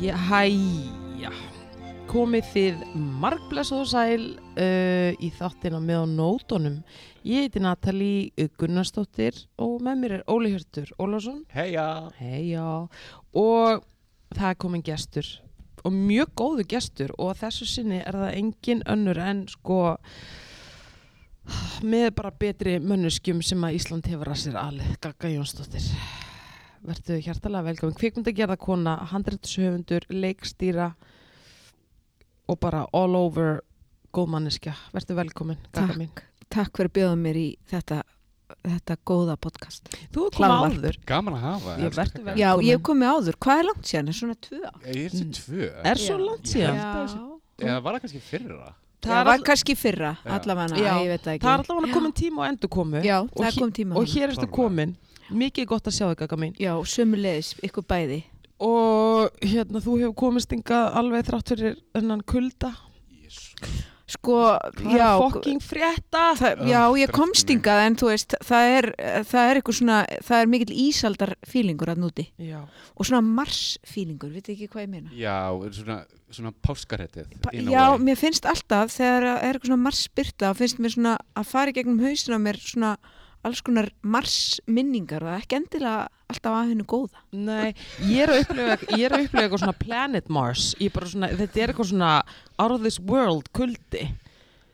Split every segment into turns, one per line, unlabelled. Jæja, komið þið margblessuð og sæl uh, í þáttina með á nótunum. Ég heiti Natalie Gunnarsdóttir og með mér er Óli Hjörtur Ólásson.
Heja
Heiða. Og það er komin gestur og mjög góðu gestur og að þessu sinni er það engin önnur en sko með bara betri mönneskjum sem að Ísland hefur að sér alið, Gagga Jónsdóttir verðu hjartalega velkomin kvikmyndagerða kona, handrættushöfundur leikstýra og bara all over góðmanniska, verðu velkomin Gagga
Takk.
mín.
Takk fyrir að bjóða mér í þetta, þetta góða podcast.
Þú er komið
Hlaðvarp.
áður
Gaman að hafa
Ég vertu vel-
Já,
Velkomin.
ég kom með áður. Hvað er langt sérna? Svona tvö ár?
Ég er þetta tvö
Er svo
Já.
langt
Já.
síðan?
Eða var það kannski fyrra
Það
Það
er
var
all-
kannski fyrra,
Já.
allavega,
Já.
ég veit það ekki.
Það er allavega komin tíma á endurkomu
Já,
og
það
hér-
kom tíma.
og
hana.
hér ertu
Klárlega.
komin mikið gott að sjá þig Gagga mín
Já, sömulegis, ykkur bæði.
og hérna þú hefur komist ingað alveg þrátt fyrir hennan kulda
Jésus
Sko,
Hvað
já,
er fokking frétta
það, já, ég
Dreftu
kom stingað en þú veist, það er, það er eitthvað svona, það er mikill ísaldar fílingur að núti
já,
og svona mars fílingur, veit ekki hvað ég meina.
Já, svona, svona páskarættið
Ba- Já, mér finnst alltaf þegar að er eitthvað svona marsbyrta þá finnst mér svona að fara í gegnum hausina á mér svona alls konar marsminningar og það er ekki endilega alltaf að hennu góða.
nei ég er að upplifa, ég er að upplifa eitthvað svona planet Mars ég er bara svona, þetta er eitthvað svona out of this world kuldi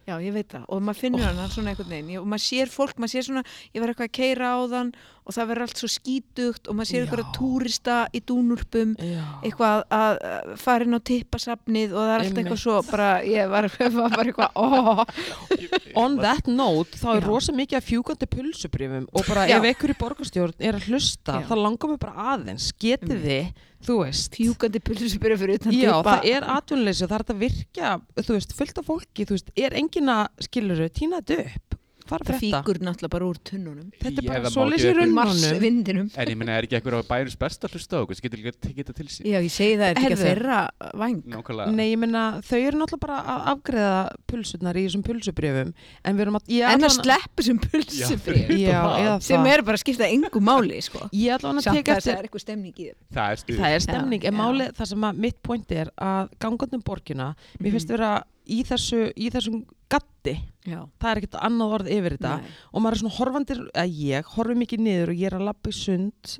Já, ég veit það og maður finnur hann svona einhvern veginn Ég- og maður sér fólk, maður sér svona, ég var eitthvað að keira á þann og það verður allt svo skítugt og maður sér
Já.
eitthvað túrista í dúnulpum
já,
eitthvað að að fara inn á tippasafnið og það er allt
Einmitt.
eitthvað svo bara, ég var, var bara eitthvað, ó,
on that note þá er
Já.
rosa mikið af fjúkandi pulsubrifum og bara
Já.
ef einhverju borgarstjórn er að hlusta
Já. Mm.
þá langar mig bara aðeins, getið þið þú veist
fjúkandi pulsubyrja fyrir utan
Já,
tippa.
það er atvinnuleysi og það er hægt að virka, þú veist, fullt af fólki, þú veist, er engin að skiluru, týna þetta upp, hvað er að
það
frétta?
fíkur náttúrulega bara úr tunnunum.
Þetta er
Ég
bara
það má
svo
ekki
leysi
upp-
runnunum.
marsvindinum
En ég meina, er ekki ekkur á bæjurins besta hlusta á okkur sem getur líka tekið þetta til sín
Já, ég segi það, er þetta ekki
Heyrðu.
að þeirra vang
Nákvæmlega
Nei, ég meina, þau eru náttúrulega bara að afgreða pulsurnar í þessum pulsubrjöfum, en við erum að, ég
En að
allavega-
sleppu sem pulsubrif
fyrir-
já,
það.
eða
sem
það.
er bara að skipta engu máli sko.
Ég ætla hann að
Samt
teka
þess að það
eftir,
er eitthvað stemning í þeim
Það er stuð
það er stemning, en
Já.
málið, það sem að mitt point er að gangandum borgina, mér finnst
Mhm.
vera í, þessu, í þessum gatti,
Já,
það er ekkert annað orð yfir þetta,
Nei.
og maður er svona horfandir að ég horfi mikið niður og ég er að lappa í sund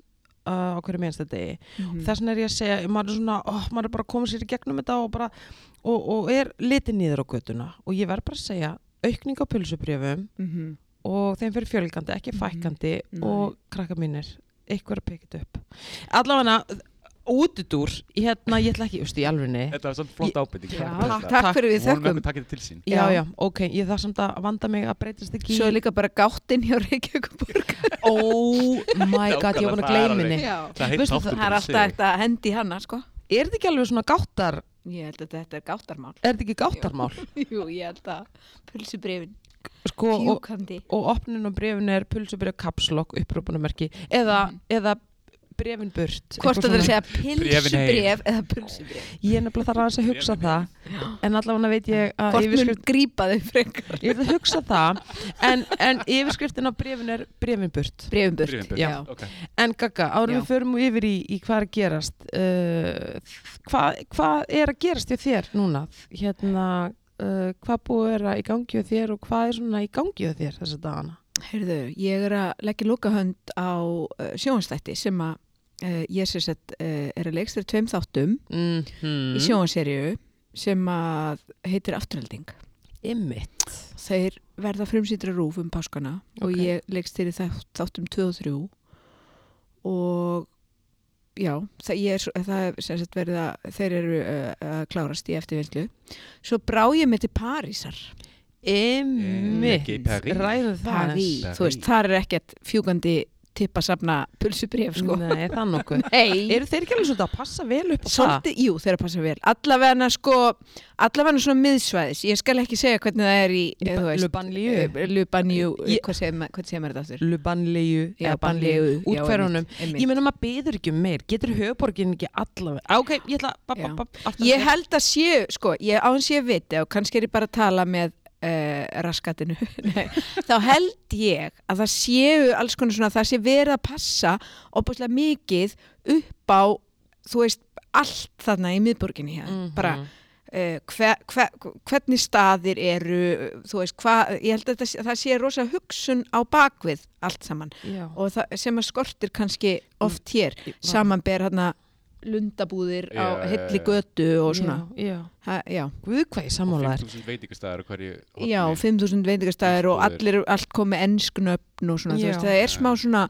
uh, á hverju mennsta degi
Mhm.
þess vegna er ég að segja, maður er svona oh, maður er bara komið sér í gegnum þetta og, bara, og, og er litið niður á göduna og ég verð bara að segja, aukning á pulsubrjöfum
Mhm.
og þeim fyrir fjölgandi, ekki
Mhm.
fækandi
Nei.
og krakka mínir, eitthvað er að pekja þetta upp allavega útudúr, hérna ég ætla ekki, úst, í alfunni
Þetta var svona flott ábyrting
Já,
Takk,
Takk fyrir við
Vonum
þökkum
ekki takið þetta til sín
Já,
Já.
já, ok, ég þarf samt að vanda mig að breytast ekki í-
Svo er líka bara gáttin hjá Reykjavíkuborg
Oh my god, ég var búin að
Nákvæmlega, það er
gleyma henni
alveg-
Já.
Það er heitt
Veistu,
þáttur
Það er
bara
alltaf
sig.
þetta að hendi hana sko.
Er þetta ekki alveg svona gáttar
Ég held að þetta er gáttarmál
Er þetta ekki gáttarmál?
Jú, ég held að pulsubrifin
Sko, og,
Fjúkandi
og opnin á brefinu er pulsubrið kapslokk, upprúpunumerki eða, eða brefin burt
Mm. Hvort
eitthvað
að það er að
svona.
segja pilsubrif eða pulsubrif
Ég er nefnilega þarf aðeins að hugsa það en allavega veit ég að
Hvort mun
yfirskrift
grípa þau frekar
Ég er að hugsa það en, en yfirskriftin á brefinu er brefin burt
Brifin burt
Bréfin burt.
Já.
Ok.
En Gagga, árum
Já.
við förum yfir í, í hvað er að gerast uh, hvað, hvað er að gerast hjá þér núna? Hérna, uh, hvað búið er að í gangi hjá þér og hvað er svona í gangi hjá þér þessa dagana?
Heyrðu, ég er að leggja lokahönd á uh, sjónstætti sem að uh, ég sér sett uh, er að leikstæri tveim þáttum
Mm
í sjónserju sem að heitir Afturhalding.
Ymmit
Þeir verða frumsýttra rúf um páskana og
Ok.
ég leikstæri þáttum 2 og 3 og já, það, ég er, svo- það er sem sagt verið að þeir eru uh, að klárast í eftirvinnslu. Svo brá ég mig til Parísar.
Ymmit
Ekki í París.
Ræðum það
París,
París.
þú veist, þar er ekkert fjúkandi tippa safna pulsubref sko.
Nei, það nokkuð.
Nei,
Eru þeir ekki alveg svolítið að passa vel upp á það?
svolítið, jú, þeirra passa vel allavega sko, allavega svona miðsvæðis, ég skal ekki segja hvernig það er í eh, þú veist,
Lubanlíu.
eh, Lubanlíu,
Ég-
hvað segir ma- hvað segir maður þetta aftur?
Lubanlíu.
Já,
eða
Banlíu, já,
Útferðunum.
einmitt, einmitt.
Ég meina maður byður ekki um meir. Getur höfuborgin ekki allavega? Á, Ok, ég ætla að...
Já.
Ég
Ég held að séu, sko, ég án séu viti og kannski er ég bara að tala með uh, raskatinu, Nei, þá held ég að það séu alls konar svona, það sé verið að passa opaslega mikið upp á, þú veist, allt þarna í miðborginni hér,
Mhm.
bara uh, hver, hver, hvernig staðir eru, eh, þú veist, hvað, ég held að það sé, það sé rosa hugsun á bakvið allt saman
Já.
og það sem að skortir kannski oft hér,
Ég-
samanber hérna lundabúðir á
Já, já,
hilli
já.
götu og svona
Já, já.
ha, já,
Guð hvað ég sammálaður.
5.000 veitingastæðar og hverju horni.
já 5000 veitingastæðir og
Lundabúðir.
allir allt komið ennsknöfn og svona, þú
Já.
veist, það er smá svona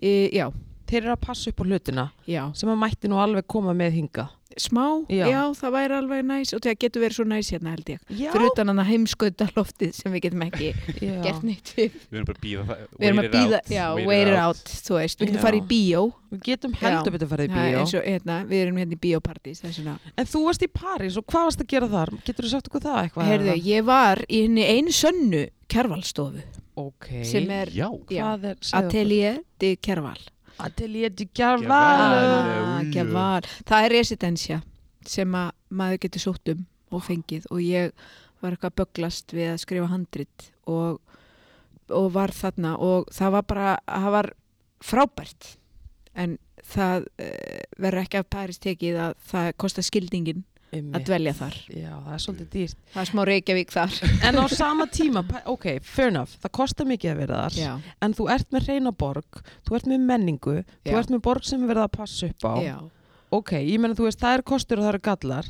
e, já,
Þeir eru að passa upp á hlutina
já,
sem að mætti nú alveg koma með hinga.
smá
Já.
já. það væri alveg næs og það getur verið svo næs hérna held ég
Já.
fyrir utan hann að heimskauta loftið sem við getum ekki
Já.
gert neitt við
Við erum bara að býða það
við erum
wait
að
it
býða,
out,
já,
wait it
wear it out þú veist, við
Já.
getum farið í bíó
Við getum heldur
Já.
betur farið í
Það er
bíó.
eins og, hérna, við erum hérna í bíópartís það er svona
En þú varst í París og hvað varst að gera þar? Getur þú sagt okkur það eitthvað?
Herðu, ég var í henni einu sönnu kjærvalstofu
Ok.
sem er
Já,
já,
Hvað er? segðu okkur.
Atelier de Kjærval
Atelier du
Carvalho.
Carvalho.
Ah,
Ulu.
Kjærval, það er residensja sem að maður getur sótt um og fengið og ég var eitthvað að böglast við að skrifa handrit og, og var þarna og það var bara, það var frábært en það uh, verður ekki af Paris tekið að það kostar skildingin að dvelja þar
Já, það er svolítið dýrt.
það er smá Reykjavík þar
En á sama tíma, pa- ok, fair enough, það kostar mikið að vera þar,
já,
en þú ert með reyna borg, þú ert með menningu, þú
Já.
ert með borg sem er verið að passa upp á.
já.
Ok, ég meina þú veist, það eru kostur og það eru gallar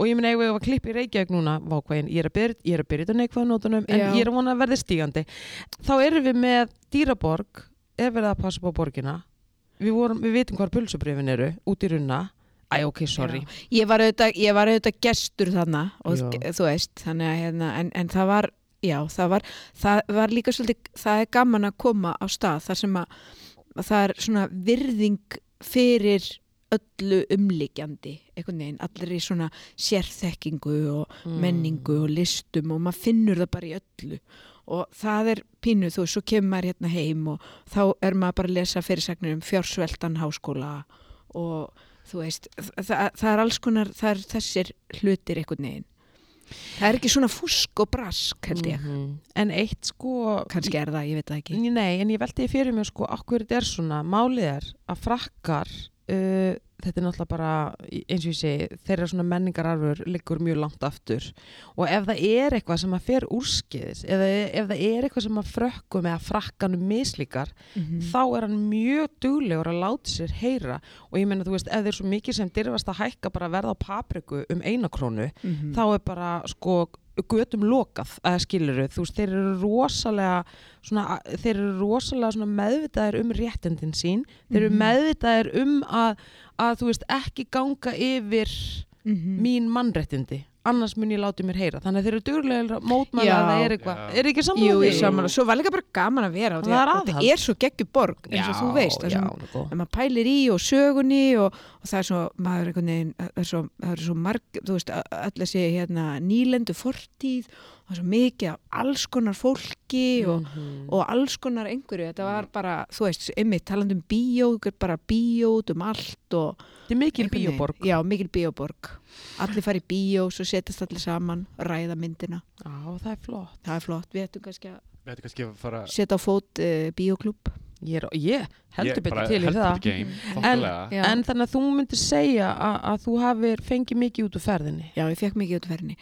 og ég meina ef ég var klipp í Reykjavík núna, vákvæðin, ég er að byrja, ég er að byrja þetta neikvæða nótunum en
Já.
ég er að vona að verði stígandi. Þá erum við með dýraborg, ef verið að passa upp á borgina, við, vorum, við vitum hvar pulsubrifin eru, út í runna, æ ok, sorry.
Ég var auðvitað, ég var auðvitað gestur þarna og
Já.
þú veist, þannig að hérna, en, en það var, já, það var, það var líka svolítið, það er gaman að koma á stað þar sem að, að það er svona virðing fyrir öllu umlíkjandi, einhvern veginn, allri svona sérþekkingu og Mm.
Mm.
menningu og listum og maður finnur það bara í öllu og það er pínu, þú veist, svo kemur maður hérna heim og þá er maður bara að lesa fyrirsagnir um fjársveldan háskóla og þú veist, það, það er alls konar, það er þessir hlutir einhvern veginn. Það er ekki svona fúsk og brask, held ég.
Mhm. En eitt sko,
Kannski er það, ég veit það ekki.
Nei, en ég veldi því fyrir mér sko okkur þetta er svona, málið er að frakkar uh, þetta er náttúrulega bara í- eins og ég segi, þeirra svona menningararfur liggur mjög langt aftur og ef það er eitthvað sem að fer úrskiðis eða ef það er eitthvað sem að frökkum eða frakkanum mislíkar
Mhm. Mm.
þá er hann mjög duglegur að láta sér heyra og ég meina þú veist, ef þeir svo mikið sem dyrfast að hækka bara verða á papriku um eina krónu
Mhm.
þá er bara sko götum lokað að skiluru þú veist, þeir eru rosalega svona, þeir eru rosalega svona meðvitaðir um réttindin sín, þeir eru
Mhm.
meðvitaðir um að, að þú veist ekki ganga yfir
Mhm.
mín mannréttindi annars mun ég láti mér heyra, þannig að þeir eru duglega mótmæla
Já.
að það er eitthvað,
Já.
er ekki sammála
Jú,
því?
ég saman og svo var líka bara gaman að vera og
Það er
því-
aðhald.
og þetta er svo geggjuborg eins og þú veist, það
já,
sem
já,
að maður pælir í og sögunni og, og það er svo, maður einhvern veginn það er svo, það er svo marg, þú veist öll þessi hérna nýlendu fortíð og það er svo mikið af alls konar fólki og,
Mm.
og alls konar einhverju, þetta var bara þú veist, einmitt talandi um bíó, þú getur bara bíó út um allt og
þetta er mikil
einhvern veginn.
bíoborg
Já, mikil bíóborg Allir fara í bíó, svo setjast allir saman ræða myndina,
já, það er flott
það er flott við ættum kannski að
Við ættum kannski að fara
setja á fót uh, bíóklúb
ég, er, ég heldur
Ég bara
betur til í
heldur
það
betur game,
Mm.
En-
þokkalega.
Já.
En þannig að þú myndir segja að, að þú hafir fengið mikið út úr ferðinni.
Já, ég fekk mikið út verðinni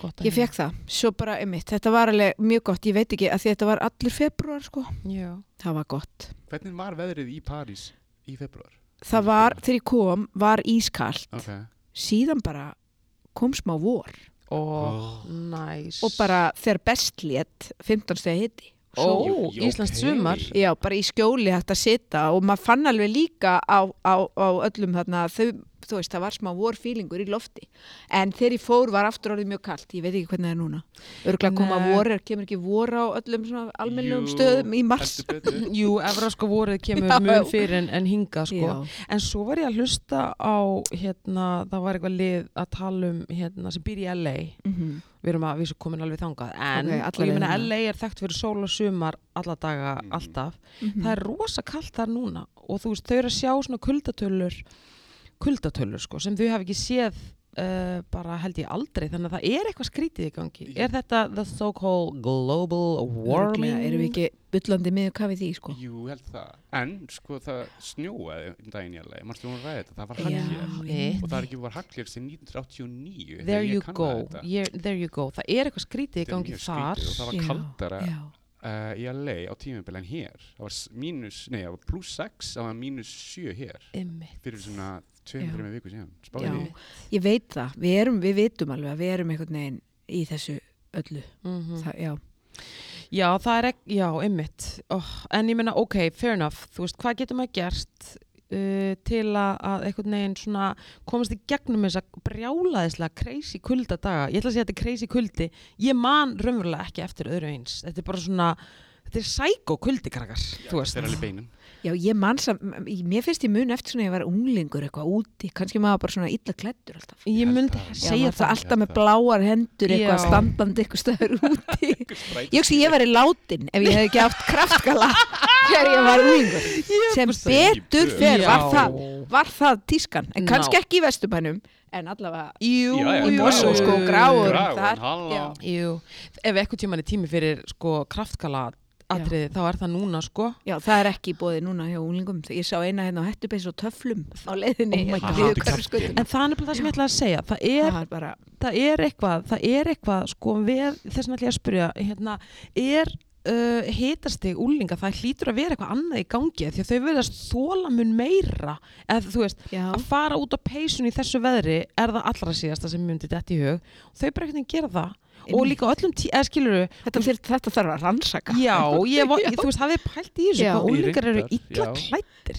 Gott
Ég fekk það, svo bara einmitt Þetta var alveg mjög gott, ég veit ekki að því þetta var allur februar sko
Já.
Það var gott
Hvernig var veðrið í París í februar?
Það var, þegar ég kom, var ískalt
Ok
Síðan bara kom smá vor
Og
oh.
næs.
Og bara þegar best lét 15 stegi hiti Svo-
Ó,
Jú, jú,
Íslands
ok.
sumar.
Já, bara í skjóli hægt að sita og maður fann alveg líka á, á, á öllum þarna þau, þú veist, það var smá vorfílingur í lofti en þegar ég fór var aftur orðið mjög kalt ég veit ekki hvernig það er núna örgulega koma
Nei.
vor, er- kemur ekki vor á öllum svona almennum
Jú,
stöðum í mars
heldur betur.
Jú, evraska vorið kemur
Já.
mun fyrir en, en hinga sko.
Já.
En svo var ég að hlusta á, hérna, það var eitthvað lið að tala um, hérna, sem býr í LA.
Mhm.
Við erum að vísu komin alveg þangað. En,
Ok,
og
alla
ég
leið
meina,
þangað.
LA er þekkt fyrir sól og sumar alla daga,
Mhm.
alltaf.
Mhm.
Það er rosa kallt þar núna. Og þú veist, þau eru að sjá svona kuldatölur, kuldatölur sko, sem þau hafa ekki séð uh, bara held ég aldrei. Þannig að það er eitthvað skrítið í gangi.
Já.
Er þetta the so-called global warming?
Örugglega erum við ekki byllandi miður hvað við því sko
Jú, held það. En, sko, það snjóaði um daginn í alveg. Mannstu hún að ræða þetta? Það var
Já.
hagljél.
mitt.
Og það er ekki var hagljél sem 1989.
There
þegar ég
you
kannaði
go,
þetta.
yeah, there you go Það er eitthvað skrítið í
Þetta er
gangi
mjög
þar
skrítið og það var
Já,
kaldara
já,
uh, í LA á tímabil en hér. Það var s- mínus, nei, það var pluss 6, það var mínus 7 hér
Einmitt.
fyrir svona
Já.
2-3 viku síðan.
Já.
Spáði því.
ég veit það, við erum, við vitum alveg að við erum einhvern veginn í þessu öllu
Mhm.
það, já,
Já, það er ekki, já, einmitt oh, En ég meina, ok, fair enough Þú veist, hvað getur maður gert uh, til að, að einhvern veginn svona komast í gegnum þess að brjálaðislega crazy kulda daga, ég ætla að segja að þetta er crazy kuldi ég man raunverulega ekki eftir öðru eins þetta er bara svona Þetta er sækó kuldi, krakkar, þú veist.
Þetta er alveg beinum.
já, ég mann sam mér finnst ég mun eftir svona að ég var unglingur eitthvað úti, kannski maður bara svona illa klættur alltaf
Ég myndi
Já,
Já,
segja
maður það
það.
alltaf með bláar hendur eitthvað
Já.
standandi eitthvað stöður úti ég hugsi ég væri látin ef ég hef ekki haft kraftgala þegar ég var úlingur sem
veist það.
betur fer var
Já.
það, var það tískan en
Ná.
kannski ekki í vesturbænum en allavega
Jú,
Já, já,
jú,
í Mosóskó,
jú.
gráur
Gráum,
þar,
halló.
já.
Jú, ef eitthvað tíman er tími fyrir sko kraftkala atriði þá er það núna sko
Já, það er ekki í bóði núna hjá úlingum. Ég sá eina hérna á hettubeis og töflum á leiðinni.
Oh my
hérna
God.
niður Hverfisgötuna.
En það er nefnilega það sem ég ætla að segja það er,
Það er bara,
það er eitthvað, það er eitthvað sko við, þess vegna ætla ég að spyrja hérna, er uh, hitastig úlinga, það hlýtur að vera eitthvað annað í gangi því að þau verðast þóla mun meira eða þú veist,
já,
að fara út á peysun í þessu veðri er það allra síðasta sem myndi dætt í hug þau bara eitthvað gera það og
Einmitt.
líka öllum tí, eða skilur
þetta, þyr, þetta þarf að rannsaka.
Já, ég, var- þú veist, hafið þið pælt í þessu
Já.
hvað úlingar eru
Reyndar,
illa
já.
klættir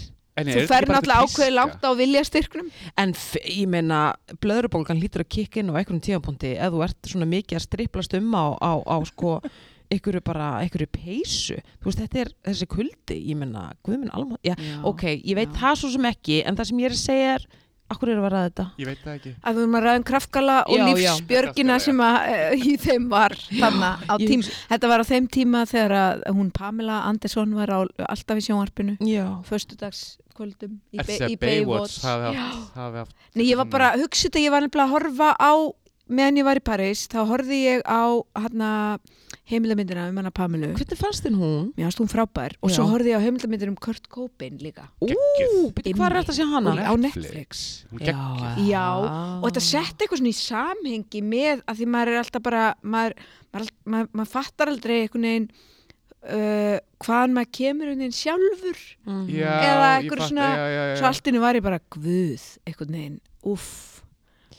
Þú fer náttúrulega ákveðið langt á viljastyrknum.
en f- ég meina, blöðrubólgan hlýtur að kikka inn á einhverjum tíðanpunkti ef þú ert svona mikið að striplast um á, á, á sko, einhverju bara einhverju peysu, þú veist, þetta er þessi kuldi, ég meina, guðminn alma já, ok, ég veit
já.
það svo sem ekki en það sem ég er að segja er, akkur eru að ræða þetta
Ég veit það ekki.
Að við erum að ræðum kraftgala og
Já, já.
lífsbjörgina
Kraftgala, já.
sem að, eh, í þeim var þarna á
ég
tím. Þetta var á þeim tíma þegar að hún Pamela Andersson var á, alltaf í sjónvarpinu.
Já,
Föstudagskvöldum í,
Er
Bay-
þess að
í
Baywatch hafi
Já.
haft- hafi haft
Nei, ég var
svona-
bara, hugsið að ég var nefnilega að horfa á meðan ég var í París, þá horfði ég á hana, heimildamindina um hana Pamelu.
hvernig fannst þinn hún?
Mér varst hún frábær og svo
Já.
horfði ég á heimildamindina um Kurt Cobain líka.
Ú,
Geggjuð.
byrju, hvað er þetta að sé hana?
Á Netflix.
Hún geggjuð.
Já, Og
Ah.
þetta
Mm,
setti eitthvað svona í samhengi með að því maður er alltaf bara, maður, maður, maður, maður fattar aldrei einhvern veginn uh, hvaðan maður kemur einhvern veginn sjálfur.
Mhm.
Já, ég
Eða einhver
fatta,
svona-
já, já, já,
Eh.
Svo allt inni var ég bara guð einhvern veginn, uff,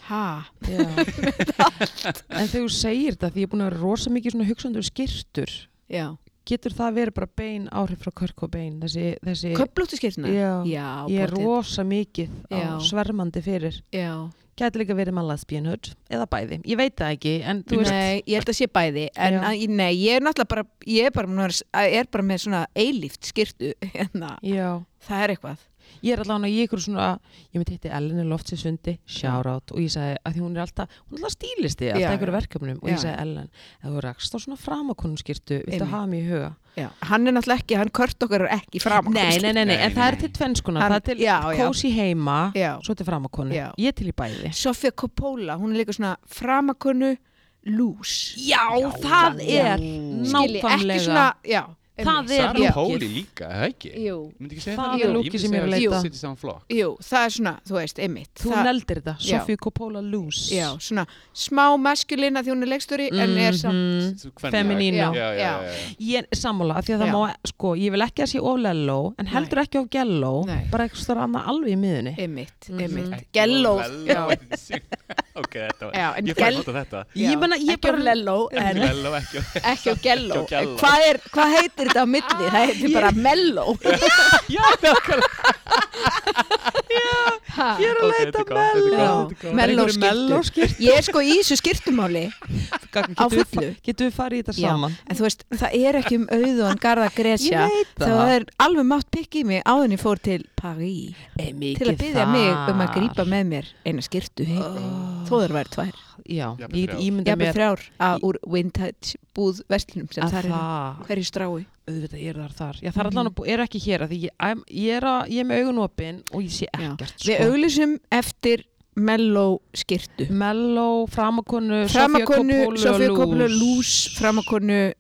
ha.
Já. en þegar þú segir þetta því ég er búin að vera rosa mikið svona hugsandur skirtur
Já,
getur það verið bara bein áhrif frá körk og bein þessi, þessi
köplóttu skýrtuna.
Já.
Já,
ég er
pottet.
rosa mikið
Já.
á svermandi fyrir
Já.
getur líka verið mallaðspjönhörd eða bæði, ég veit það ekki en þú veist
Nei, ég held að sé bæði en
Já.
að, nei, ég er náttúrulega bara ég er bara, búin að vera- að- er bara með svona eilíft skirtu hérna,
Já,
það er eitthvað
ég er allavega í ykkur svona, ég myndi hitti Elinu Loftsisundi, shoutout og ég sagði að því hún er alltaf, hún er alltaf stílisti alltaf
Já,
einhverju
já.
verkefnum og ég
Já.
sagði Ellen, ef þú rakst á svona framakonum skirtu, viltu
Einmitt.
hafa mig í huga
já. hann er náttúrulega ekki, hann kört okkar er ekki sko.
Nei,
fram
nei, nei, nei, en
Nei,
það er
nei.
til tvennskuna,
Hann-
það er til
já, já.
kósi heima,
Já.
svo til framakonu,
Já.
ég er til í bæði.
Sofía Coppola, hún er líka svona framakonu lús
Já, það er
Skilji, ekki
nákvæmlega,
svona, já
það er
einmitt.
Sara
Já.
Póli líka, er það ekki?
Jú,
Ég myndi ekki segja
Það
það
er
líka.
lúkið sem ég er að
Ég
leita.
myndi setja saman flokk.
jú, það er svona, þú veist, einmitt
þú
það,
neldir þetta,
Já.
Sofíu Coppola Loose.
Já, svona smá maskulina því hún er leikstjóri en er samt
Mhm.
Þú- kvenna-
Feminino.
Já, já, já, já.
Ég er sammála, af því að það
Já.
má, sko, ég vil ekki að sé oflello, en heldur ekki of gello,
Nei.
bara eitthvað stóra annað alveg í miðunni.
einmitt,
Mhm.
einmitt,
Ekki
gelló
of
já,
Lello. Ok, þetta var...
já, en
Ég
gell-
fæði nota þetta.
Ég meina, ég
ekki á
bara-
lelló en
Ekki Lello, ekki...
ekki á gelló
Ekki á Gelló.
hvað, er, hvað heitir þetta á milli? það heitir bara melló
Já, nákvæmlega.
Ég er að
Ok, þetta
leita
er gott, þetta er
melló.
gott, þetta er gott. Melló
Bara einhverju
skyrtu.
skyrtu.
Ég er sko í þessu skirtumáli
Gagn,
á
getum við
fullu.
fa- Getum við farið í þetta
Já,
saman?
En þú veist, það er ekki um auðan Garða Gresja
veit
Það er alveg mátt pikk í mig áðan ég fór til París
Ei, mikið
Til að byggja
þar.
mig um að grípa með mér eina skirtu heim
Oh.
Þó þar væri tvær
Já,
Jafnvel
ég
þrjár.
ímynda
Jafnir
mér
þrjár að úr vintage búð vestlunum sem
að
þar er
það
hverju strái
auðvitað eru þar þar. Já, það er
Mhm.
allan að búið, eru ekki hér að því ég, I'm- ég er, að, ég er með augun opinn og ég sé
Já.
ekkert. sko.
Við auglýsum eftir mellow skirtu
Mello, framakonu,
Framakonu, Sofía Coppola,
Lús,
Lús Framakonu,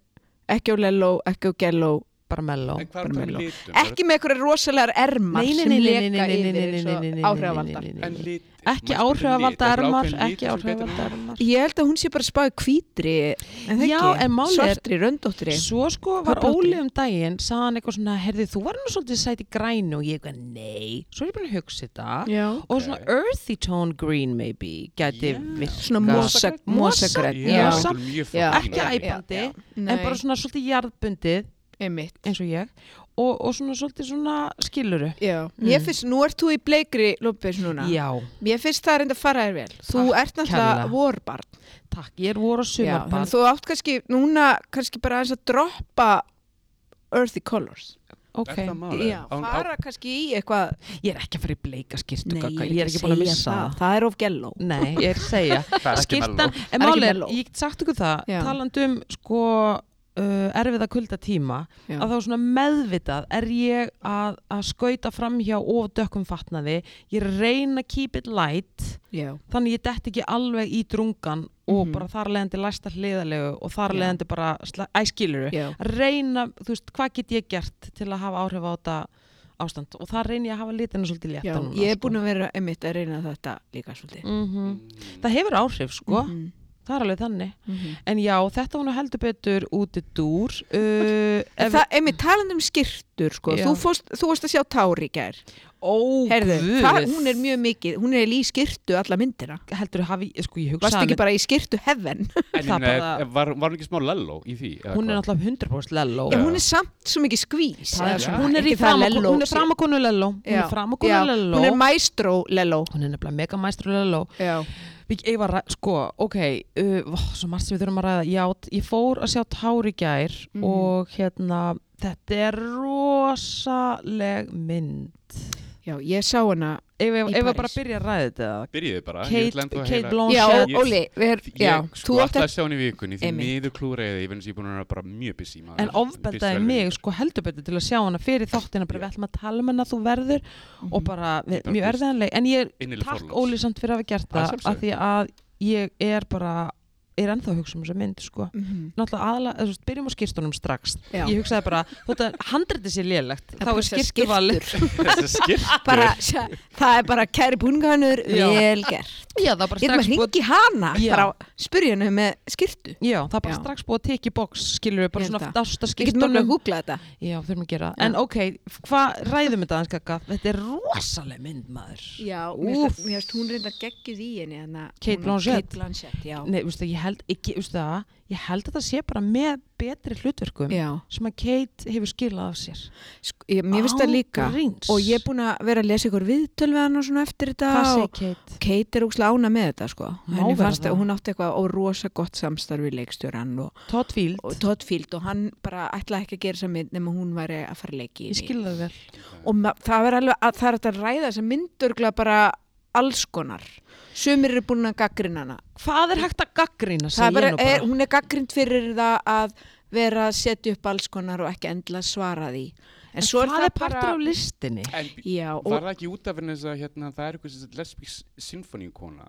ekki á Lello, ekki á Gello
bara Mello.
En hvað
Bara
er það
með
með
ló.
litum?
Ekki með einhverja rosalegar ermar
Nei, nei,
sem
nei, nei, nei,
leka
nei, nei, nei,
yfir
nei, nei, nei,
eins
nei,
og áhrifavaldar
nei, nei, nei,
En
nei.
lit.
Ekki
Má ég spyrja um lit?
áhrifavaldar
Það er
ermar,
ákveðin
ekki
litur sem gæti
áhrifavaldar ermar.
Ég held að hún sé bara spáði kvítri en það
Já,
ekki,
en málið er-
svartri, röndóttri
Svo sko var
Köflóttri.
Óli um daginn, sagði hann eitthvað svona, herði þú var nú svolítið sæti grænu og ég eitthvað nei. Svo er ég búin að hugsa þetta
Já
og svona earthy tone green maybe gæti
Já.
virkað.
Svona mosa,
Mosa-
mosagræn
Já.
Já, þetta er mjög flott.
Ekki
Já.
æpa- æpandi, En bara svona svolítið jarðbundið
einmitt
eins og ég og, og svona svolítið svona skiluru.
Já, mér
Mm.
finnst, nú ert þú í bleikri lópis núna
Já,
Mér finnst það er enda að fara þér vel Þú
Takk
ert náttúrulega
kærlega.
vorbarn
takk, ég er voru að
Já,
suma
þannig að þú átt kannski núna kannski bara aðeins að droppa earthy colors
Ok,
Er það málið?
Já,
Án- á-
fara kannski í eitthvað
ég er ekki að fara í bleika skýrtu gagga, ég er ekki búin að
segja
missa það.
Það er of gello
Nei, ég er að segja.
Það er ekki
skýrtan,
melló.
en
Það er ekki
málið er,
melló.
ég get sagt ykkur það,
Já.
talandi um sko uh, erfiða kulda tíma,
Já.
að þá svona meðvitað er ég að, að skauta fram hjá of dökkum fatnaði, ég reyna að keep it light,
Já,
þannig ég detti ekki alveg í drungan og
Mhm.
bara þar leðandi læsta hliðalegu og þar
Já.
leðandi bara, sla- æ skiluru,
já,
að reyna, þú veist, hvað get ég gert til að hafa áhrif á þetta ástand og það reyni ég að hafa litina svolítið létta
já
núna. sko.
Ég er búin að vera einmitt að reyna þetta líka svolítið
Mm Það hefur áhrif, sko,
Mhm,
það er alveg þannig.
mhm.
En já, þetta var nú heldur betur úti dúr. Uh,
En
ef,
Það, einmitt talandi um skirtur sko,
Já.
þú, fórst, þú varst að sjá Tári í gær
ó,
Herðu,
guð.
það, hún er mjög mikið, hún er í skirtu alla myndina
heldur hafi, sko, ég
Varst
hugsa
ekki bara í skirtu heaven
En
Það
ég meina,
bara-
er- var var hún ekki smá lello í því? eða
hún er
hvað?
náttúrulega 100% lello.
En hún er samt svo mikið skvís
Það
eða
er,
Já.
svo-
svona,
hún er í
ekki það
framakonu,
lelló
hún er
sé-
framakonu lello, hún
Já.
er framakonu
Já,
lello.
Hún er maestro lello
Hún er nefnilega mega mæstur lello.
Já,
Ég ég var, að- sko, ok, uh, ó, svo margt sem við þurfum að ræða. Já, t- ég fór að sjá Tári í gær
Mhm.
og hérna, þetta er rosaleg mynd.
já ég sá hana
Ef
Í
við bara
París.
að byrja að ræða þetta, eða?
Byrjiði bara. ég vil
Kate,
ennþá
Kate
heyra-
Blanchett.
Já,
Ég-
Óli, við er, já,
Ég sko
þú átt
alltaf
að
að sjá hann í vikunni því
Einmitt.
miður klúraði ég finnst ég búin að vera bara mjög busy maður.
en ofbeldaði
Býst vel
mig
við.
sko heldur betur til að sjá hana fyrir þáttina bara
Já. Mhm.
við ætlum að tala um hana þú verður og bara við,
Bara
mjög
þú-
erfiðanleg en ég
Innileg
takk
forláts.
Óli samt fyrir að hafa gert
Að
það
sjálfsögðu.
af því að ég er bara er ennþá að hugsa um þessa mynd sko
Mhm.
náttúrulega aðalega, þú veist, byrjum á skýrstunum strax
Já.
ég hugsaði bara, þótt að handriti sér lélegt
Það
þá
bara
er
sé
skýrtuvalið
Þessi skiltur.
bara, sjá, það er bara kæri búnganur
Já.
vel gert
já, það er bara
ég er maður
strax búið
hringi hana
Já.
bara spurja hennu með skirtu
Já, það er bara
Já.
strax búið að teki box, skilur við, bara
Ég held
svona
það.
dásta
ég get mörg
skýrtunum.
að googla þetta
Já, þurfum að gera.
Já.
En ok, hvað ræðum þetta aðeins kaka? Þetta er rosaleg mynd, maður.
já,
mér finnst- mér
finnst hún reynda geggið í henni
Kate hérna. hún- Blanchett. Kate
Blanchett já.
Nei, veistu, ég held, ekki, veistu það, ég held að það sé bara með betri hlutverkum sem að Kate hefur skilað af sér.
Sk- ég, mér finnst það líka
Ágríns.
og ég er búin að vera að lesa ykkur viðtöl við hann og svona eftir þetta
Hvað segir
og
Kate?
Kate er úkslega ána með þetta sko henni
vera
fannst
það.
að hún átti eitthvað og rosa gott samstarf við leikstjóran og,
Todd Field.
og Todd Field og hann bara ætlaði ekki að gera þessa mynd nema hún væri að fara að leiki í
Ég
henni.
skil það vel.
og ma- það er alveg að það er hægt að ræða þessa myndurgla bara alls konar sumir eru búin að gaggrina hana
Hvað er hægt að gaggrina,
Það er
segir ég
bara,
nú
er,
bara.
hún er gaggrind fyrir það að vera að setja upp alls konar og ekki endla svara því en,
En
svo er
hvað
það
er partur
bara
af listinni?
En
já, og,
var það ekki út af henni þess að hérna, það er eitthvað sem lesbík sinfoníukona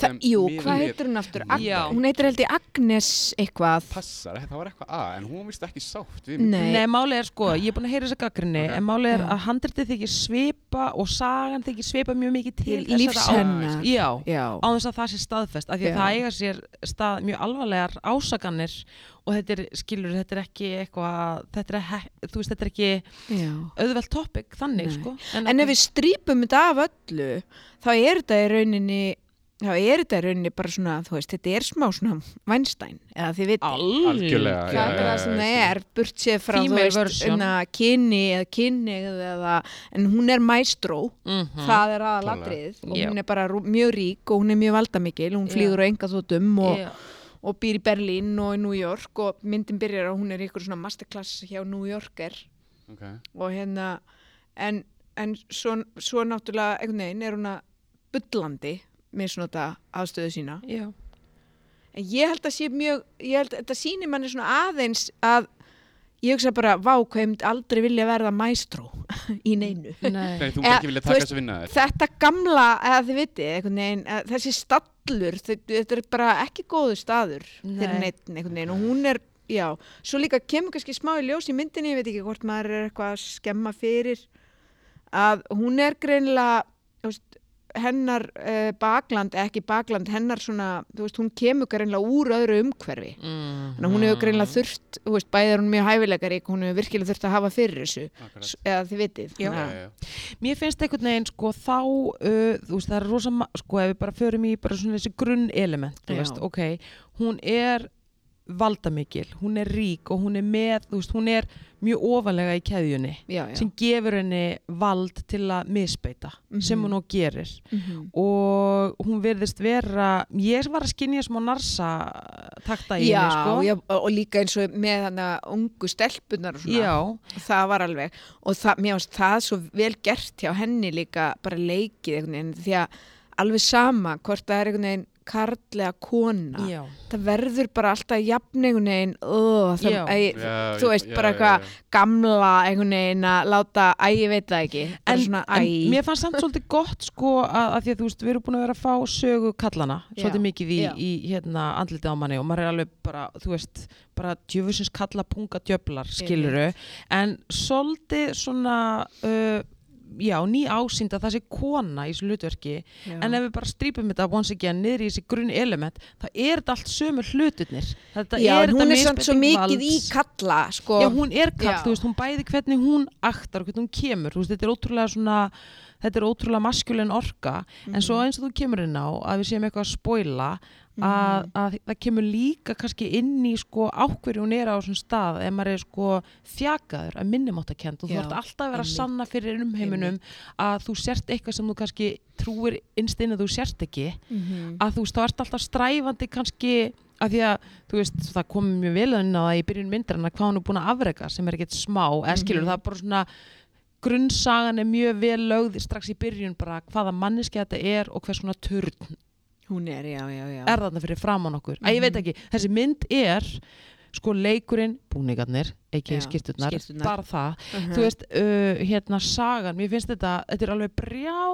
það, jú, hvað heitir hún aftur? Ag
Já.
hún heitir held í Agnes eitthvað
Passar, það var eitthvað að, en hún vist ekki sátt við mig.
Nei.
nei,
málið er sko, ég er búin að heyra þessa gaggrinni
Ok.
en málið er
Já.
að handritið þykir svipa og sagan þykir svipa mjög mikið til
til lífs
á-
hennar
Já,
já,
á þess að það sé staðfest af því að
Já.
það eiga sér stað mjög alvarlegar ásakanir og þetta er, skilur, þetta er ekki eitthvað þetta er, he- þú veist, þetta er ekki
já.
auðvelt topic, þannig
Nei.
sko
en ef við strýpum þetta af öllu þá er þetta í rauninni þá er þetta í rauninni bara svona, þú veist, þetta er smá svona Weinstein, eða þið viti.
Algjörlega, já,
Það er
já,
það
já,
sem
ég skil.
það er, burt séð frá, þú
Female
veist,
version.
inna, kynni eða kynnið eða, en hún er maestro,
Mhm.
það er
Klárlega.
aðalatrið og
Já.
hún er bara rú- mjög rík og hún er mjög valdamikil, hún
Já.
flýður á enga þóttum og,
Já.
og býr í Berlín og í New York og myndin byrjar að hún er í ykkur svona masterclass hjá New Yorker
Ok,
og hérna, en, en svo, svo náttúrulega, einhvern veginn, er hún að bullandi með svona þetta aðstöðu sína.
Já.
En ég held að sé mjög, ég held að þetta sýnir manni svona aðeins að ég hugsa bara, vá, hvað ég myndi aldrei vilja verða maestro í neinu.
Nei.
Nei, þú
Eða,
myndi ekki vilja
þú
taka
veist,
þessu vinna þér
Þetta gamla, eða þið vitið, einhvern veginn, að þessi stallur, þe- þetta er bara ekki góðu staður fyrir
Nei.
neitt, einhvern veginn, og hún er, já, svo líka kemur kannski smá í ljós í myndinni, ég veit ekki hvort maður er eitthvað að skemma fyrir, að hún er greinilega, þú veist, hennar uh, bakland, eða ekki bakland, hennar svona, þú veist, hún kemur greinlega úr öðru umhverfi.
Mm.
Þannig að hún hefur greinlega þurft, þú veist, bæði er hún mjög hæfilegarík, hún hefur virkilega þurft að hafa fyrir þessu,
Akkurat.
s- eða þið vitið.
Já.
Já,
þannig
já, já.
Mér finnst einhvern veginn sko þá, uh, þú veist það er rosa, ma- sko ef við bara förum í bara svona þessi grunn element, þú
Já.
veist, ok, hún er valdamikil, hún er rík og hún er með, þú veist, hún er mjög ofalega í keðjunni
að- Já, já.
sem gefur henni vald til að misbeita
Mhm.
sem hún og gerir
Mhm.
og hún verðist vera, ég var að skinja smá narsa takta í
Já,
henni sko.
já, og og líka eins og með þannig að ungu stelpunar og svona,
Já,
það var alveg og það, mér varst það svo vel gert hjá henni líka bara leikið einhvern veginn því að alveg sama hvort það er einhvern veginn karlega kona,
já,
það verður bara alltaf jafn einhvern veginn, ó, það,
Já.
æ,
Já,
þú veist,
já,
bara
já,
eitthvað
já.
gamla einhvern veginn að láta, æ, ég veit það ekki, bara
en,
svona, æ,
en mér fannst samt svolítið gott sko að, að því að þú veist, við erum búin að vera að fá sögu kallana
Já,
svolítið mikið í,
já.
í hérna andlitið á manni og maður er alveg bara, þú veist, bara djöfusins kalla punga djöflar skiluru en svolítið svona uh, já, ný ásýnd að það sé kona í þessu hlutverki
Já.
en ef við bara strýpum þetta once again niður í þessi grunn element þá er þetta allt sömu hlutirnir þetta
Já,
er
en hún
þetta
er samt svo
misbeiting
mikið í
valds.
kalla, sko.
Já, hún er kall,
Já.
þú veist, hún bæði hvernig hún aktar og hvernig hún kemur, þú veist, þetta er ótrúlega svona, þetta er ótrúlega maskjulin orka,
Mhm.
en svo eins og þú kemur inn á að við séum eitthvað að spoila að,
Mhm.
að það kemur líka kannski inn í sko ákverju hún er á þessum stað ef maður er sko þjakaður að minnumáttakend og þú
Já,
ert alltaf að vera að
einmitt.
sanna fyrir umheiminum að þú sért eitthvað sem þú kannski trúir innst inn að þú sért ekki
Mhm.
að þú veist, þá ert alltaf stræfandi kannski að því að, þú veist, það kom mjög vel inn á það í byrjun myndarinn að hvað hún er búin að afreka sem er ekkert smá, eða
Mhm.
skilur það er bara svona grunnsagan er mjög vel lögð strax í byrjun bara hvaða manneski þetta er og hvers svona törn
Hún er, já, já, já.
er þarna fyrir framann okkur. Æ, ég veit
Mhm.
ekki, þessi mynd er sko leikurinn, búningarnir, ekki
Já,
skýrturnar,
skyrturnar.
bara það
Mhm.
þú veist, uh, hérna sagan mér finnst þetta, þetta er alveg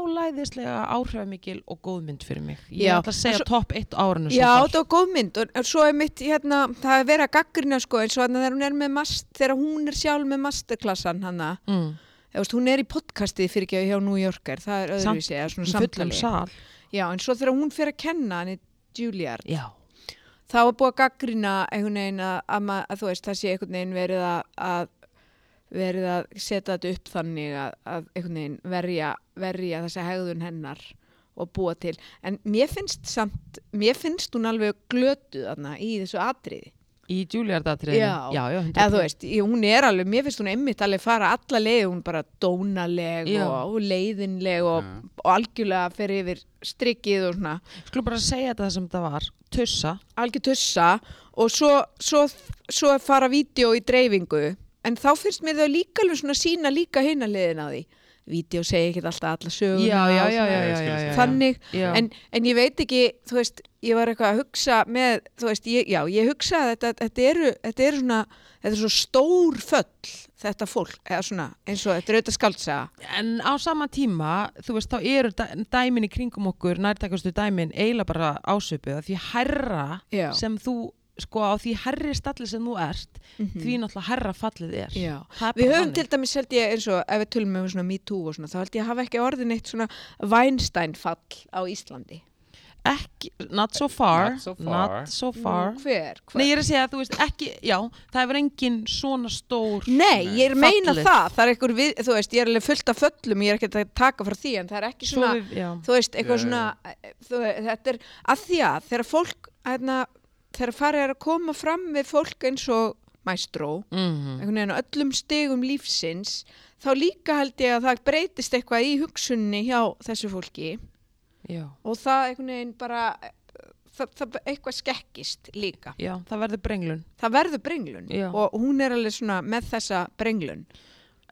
brjálæðislega áhrifamikil og góð mynd fyrir mig ég
Já,
ætla að segja
en svo-
topp 1 árinu
Já, þetta var góð mynd og, og svo er mitt, hérna, það er verið að gaggrina sko eins og þannig þegar hún er með mast, þegar hún er sjálf með masterklassan hana,
mm,
þú veist, hún er í podcastið fyrir ekki hjá New Yorker, það er
Samt-
öðruvísi, eða svona
í fullum
samtali.
sal
Já, en svo þegar hún fer að kenna hann í Juilliard,
já,
þá er búið að gaggrina einhvern veginn að, að, ma- að þú veist, það sé einhvern veginn verið að, að verið að setja þetta upp þannig að, að einhvern veginn verja, verja þessa hegðun hennar og búa til. En mér finnst samt, mér finnst hún alveg glötuð þarna í þessu atriði.
í Juilliard-atriðinu
Já.
já, já, 100%.
Eða þú veist, ég- hún er alveg, mér finnst hún einmitt alveg fara alla leið, hún bara dónaleg
Já.
og, og leiðinleg og,
Já.
og algjörlega fer yfir strikkið og svona.
skulum bara segja þetta sem þetta var tussa,
algjör tussa og svo, svo, svo fara vídeo í dreifingu en þá finnst mér þau líka alveg svona sína líka hinna liðin á því vídeo segi ekki alltaf alla söguna
já, já, já,
og svona
já, já,
ég skil
já,
þetta.
já.
þannig
já.
En, en ég veit ekki, þú veist, ég var eitthvað að hugsa með, þú veist, ég, já, ég hugsa að þetta, þetta eru, þetta eru svona, þetta eru svo stór föll, þetta fólk, eða svona, eins og þetta er auðvitað skaldsaga.
en á sama tíma, þú veist, þá eru dæ- dæmin í kringum okkur, nærtakastu dæmin eiginlega bara ásöpuð, því herra
Já.
sem þú, sko, á því herri stalli sem þú ert, því náttúrulega herra fallið er.
Mhm. Já.
Það er
Við
bara
höfum
þannig.
til dæmis held ég eins og ef við tölum um svona MeToo og svona þá held ég að hafa ekki orðin eitt svona Weinstein fall á Íslandi.
ekki, not so far
Not so far.
not so far.
Hver? hver?
Nei, ég er að segja að þú veist ekki, já, það hefur engin svona stór
Nei, ég er að meina
Fallið.
það, það er einhver við, þú veist, ég er alveg fullt af föllum, ég er ekkert að taka frá því, en það er ekki svona,
Svo við- já.
þú veist, eitthvað
Já,
svona, eh, þú, þetta er, að því að þegar fólk, hérna, þegar farið er að koma fram við fólk eins og maestro,
Mhm.
einhvern veginn á öllum stigum lífsins, þá líka held ég að það breytist eitthvað í hugsunni hjá þessu fólki
já,
og það einhvern veginn bara, eh, það, það eitthvað skekkist líka.
já, það verður brenglun
Það verður brenglun
Já.
og hún er alveg svona með þessa brenglun.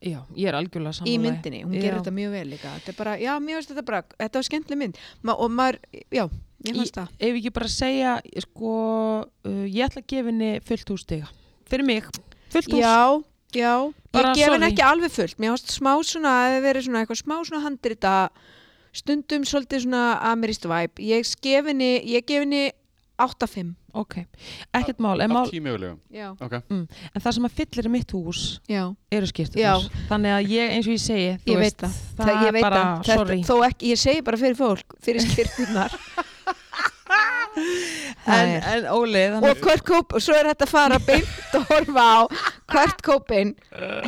já, ég er algjörlega
í
samanlega
myndinni, hún gerir þetta mjög vel líka þetta er bara, já, mér finnst þetta bara, þetta var skemmtileg mynd Ma, og maður, já, ég fannst það
ef ekki bara segja, sko uh, ég ætla að gefa henni fullt hústiga fyrir mig, fullt hús
já, já,
Bara
ég gef henni
sorry.
ekki alveg fullt mér fannst smá svona, að það verið svona eitthvað smá svona handrita, stundum svolítið svona amerist vibe, ég gef henni ég gef henni 8-5
ok, ekkert mál, en,
Af
mál
tímjögulegum.
já,
Ok.
en það sem að fyllir í mitt hús
já,
eru
Já.
skýrtunar þannig að ég, eins og ég segi þú
ég
veist,
veit það
það,
ég
er
veit
bara,
það. Þetta-
sorry
þó ekki, ég segi bara fyrir fólk, fyrir skýrtunar
en, en Óli, þannig
og Kurt Cobain, og svo er þetta að fara beint og horfa á Kurt Cobain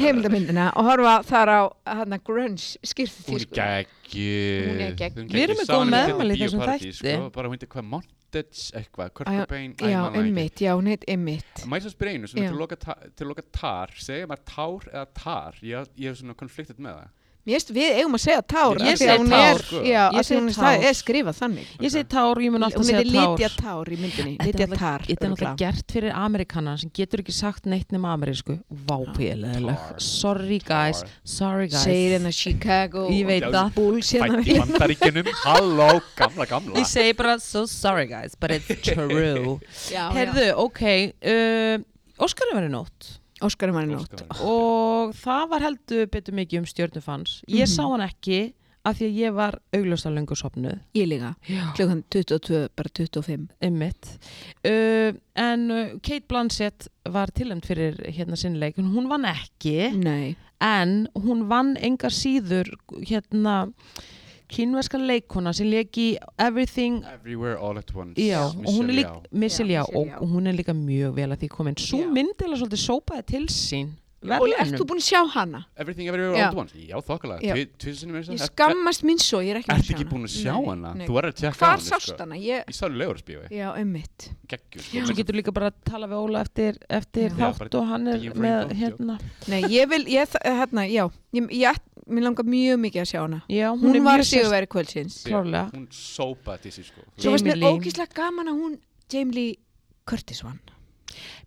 heimildamindina og horfa þar á hana grunge
Hún
skýrðu
er geggjuð.
Hún er geggjuð.
Við erum með góð meðmæli í þessum þætti.
Sko, bara hún heitir hvað Montage eitthvað, Kurt
Já,
Cobain, æ,
já,
man það ekki.
einmitt, já, hún heit einmitt
Mæs að spyrja einu, svona
Já.
til að loka ta- til að loka tar, segja maður tár eða tar? Ég, ég hef svona konfliktitt með það.
Mér veist, við eigum að segja tár
Ég
af því
segi
að hún
tár,
er,
sko.
já,
Ég
af því
segi
að hún er,
tár.
það er skrifað þannig
ég segi tár, ég mun alltaf
hún
segja
heitir
tár
Lydia Tár í myndinni
Þetta er
Lydia
náttúrulega-
Tár,
Þetta er náttúrulega
örugglega.
gert fyrir Amerikanan sem getur ekki sagt neitt nema amerísku. Vápíðileg.
Tar.
Sorry guys.
Tar.
Sorry guys.
segir hennar Chicago
Ég veit
Já,
það.
Bulls hérna
Fætt í mandaríkjunum, halló, gamla, gamla.
Ég segi bara so sorry guys, but it's true.
Já, já.
Herðu, ok. Uh, Óskar er verið nótt
Óskar er maður í nótt
Óskar.
og það var heldur betur mikið um stjörnufans. Ég
Mhm.
sá hann ekki af því að ég var augljósta löngu sopnuð.
ég líka,
Já.
klukkan 22, bara 25
Einmitt. Uh, en uh, Kate Blanchett var tilhemd fyrir hérna sinnleik, en hún vann ekki.
nei,
en hún vann enga síður hérna kínverska leikona sem leki Everything
Everywhere all at once.
Já, og hún er
Michelle
líka
Yeoh.
Missile, já,
Já, Michelle
og
Yeoh.
og hún er líka mjög vel að því komin Sú
Já.
mynd er svolítið sópaði til sín
og ert þú
Verðlaunum
búin að sjá hana?
Everything Everywhere
Já.
all at once. Já,
Já.
þokkalega. Tvísinni með
Ég
þess
skammast mín svo, ég er ekki
Ertu ekki búin að sjá
Nei,
hana?
nei.
Þú verður að tjekka á
Hvar
henni,
sást
sko.
hana? Ég,
Ég sá henni lögur spíu,
já, einmitt.
geggjur.
Svo getur líka bara að tala við Óla eftir, eftir
Já.
Já,
þátt og hann er
díu fyrir
með
þátt, já.
hérna
Nei, ég vil, ég, þ- hérna, já, ég, ég, mér langar mjög mikið að sjá hana.
Já, hún,
Hún
er
var
mjög
sigur
sérst
verið kvöldsins.
klárlega.
Hún sópaði til sér, sko.
Svo varst
Jamie
mér
Lee.
ógíslega gaman að hún, Jamie Lee Curtis vann.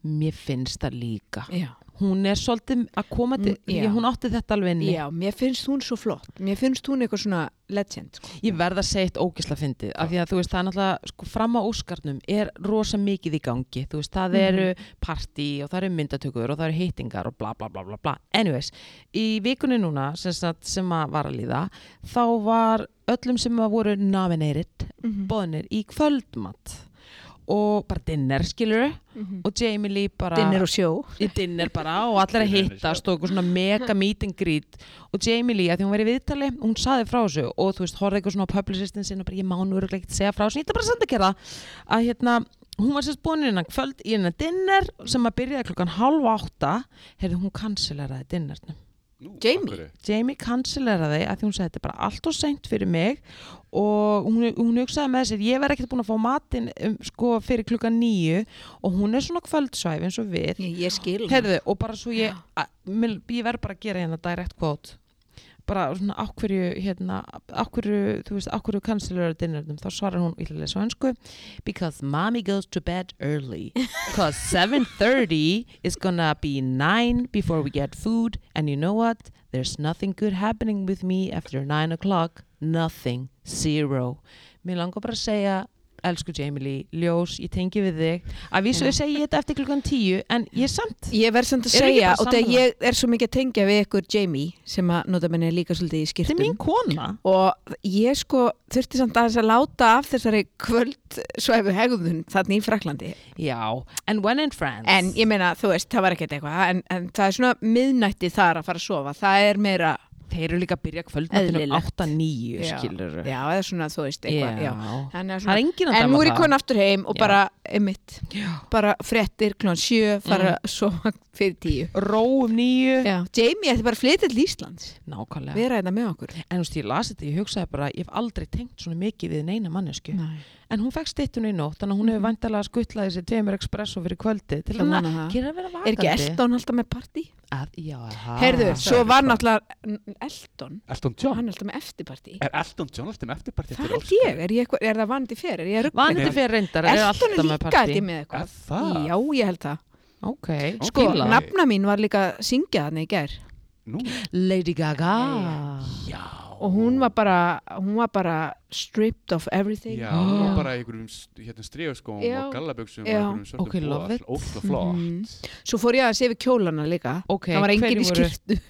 Mér finnst það líka
Já.
Hún er svolítið að koma til
Mm, já.
ég, Hún átti þetta alveg inni
Já, mér finnst hún svo flott. Mér finnst hún eitthvað svona legend, sko.
Ég verð að segja eitt ógisla fyndið af því að þú veist það er náttúrulega sko, fram á Óskarnum er rosa mikið í gangi þú veist það
Mhm.
eru partí og það eru myndatökur og það eru heitingar og bla bla bla bla bla anyways, í vikunni núna sem, sagt, sem að var að líða þá var öllum sem að voru nominated
Mhm,
boðnir í kvöldmatt og bara dinner skilur og Jamie Lee bara
Dinner mhm. og sjó.
í dinner bara og allir að
Dinner,
hittast og eitthvað svona mega meet and greet og Jamie Lee að því hún var í viðtali hún saði frá þessu og þú veist horfði eitthvað svona á publicistin sinna bara ég má nú örugglega ekkert segja frá þessu ég ætla bara samt að gera það að hérna hún var sérst búin innan kvöld í hennar dinner sem að byrjaði klokkan halv átta heyrðu hún kanseleraði dinnernum
Nú,
Jamie.
af hverju?
Jamie kanseleraði að því hún sagði þetta er bara allt og seint fyrir mig og hún, hún hugsaði með sér ég verð ekkert búin að fá matinn um, sko, fyrir klukkan nýju og hún er svona kvöldsvæf eins og við
Ég, ég skil hana.
Heyrðu, og bara svo ég,
Já.
a- mér- ég verð bara að gera hérna direct quote bara svona ákverju hérna, ákverju, þú veist, ákverju kanslur dinnernum, þá svarar hún yllilega svo hansku because mommy goes to bed early because 7.30 is gonna be 9 before we get food and you know what there's nothing good happening with me after 9 o'clock, nothing zero, mér langar bara að segja elsku Jamie Lee, ljós, ég tengi við þig að vísu
Já.
ég segi þetta eftir klukkan 10 en ég samt
Ég verð samt að
Eru ekki
segja,
bara
og það
sammála?
ég er svo mikið að tengja við ykkur Jamie, sem að nota minni líka svolítið í
Þetta
skýrtum.
er mín kona
og ég sko þurfti samt aðeins að láta af þessari kvöldsvæfu hegðun þarna í Fraklandi
Já, and when in France
en ég meina þú veist það var ekkert eitthvað en, en það er svona miðnætti þar að fara að sofa það er meira
Þeir eru líka að byrja um kvöldmatunum
Eðlilegt.
8-9
Já.
skilur
já, eða svona þú veist eitthvað já. Þannig að um
Það er
svona,
enginn að
en nú er
dæma
ég komin aftur heim og
Já.
bara, emitt,
Já.
bara frettir klón sjö, fara mm. sofa fyrir tíu
Ró um nýju
já. Jamie ætti bara að flytja til Íslands
Nákvæmlega
vera þetta með okkur
En þú veist, ég las þetta, ég hugsaði bara Ég hef aldrei tengt svona mikið við neina mannesku
Nei.
En hún fekk stittun í nótt Þannig að hún hefur vandalega skuttlaði sér Tveimur Expresso fyrir kvöldi Til hann
Mm. Ég vona það.
að gera að vera
er
vakandi
ekki
Ah,
Eldon alltaf með partí?
Að- Já, aha.
Herðu, svo var
bara-
náttúrulega Eldon,
Elton
hann
John
er alltaf með eftirpartí
Er Elton John alltaf með eftirparti
Það
eftir
held
Óskar?
ég, er, ég eitthvað, er það vanandi fyrir? Er ég að rugla
Vanandi
eitthvað?
fyrir reyndar er
Elton
alltaf
er
með
líka
partí
ekki með
Er
eitthvað
það?
Já, ég held það
Ok,
Sko,
Fíla.
skilað.
nafn-
nafna mín var líka að syngja þannig í gær
Nú,
Lady Gaga
já
og hún var bara, hún var bara stripped of everything
Já, hún var bara í einhverjum st- hérna, stríðaskóm
Já.
og gallaböksum og
Já.
einhverjum svörtum
Ok, love
bol,
it.
ógeðslega flott
Mhm. Svo fór ég að sé við kjólana líka
Ok,
Það var engin
hverju
í
voru-
skýrtu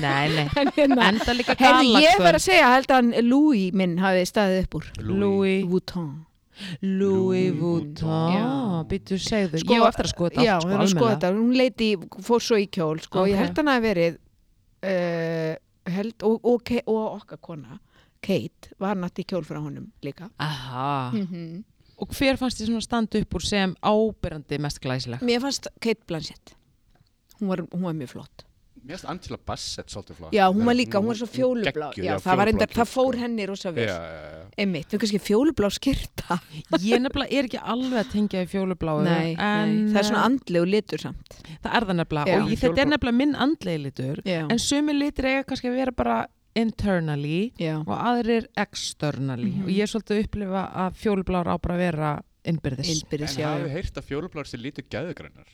Nei, nei
En hérna,
Enda líka
Herði, ég verð
galakvöld
að segja, held að hann Louis minn hafi staðið upp úr
Louis,
Vuitton
Louis
Louis
Vuitton
Vuitton.
Býtu, segðu
Sko,
Ég á eftir að skoða þetta
Já,
allt,
hún er að
almennilega.
skoða þetta, hún leiti, fór svo í kjól sko,
Ok.
ég held hann að verið uh, held, og, og, Ke- og okkar kona Kate var nátt í kjól frá honum líka
Aha.
mm
Mhm.
Og hver fannst þið svona standa upp úr sem áberandi mest glæsileg?
Mér fannst Kate Blanchett hún var, hún var mjög flott
Mér finnst Angela Bassett svolítið flott
Já, hún var líka, hún var svo fjólublá
geggjuð,
já, það,
fjólublá
var enda, það
kjól,
fór
sko.
henni rosa
Já,
vel
já, já.
Einmitt, við kannski fjólublá skyrta
Ég nefnilega er ekki alveg að tengja í fjólubláu.
nei,
en,
nei, það er svona andlegu litur samt
eh, það er það nefnilega.
Já.
og ég, þetta er nefnilega minn andlegi litur.
Já,
En sumi litur eiga kannski að vera bara internally
já,
og aðrir externally.
Mhm.
Og ég er svolítið að upplifa að fjólubláur á bara að vera innbyrðis.
innbyrðis
En
já,
hafið
já.
heyrt að fjólubláður sé lítið gæðugrannar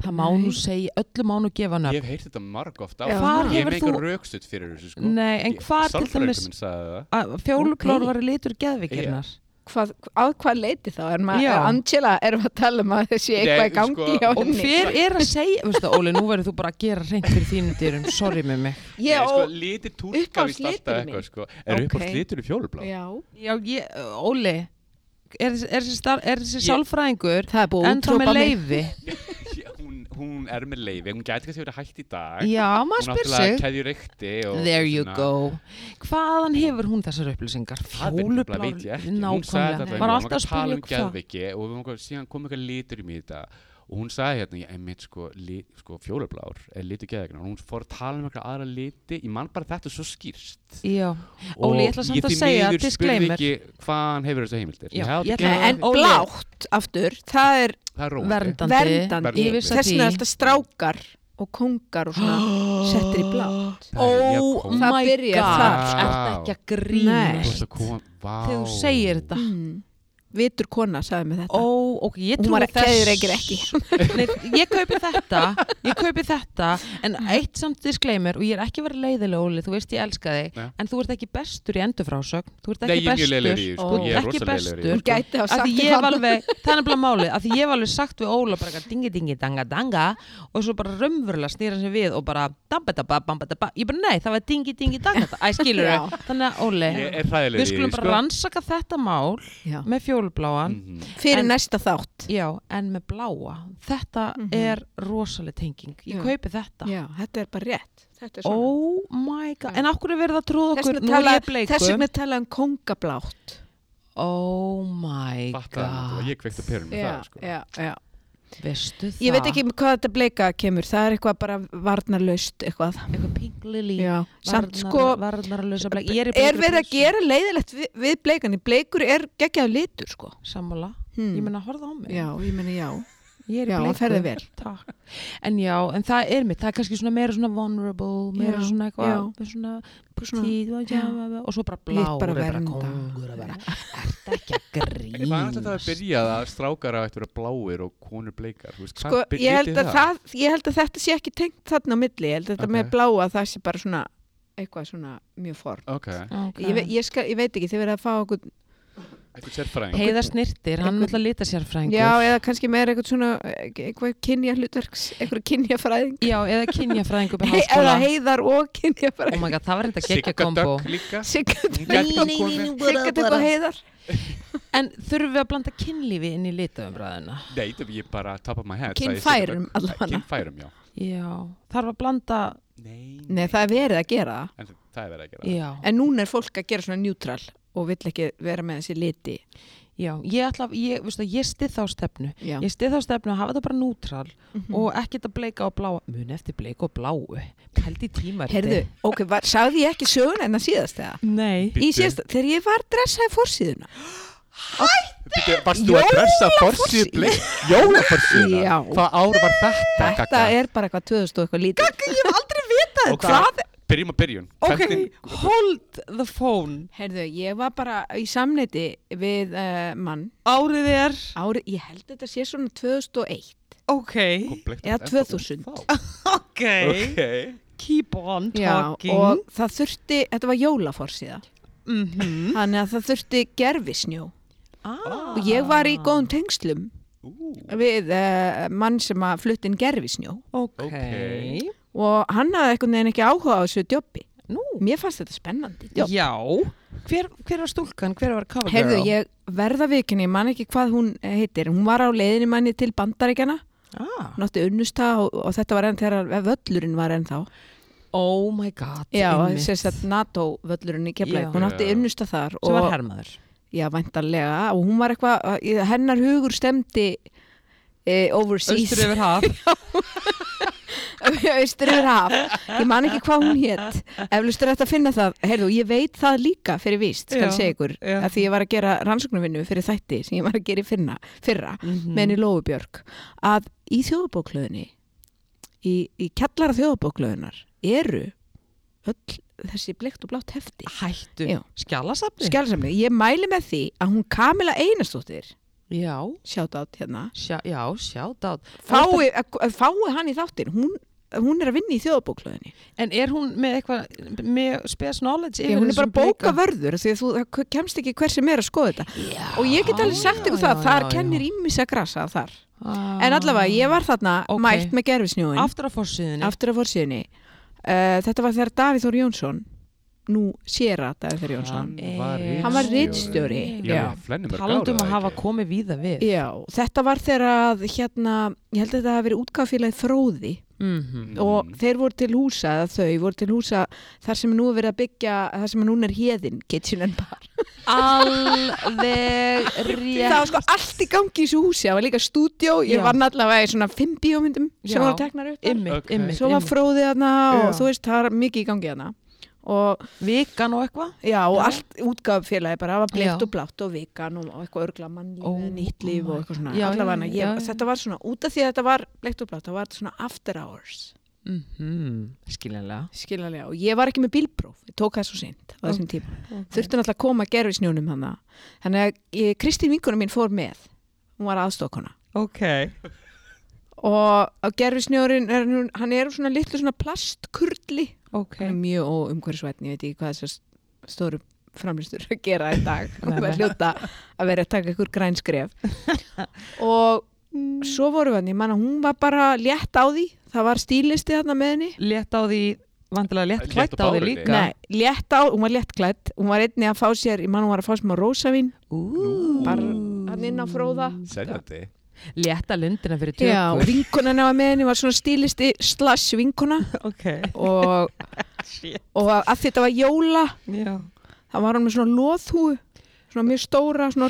Það má nú segja, öllu má nú gefa
Ég
nöfn.
hef heyrt þetta marg ofta
Já.
Hvar
Ég
hefur
hef engan
þú-
raukstutt fyrir þessu sko
Nei, en hvað til dæmis
Sálfræðingum minn sagði það
að fjólubláur
Ok.
var í litur geðvikinnar?
hvað, að hvað leiti þá? Er maður,
Já.
Angela, erum við að tala um að það sé
Nei,
eitthvað í gangi
sko,
hjá
Og
henni?
hver er að segja, veistu, Óli, nú verður þú bara að gera reynd fyrir þínum dyrum, sorry með mig.
Ég,
Nei, sko,
og,
Lítið túlka víst alltaf
uppáhaldsliturinn
eitthvað sko Er
Ok.
uppáhalds litur í fjólubláð?
já.
Já, ég, Óli, er, þessi- er, þessi star- er þessi
Ég-
sálfræðingur
Það er búið að
en þá með
útrópa mig.
leiði?
Hún hún er með leifi, hún gæti kannski verið hægt í dag
Já, maður
Hún
spyr
náttúrulega
sig.
keðjur reykti
There you go. Hvaðan hefur hún þessar upplýsingar?
Það er nefnilega veit ég
Fjólublár,
ekki, hún sagði
nákvæmlega.
þetta
Var
við
alltaf að
vorum tala
spyrja
um
hvað.
geðviki og við vorum að síðan kom eitthvað litur í mig í þetta og hún sagði hérna, ég einmitt sko, lit, sko fjólublár er litur geðvegna og hún fór að tala um eitthvað aðra liti, ég man bara þetta er svo skýrst
Já,
og
Óli, ég ætla samt
ég
að
því
segja
miður
disclaimer.
spurði ekki hvaðan hefur þessu heimildir,
Já,
ég hef
ég
ekki
ætla-
Nei, en
Óli.
blátt aftur, það er
það er róandi
verndandi.
verndandi.
Ég
Verndandi.
vissi
Þess vegna er alltaf strákar og kongar og svona settir í blátt.
Það er jafn
Oh
kók.
Það
my god,
byrjar sko.
er
þar.
þetta ekki að
Þú
grínast
ert að koma- Vá.
þegar þú segir þetta?
Mm. Vitur kona sagði mig þetta.
Ó, ok, ég
Hún var
trúi
að
þess
keður ekkir ekki.
Nei, ég kaupi þetta, ég kaupi þetta en eitt samt disclaimer og ég er ekki verið leiðileg Óli, þú veist ég elska þig
Nei.
en þú ert ekki bestur í endurfrásögn þú ert
Nei,
ekki
ég er mjög leiðilegur
bestur
í því,
Ó.
sko. Ég er
Ekki
rosa leiðilegur í
bestur.
því.
Hún gæti að hafa
að
sagt
ég hef
það.
alveg, það er nefnilega málið að ég hef alveg sagt við Óla bara eitthvað dingi dingi danga danga og svo bara raunverulega snýra sér við og bara dambadaba bambadaba, ég bara nei það var dingi dingi danga danga, æ skilur
Já.
þannig að Óli,
Ég er hræðilegur í
við
því,
skulum bara
sko.
rannsaka þetta mál
Já.
með fjólubláan
Mhm.
Fyrir
Mm. En-
næsta þátt.
já, en með bláa þetta
Mhm.
er rosaleg tenging ég
Já.
kaupi þetta
Já, þetta er bara rétt. Þetta er svona.
Oh my god,
Já.
en okkur er verið að trúða
Þess
okkur, nú
vegna
er
tala-
ég bleikum
þess vegna tala um kongablátt.
Oh my
Fattaði hann þetta,
god
ég kveikti á perunum með það, sko.
já, já.
Veistu það?
Ég veit ekki hvað þetta bleika kemur, það er eitthvað bara varnarlaust eitthvað.
Eitthvað pink lily
Já, samt sko,
Varnarlösa bleik Ég er, í
er
bleikri
verið að
peysu.
gera leiðilegt við, við bleikan, bleikur er geggjað litur sko.
Sammála,
Hmm.
ég menna horfða á mig
Já, ég meina já.
ég er í
já,
bleiku.
ferðu vel.
Takk. En já, en það er mitt, það er kannski svona meira svona vulnerable, meira
Já,
svona
já.
eitthvað svona tíð og, já, og svo bara blá
Hitt bara vernda.
kongur að vera Ertu ekki að
Ég fann alltaf að það
grínast?
byrjað að strákar að vera bláir og konur bleikar. Þú veist,
Sko,
hvað
ég, held
byrjaði
að það, ég held að þetta sé ekki tengt þarna á milli, ég held að þetta
Ok.
með bláa það sé bara svona eitthvað svona mjög form.
Ok,
Okay.
Ég, ve- ég, skal, ég veit ekki, þið verið að fá okkur,
eitthvað sérfræðing.
Heiðar snirtir, hann er alltaf litasérfræðingur
já, eða kannski meira eitthvað svona, eh, eitthvað kynja hlutverks, eitthvað kynja fræðing,
Já, eða kynjafræðingur með
eða
háskóla
heiðar og kynja
Oh
fræðing.
my god, það var reynda gekkja kombo
Dögg líka.
Siggat
Hún gæti bara komið.
eitthvað heiðar.
En þurfum við að blanda kynlífi inn í litaumræðina?
Nei, það er ég bara top of my head. sagði Sigga
Kynfærum
Dögg.
allavega.
Kynfærum, já.
Já, þarf að blanda
Nei,
Nei, það er verið að gera það.
En það það er verið að gera
já,
En núna er fólk að gera svona njútral og vill ekki vera með þessi liti.
já, ég ætla að- ég, veistu, ég stið þá stefnu
Já.
ég stið þá stefnu að hafa þetta bara nútral
Mhm.
og ekkert að bleika og bláa muni eftir bleika og bláu held í tíma
Herðu, ok, var, sagði ég ekki söguna en það síðast eða?
nei,
Í
Bíddu.
síðast, þegar ég var dressaði fórsíðuna.
Bíddu, Varst þú að dressa
Jólaforsí-
forsíðu bleik? Jólaforsíðuna?
Já.
Hvað ár var þetta?
Þetta er bara eitthvað 2000 og eitthvað lítið.
ég hef aldrei vitað
Og hvað? Byrjum að byrjun
ok,
Hvernig-
hold the phone
Herðu, ég var bara í samneiti við uh, mann.
árið er,
Árið, ég held þetta sé svona 2001
ok
Hvað bleikt
Eða
var þetta?
2000.
Þá.
ok,
Ok
keep on
Já,
talking
og það þurfti, þetta var jólafórsíða
Mm.
Mhm.
þannig að það þurfti gerfisnjó
ah.
og ég var í góðum tengslum
Ú,
við uh, mann sem að flutt inn gerfisnjó
ok,
Ok.
og hann hafði einhvern veginn ekki áhuga á þessu djópi
nú
mér fannst þetta spennandi djóp.
já, hver, hver var stúlkan, hver var cover girl
Herðu, ég verða vikinni, ég man ekki hvað hún eh, heitir hún var á leiðinni manni til bandaríkjana
ah.
hún átti unnusta og, og þetta var enn þegar völlurinn var enn þá
oh my god
já,
einmitt.
sem sagt NATO völlurinn í
Já.
Keflavík hún átti
Já.
unnusta þar
sem var
og-
hermaður
Já, væntanlega og hún var eitthvað, eh, hennar hugur stemdi e, overseas
austur yfir haf
austur yfir haf ég man ekki hvað hún hétt eflustur þetta að finna það, heyrðu, ég veit það líka fyrir víst, skal
Já,
ég segja ykkur
já.
að því ég var að gera rannsóknarvinnu fyrir þætti sem ég var að gera í fyrna, fyrra
Mhm.
með henni Lóubjörg, að í þjóðabóklöðunni í, í kjallara þjóðabóklöðunar eru öll þessi blekt og blátt hefti
hættu,
Já.
skjálasafni
skjálsamni, ég mæli með því að hún Kamila Einarstóttir
já,
sjátt átt hérna
sjá, já, sjátt
fái, að fái hann í þáttin hún, hún er að vinna í þjóðabóklöðinni
En er hún með eitthvað, með spes knowledge yfir
hún er bara
þessum
að bóka
blika?
vörður því að þú það kemst ekki hver sem er að skoða þetta
Já,
og ég get alveg sagt ykkur það,
já,
þar
já,
kennir
já.
ímisa grasa þar
Ah.
en allavega, ég var þarna
Ok.
mætt með gerfisnjóin
Ah. Aftur á fórsíðinni.
aftur að fórsíðinni uh, þetta var þegar Davíð Þór Jónsson nú sér að Davíð Þór
Hann
Jónsson Eh, var ritstjóri. Já.
Já, flennum er
Talandum um að hafa komið víða við.
Já, þetta var þegar að hérna, ég held að þetta hafi verið útgáfélagið Fróði
Mhm.
og þeir voru til húsa eða þau voru til húsa þar sem nú er verið að byggja þar sem núna er hérðin kitchen and bar
Alveg
það var
rétt.
sko allt í gangi í þessu húsi það var líka stúdjó,
Já.
ég var náttúrulega í svona fimm bíómyndum
Já.
sem voru teknar upp
Ymmit,
Ok.
ymmit,
svo var
ymmit.
fróðið þarna
Já.
og þú veist það var mikið í gangi þarna og,
Vikan og eitthvað?
já, og
Já.
allt útgáffélagi bara það var
Já.
blikt og blátt og vikan og, og eitthvað örgla mannlíf
Ó,
oh, nýtt líf
my
og eitthvað svona
God. Já,
allavega hana,
já,
ég,
já, já.
þetta var svona, út af því að þetta var blikt og blátt, það var þetta svona after hours
Mhm, skiljanlega.
skiljanlega og ég var ekki með bílpróf ég tók það svo seint á þessum tíma
ok.
þurfti náttúrulega að koma að gerfi snjónum hann þannig að ég, Kristín vinkona mín fór með hún var aðstokkona
Ok.
og gerfi snjórin, er, nú- hann er úr svona litlu svona plastkurli
Ok.
hann er mjög óumhverfisvætni, ég veit ekki hvað þessar stóru framlýstur að gera í dag
Nei,
það
nei.
hljóta að vera að taka ykkur græn skref og svo vorum við hann, ég manna hún var bara létt á því, það var stílisti þarna með henni
Létt á því, vandilega létt
Létt á
klætt á því
bárunni.
líka.
Nei, létt á, hún var létt klætt hún var einni að fá sér, ég man hún var að fá sér með rósavín,
Mm.
Ú,
bara hann inn á fróða
Senjandi
létta lundina fyrir tökur.
Já, vinkonan var með henni var svona stílisti slash vinkona
ok.
og,
Shit.
og að þetta var jóla
Já.
þá var hann með svona loðhúu svona mjög stóra, svona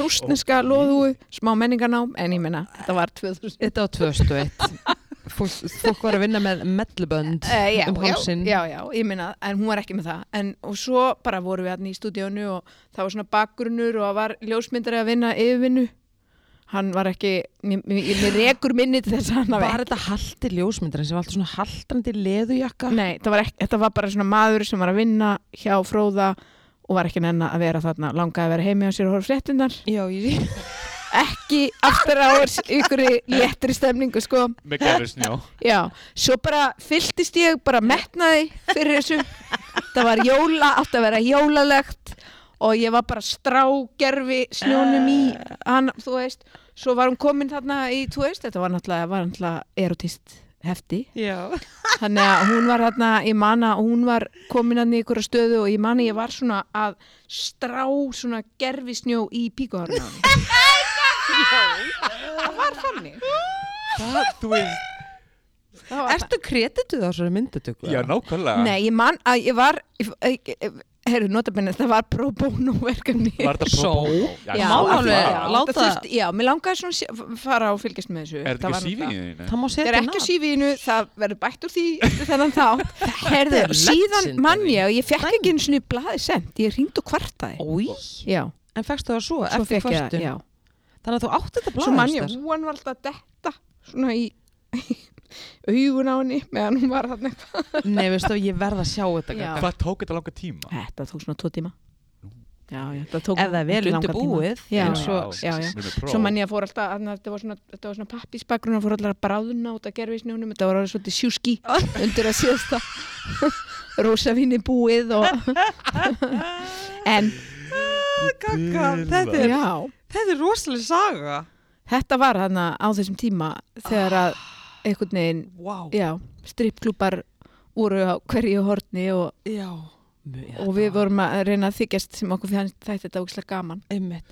Ókei.
rústneska okay. loðhúu, smá menningarnám en ég menna, þetta var 2000
Þetta var 2001 fólk, fólk var að vinna með mellubönd
Eh, já,
um
já,
hálsin
já, já, ég minna, en hún var ekki með það en, og svo bara vorum við hann í stúdíónu og það var svona bakgrunnur og var ljósmyndari að vinna yfirvinnu hann var ekki, mér, mér, mér rekur minni til þess að hann hafi-
Var þetta halti ljósmyndarinn sem var alltaf svona haltandi leðujakka?
Nei, það var ekki, þetta var bara svona maður sem var að vinna hjá fróða og var ekki nenn að vera þarna, langaði að vera heimi á sér og horf fréttinnar
Já, ég
ekki aftur áurs ykkur í léttri stemningu sko
Með gerfisnjó
Já, svo bara fylltist ég bara metnaði fyrir þessu það var jóla, átti að vera jólalegt og ég var bara strágerfi snjónum í hann, þú veist, svo var hún komin þarna í, þú veist, þetta var náttúrulega, var náttúrulega erotist hefti
Já.
þannig að hún var hérna, ég man að hún var komin hann í ykkur stöðu og ég man að ég var svona að strá svona gerfi snjó í píkuhárna það var þannig
Það, þú veist
Það var-
Ertu kredituð á svona myndutöku?
Já, nákvæmlega
Nei, ég man að ég var Herru, notabene, það var pro bono verkefni
Var þetta
Só.
pro bono? Já,
Já,
só
má
er
alveg-
það.
lá- láta-
það þurfti, Já, mér langaði svona að sé- fara og fylgjast með þessu
Er
Það
þetta ekki
var nú það.
sífingið þínu?
Það má setja
Það er ekki á CV-inu, það verður bætt úr því eftir þennan þá Herðu,
er
síðan
legendary.
mann ég og ég fekk ekki einu svona blaði sent, ég ringd og kvartaði
Ói,
Já,
en fegstu það svo,
svo
eftir
fekk ég það
kvörtun.
já.
Þannig að þú átti þetta
Svo mann
blaðast
ég,
þar.
hún var alltaf að detta svona í augun á henni meðan hún var þarna eitthvað
Nei, veistu, ég verð að sjá þetta.
Já.
gagga.
Hvað tók þetta langa tíma?
Þetta tók svona tvo tíma Já, já, það tók
Ef það er vel
langan tíma.
undirbúið,
Já,
en svo
já, já. Svo mann ég að fór alltaf, þarna, þetta var svona, þetta var svona pappisbakgrun, það fór alltaf að bráðuna út að gerfi snjónum, þetta var alveg svolítið sjúski undir að síðasta rosavíni búið og en
Gagga, þetta er,
já,
þetta er rosalega saga.
þetta var þarna á þessum tíma þegar að einhvern veginn,
Vá.
já, strippklúpar voru á hverju horni og,
Já. Mjög-
og við vorum að reyna að þykjast sem okkur fyrir þetta þetta ógislega gaman.
einmitt,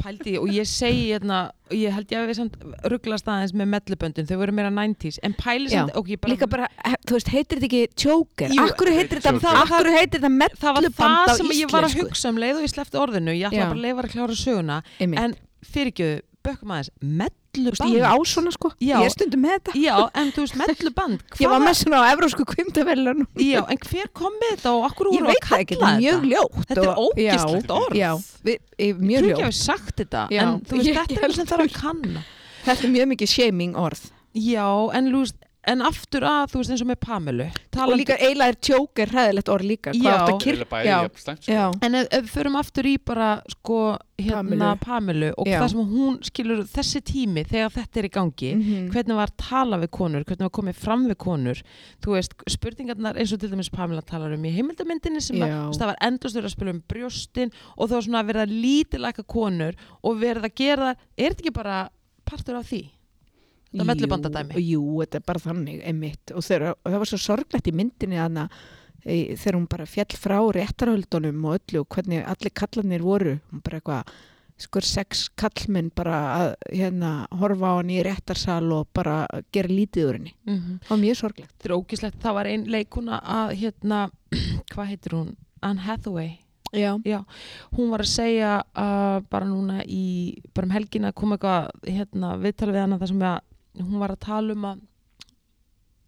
pældi ég og ég segi hérna, ég held ég að við samt rugglast aðeins með melluböndin, þau voru meira 90s, en pæli samt,
Já,
ok, ég bara,
Líka bara, he- þú veist, heitir þetta ekki tjóker?
Jú,
Akkur heitir þetta,
Joker.
það, akkur heitir þetta
það var það
melluband á
sem ég var að
íslensku?
hugsa um leið og ég slefti orðinu, ég ætla
Já.
bara að leifa að klára söguna,
Einmitt.
en fyrirgjöðu, bökum aðeins,
Þú veist, ég
melluband,
á svona sko,
Já.
ég er stundum með þetta.
já, en þú veist, melluband,
Ég var
hvaða-
með svona á evrósku kvimtavelun.
já, en hver kom með þetta og akkur
Ég
voru að
veit það
kalla
ekki,
þetta?
þetta er mjög ljótt.
Þetta er
og-
ógislegt
Já.
orð.
Já, já við, ég,
Þú
mjög
ekki
ljótt.
hefur sagt þetta,
Já.
en þú veist,
Ég
þetta er
held
það sem þarf að kanna.
Þetta er mjög mikið shaming orð.
Já, en, þú veist, en aftur að, þú veist, eins og með Pamelu.
Og
talandi-
líka eiginlega er tjóker hræðilegt orð líka. Hvað
Já.
átt að
Kyrk,
kyrkja?
já,
Já,
sko.
já,
En ef, ef við förum aftur í bara sko hérna Pamilu, og
Já.
það sem hún skilur þessi tími þegar þetta er í gangi
Mhm.
hvernig var að tala við konur, hvernig var komið fram við konur þú veist, spurningarnar eins og til dæmis Pamela talar um í heimildamyndinni sem að,
Já.
þú veist, það var endast verið að spila um brjóstin og það var svona að verið að lítilæka konur og verið að gera, er þetta ekki bara partur af því? Það er mellubandadæmi.
Jú, Jú, þetta er bara þannig, emitt. Og, þeir, og það var svo sorglegt í myndinni hana, e, þegar hún bara fjall frá réttarhöldunum og öllu og hvernig allir kallanir voru. Hún bara eitthvað, skur sex kallmenn bara að hérna, horfa á hann í réttarsal og bara gera lítið úr henni.
Mm -hmm.
Það var mjög sorglegt.
Þetta er ógislegt, það var ein leikuna að hérna, hvað heitir hún? Anne Hathaway
Já.
hún var að segja uh, bara núna í, bara um helgina kom eitthvað hérna, viðtal við hana þar sem að, hún var að tala um að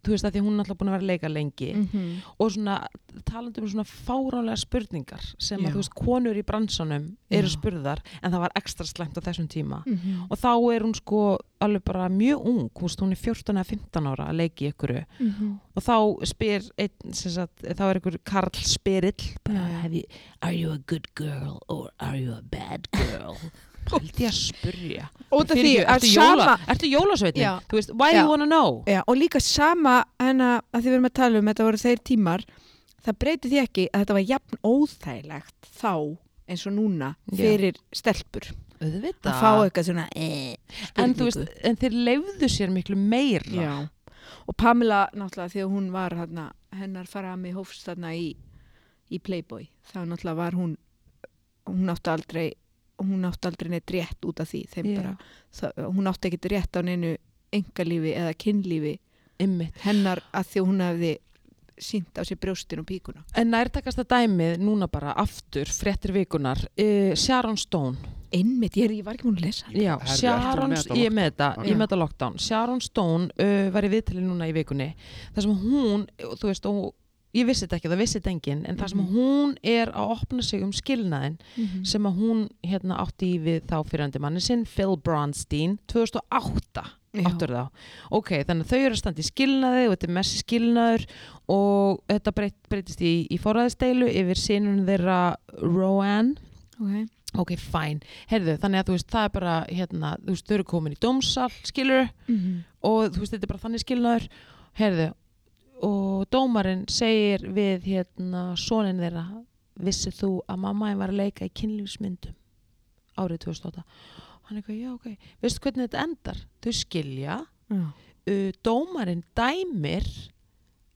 þú veist að því hún er alltaf búin að vera að leika lengi
Mm -hmm.
og svona talandi um svona fáránlega spurningar sem
Já.
að þú veist konur í bransanum eru
Já. Mm.
spurðar en það var ekstra slæmt á þessum tíma
Mhm.
og þá er hún sko alveg bara mjög ung, þú veist, hún er 14 eða 15 ára að leiki ykkur
Mhm.
og þá spyr einn, sem sagt, þá er einhver Karl Spyrill bara,
Já.
"Have you- Are you a good girl or are you a bad girl? Haldi að spyrja
Út af því
Fyrirgefðu,
að
ertu,
sama,
jóla, ertu jólasveitin?
Já.
Þú veist, why do
Já.
you wanna know?
já, og líka sama hana, að því við erum að tala um, þetta voru þeir tímar, það breyti því ekki að þetta var jafn óþægilegt þá eins og núna
Já.
fyrir stelpur.
Auðvitað.
Að fá eitthvað svona eh,
en, þú veist,
spurningu.
en þeir leifðu sér miklu meira
Já. Og Pamela, náttúrulega, þegar hún var hana, hennar fara með hófst þarna í, í Playboy, þá náttúrulega var hún, hún átti aldrei, hún átti aldrei neitt rétt út af því, þeim bara það, hún átti ekkert rétt á neinu engalífi eða kynlífi
Einmitt.
hennar að því að hún hefði sínt á sér brjóstin og píkuna
En nærtakasta dæmið núna bara aftur, fréttir vikunar uh, Sharon Stone
einmitt, ég, er, ég var ekki múin að lesa
Já,
Herðu, ertu
Sharon,
með þetta
ég er með þetta, ég
Já.
er með þetta lockdown Sharon Stone uh, var í viðtali núna í vikunni þar sem hún, og þú veist og ég vissi þetta ekki, það vissi þetta enginn en þar sem
Mhm.
hún er að opna sig um skilnaðin sem að hún hérna átti í við þá fyrrandi manni sinn Phil Bronstein 2008 áttur þá, ok, þannig að þau eru að standa í skilnaði og þetta er messi skilnaður og þetta breyt, breytist í, í forræðisteilu yfir sinun þeirra Roanne
okay.
ok, fæn, heyrðu, þannig að þú veist það er bara, hérna, þú veist, þau eru komin í dómsal skilur,
Mhm.
og þú veist, þetta er bara þannig skilnaður, heyrðu og dómarinn segir við, hérna, sonin þeirra vissið þú að mamma einn var að leika í kynlífsmyndum árið 2008 hann er eitthvað, já, ok, veistu hvernig þetta endar þau skilja, uh, dómarinn dæmir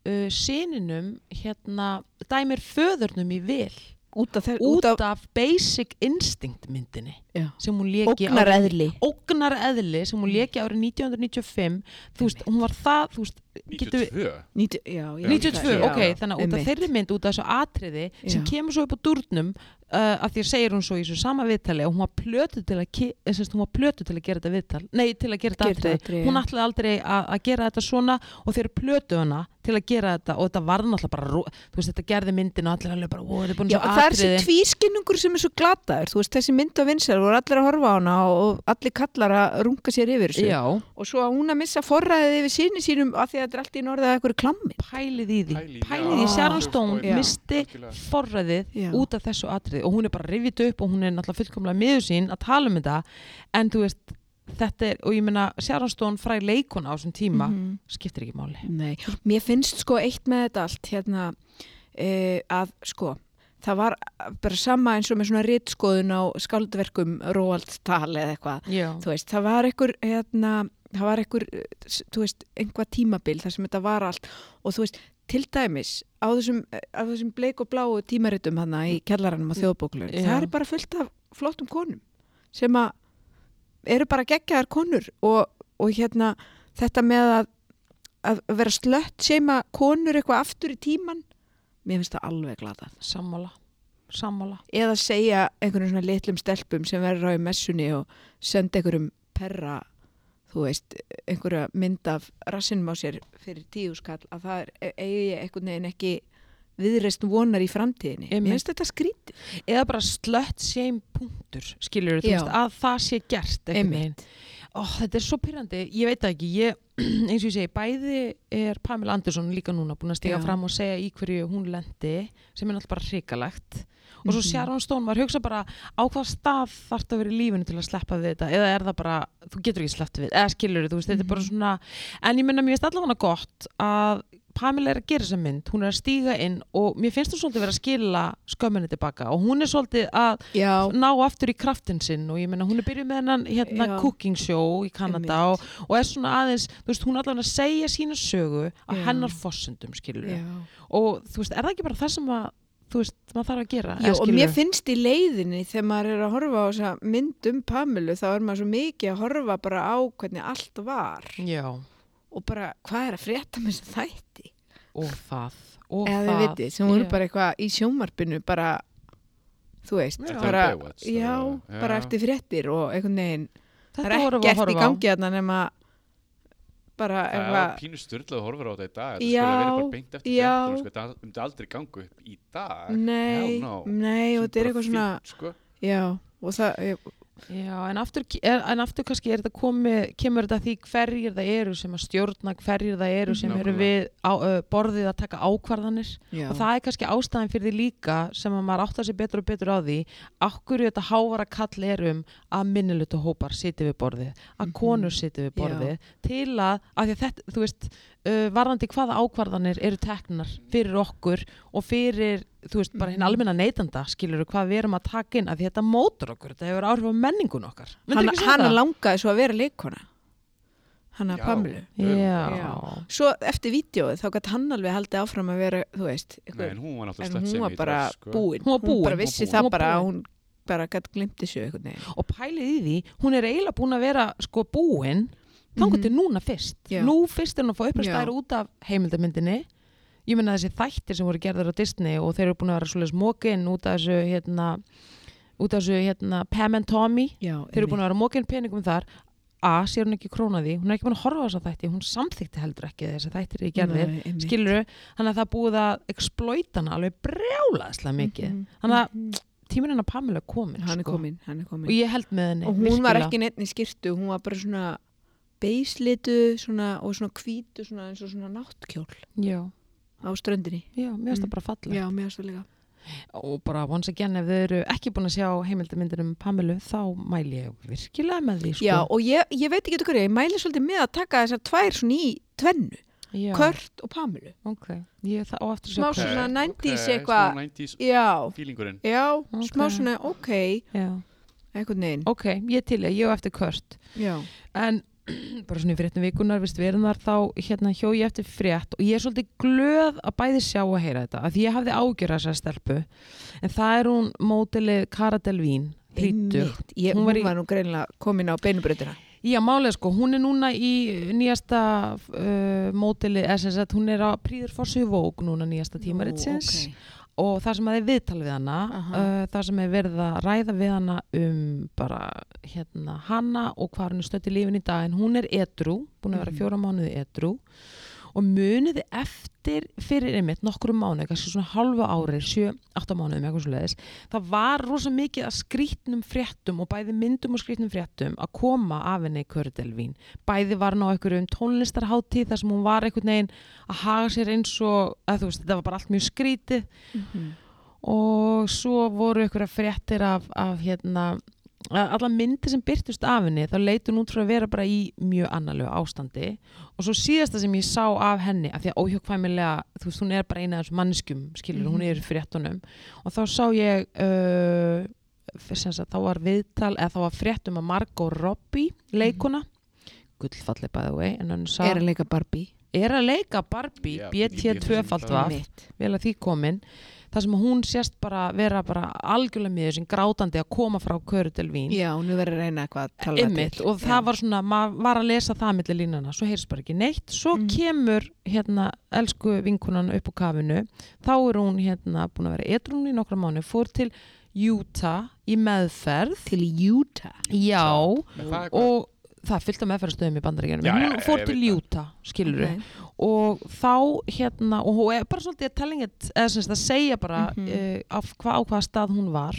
uh, sininum, hérna dæmir föðurnum í vil
út af þess
út af basic instinct myndinni
Já.
sem hún leki
ógnar eðli
ógnar eðli sem hún leki árið 1995 þú veist, hún var það, þú veist getum við
92?
Nítu, já, já,
92,
Já,
ok, þannig að út af
Einmitt.
þeirri mynd út af þessu atriði sem
Já.
kemur svo upp á durnum uh, að því að segir hún svo í þessu sama viðtali og hún var plötu til að, ki- eh, sem sagt, hún var plötu til að gera þetta viðtal nei, til að gera þetta
Gera þetta
atriði,
atriði,
hún
já.
ætlaði aldrei að að gera þetta svona og þeir plötu hana til að gera þetta og þetta var náttúrulega bara, ro- þú veist, þetta gerði myndin og allir alveg bara, ó, þetta er búin
Já,
svo
það er þessi
atriði
tvískinnungur sem er svo glataður, þú veist, þessi mynd á vinsar voru allir að horfa á hana og allir kallar að runga sér yfir þessu.
Já,
Og svo að hún að missa forræðið yfir síni sínum af því að þetta er allt í norðað eitthvað klammi.
pælið í því
Pælið í-
pælið í
Já.
Sharon Stone,
Já.
misti
Algjörlega.
forræðið
Já.
út af þessu atrið og hún er bara rivit upp og hún er náttúrulega fullkomlega miður sín að tala um þetta en þú veist, þetta er, og ég meina Sharon Stone fræ leikuna á þessum tíma
Mhm.
skiptir ekki máli
Nei, mér finnst sko eitt með þetta allt hérna e, að sko það var bara sama eins og með svona rítskoðun á skáldverkum Róald Dahl eða eitthvað.
Já,
Þú veist, það var einhver hérna, það var einhver, eh, s- þú veist, einhvað tímabil þar sem þetta var allt og þú veist, til dæmis á þessum, eh, á þessum bleik og bláu tímaritum hana í kjallaranum á þjóðbóklun,
Mm. Já.
það er bara fullt af flottum konum sem að eru bara geggjaðar konur og, og hérna þetta með að, að vera slött sem að konur eitthvað aftur í tíman, mér finnst það alveg glatað
sammála sammála,
eða segja einhvern svona litlum stelpum sem verður á í messunni og senda einhverjum perra þú veist, einhverja mynd af rassinum á sér fyrir tíu skall að það er, e, eigi ég einhvern veginn ekki viðreist vonar í framtíðinni
Einmitt.
Mér finnst þetta skrítið
eða bara slött same punktur, skilur þú
Já.
veist að það sé gert, einhvern veginn Ó, þetta er svo pyrrandi, ég veit það ekki, ég, eins og ég segi, bæði er Pamela Andersson líka núna búin að stiga
Já.
fram og segja í hverju hún lendi, sem er alltaf bara hrikalegt. Og svo
Mhm.
Sharon Stone var hugsa bara á hvað stað þarf að vera í lífinu til að sleppa við þetta, eða er það bara, þú getur ekki sleppt við, eða skilur þú veist, þetta er bara
Mhm.
svona, en ég menna mér finnst allavega gott að Pamela er að gera þessa mynd, hún er að stíga inn og mér finnst þú svolítið vera að skila skömminni tilbaka og hún er svolítið að
Já,
ná aftur í kraftin sinn og ég meina hún er byrjuð með hennan hérna
Já.
cooking show í Kanada og, og er svona aðeins, þú veist, hún er allavega að segja sína sögu að
Já.
hennar fossendum skilur
já.
og þú veist, er það ekki bara það sem að þú veist, maður þarf að gera
Jó, og mér finnst í leiðinni þegar maður er að horfa á þessa mynd um Pamilu þá er maður svo mikið að horfa bara á hvernig allt var
Já,
og bara hvað er að frétta með þess þætti
og það og
eða
það
þið vitið, sem voru
Já.
bara eitthvað í sjónvarpinu bara, þú veist
Já.
bara,
Þetta er Baywatch,
já,
eða-
bara
já.
eftir fréttir og einhvern veginn, það
þetta
er
vorum við að
ekkert í
horfa á
gangi þarna nema bara
Það var
eitthvað
pínu styrlað að horfa á þetta í dag Þetta skulle
Já,
verið bara beint eftir
já.
fréttir, sko, Þetta myndi aldrei ganga upp í dag
nei,
Hell no.
nei og þetta er
Bara
eitthvað svona
fínt, sko.
já, og það ég-
Já, en aftur, er, en aftur kannski er þetta komi, kemur þetta að því hverjir það eru sem að stjórna, hverjir það eru sem eru
Nákvæmlega.
við á, uh, borðið að taka ákvarðanir
já,
og það er kannski ástæðan fyrir því líka sem að maður áttar sig betur og betur á því akkur þetta hávara kall er um að minnilutu hópar sitja við borðið að
Mhm.
konur sitja við
Já.
borðið til að, af því að þetta, þú veist uh, varðandi hvaða ákvarðanir eru teknar fyrir okkur og fyrir þú veist, bara hinn
Mhm.
almenna neytanda skilur hvað við erum að taka inn, af því þetta mótur okkur þetta hefur áhrif á menningun okkar
hann, hann
langt
langaði svo að vera leikona hann að
Já.
Pamilu
Já.
Já. svo eftir vídjóið þá gætt hann alveg haldið áfram að vera, þú veist
Nei,
eitthvað,
en hún var náttúrulega
en
slett
hún
sem
var bara
sko.
búin
Hún var búin,
bara
hún var
búin.
vissi
Hún
það
var
bara að
búin.
hún bara gætt glimt þessu einhvern veginn
og pælið í því, hún er eiginlega búin að vera sko búin, þangur til núna fyrst
Mhm. Já.
nú fyrst er hún að fá
Já.
upprestæður út af heimildamyndinni ég meina þessi þættir sem voru gerðar á Disney og þeir eru búin að vera svoleiðis mókin út af þessu hérna, út af þessu hérna Pam and Tommy,
Já,
þeir eru búin að vera mókin peningum þar A, sér hún ekki króna því, hún er ekki búin að horfa á þessa þætti, hún samþykti heldur ekki þessa þættir í gerðir, skilur þannig að það er búið að exploita hana alveg brjálaðslega mikið, þannig að tíminn hennar Pamela er komin,
Mhm, hann er
sko.
komin, hann er
og
komin.
ég held með henni
Mm, og hún var
virkilega.
ekki neitt í skirtu hún var bara svona beislitu svona, og svona hvítu svona, eins og svona náttkjól
Já,
á ströndinni
já, mér finnst það
Mm.
bara falla
já, mér aðstoflega
og bara once again ef þau eru ekki búin að sjá heimildamyndinum Pamilu þá mæli ég virkilega með því sko.
já, og ég, ég veit ekki hverju, ég mæli svolítið með að taka þessar tvær svona í tvennu
já,
Kört og Pamilu
ok, ég er það á eftir að
Smá
sjá Kurt.
svona
Ok,
90s
ok,
eitthvað.
smá 90s
já,
feelingurinn
já,
Ok.
smá svona ok,
Já.
einhvern veginn
ok, ég til ég, ég á eftir kört
já,
en bara svona í fréttum vikunar við erum þar þá hérna hjó ég eftir frétt og ég er svolítið glöð að bæði sjá og heyra þetta af því ég hafði ágjörða þessar stelpu en það er hún mótilið Cara Delvín 30
Einmitt. ég,
Hún
hún
var
var,
í-
nú greinilega komin á beinubröðina
Já, málega sko, hún er núna í eh, nýjasta uh, mótili, eða sem sagt, hún er á Príður Fossu Vók núna nýjasta tímaritsins og það sem að er viðtal við hana,
Aha.
uh, það sem er verið að ræða við hana um bara hérna hana og hvað hún er stödd í lífin í dag en hún er edru, búin að vera
Mhm.
fjóra mánuði edru og muniði eftir fyrir einmitt nokkru mánuði, kannski svona halva ári, sjö, átta mánuði með eitthvað svo það var rosa mikið að skrítnum fréttum og bæði myndum og skrítnum fréttum að koma af henni Kördelvín bæði var hann á einhverjum tónlistarháttíð þar sem hún var einhvern veginn að haga sér eins og, að þú veist, þetta var bara allt mjög skrítið og svo voru einhverja fréttir af, af hérna að alla myndir sem byrtust af henni þá leitur hún út frá að vera bara í mjög annarlegu ástandi og svo síðasta sem ég sá af henni af því að óhjókvæmilega þú veist hún er bara eina af þessum mannskum skilur
Mhm.
hún er í fréttunum og þá sá ég uh, sem sagt, þá var viðtal eða þá var fréttum að Margot Robbie leikuna gullfalli by the way en hann sá
Mhm. Er að leika Barbie
er að leika Barbie
Já,
BT
BT
tvöfaldvaf
Mitt.
vel að því komin þar sem hún sést bara vera bara algjörlega miður sem grátandi að koma frá köru til vín
Já, nú verður að reyna eitthvað að tala
Einmitt, og það var svona, maður var að lesa það millir línana, svo heyrst bara ekki neitt svo
Mhm.
Mm.
kemur hérna elsku vinkunan upp á kafinu þá er hún hérna búin að vera edrún í nokkra mánu, fór til Utah í meðferð
til Utah
já,
En hvað-
og það er fullt af meðferðstöðum í bandaríkjunum,
Já,
en
já,
hún
já,
fór
ég
til
veit það.
Utah skilur við, og þá hérna, og hún er bara svolítið að tellinga eða sem sagt að segja bara mm
Mhm.
af hva, á hvaða stað hún var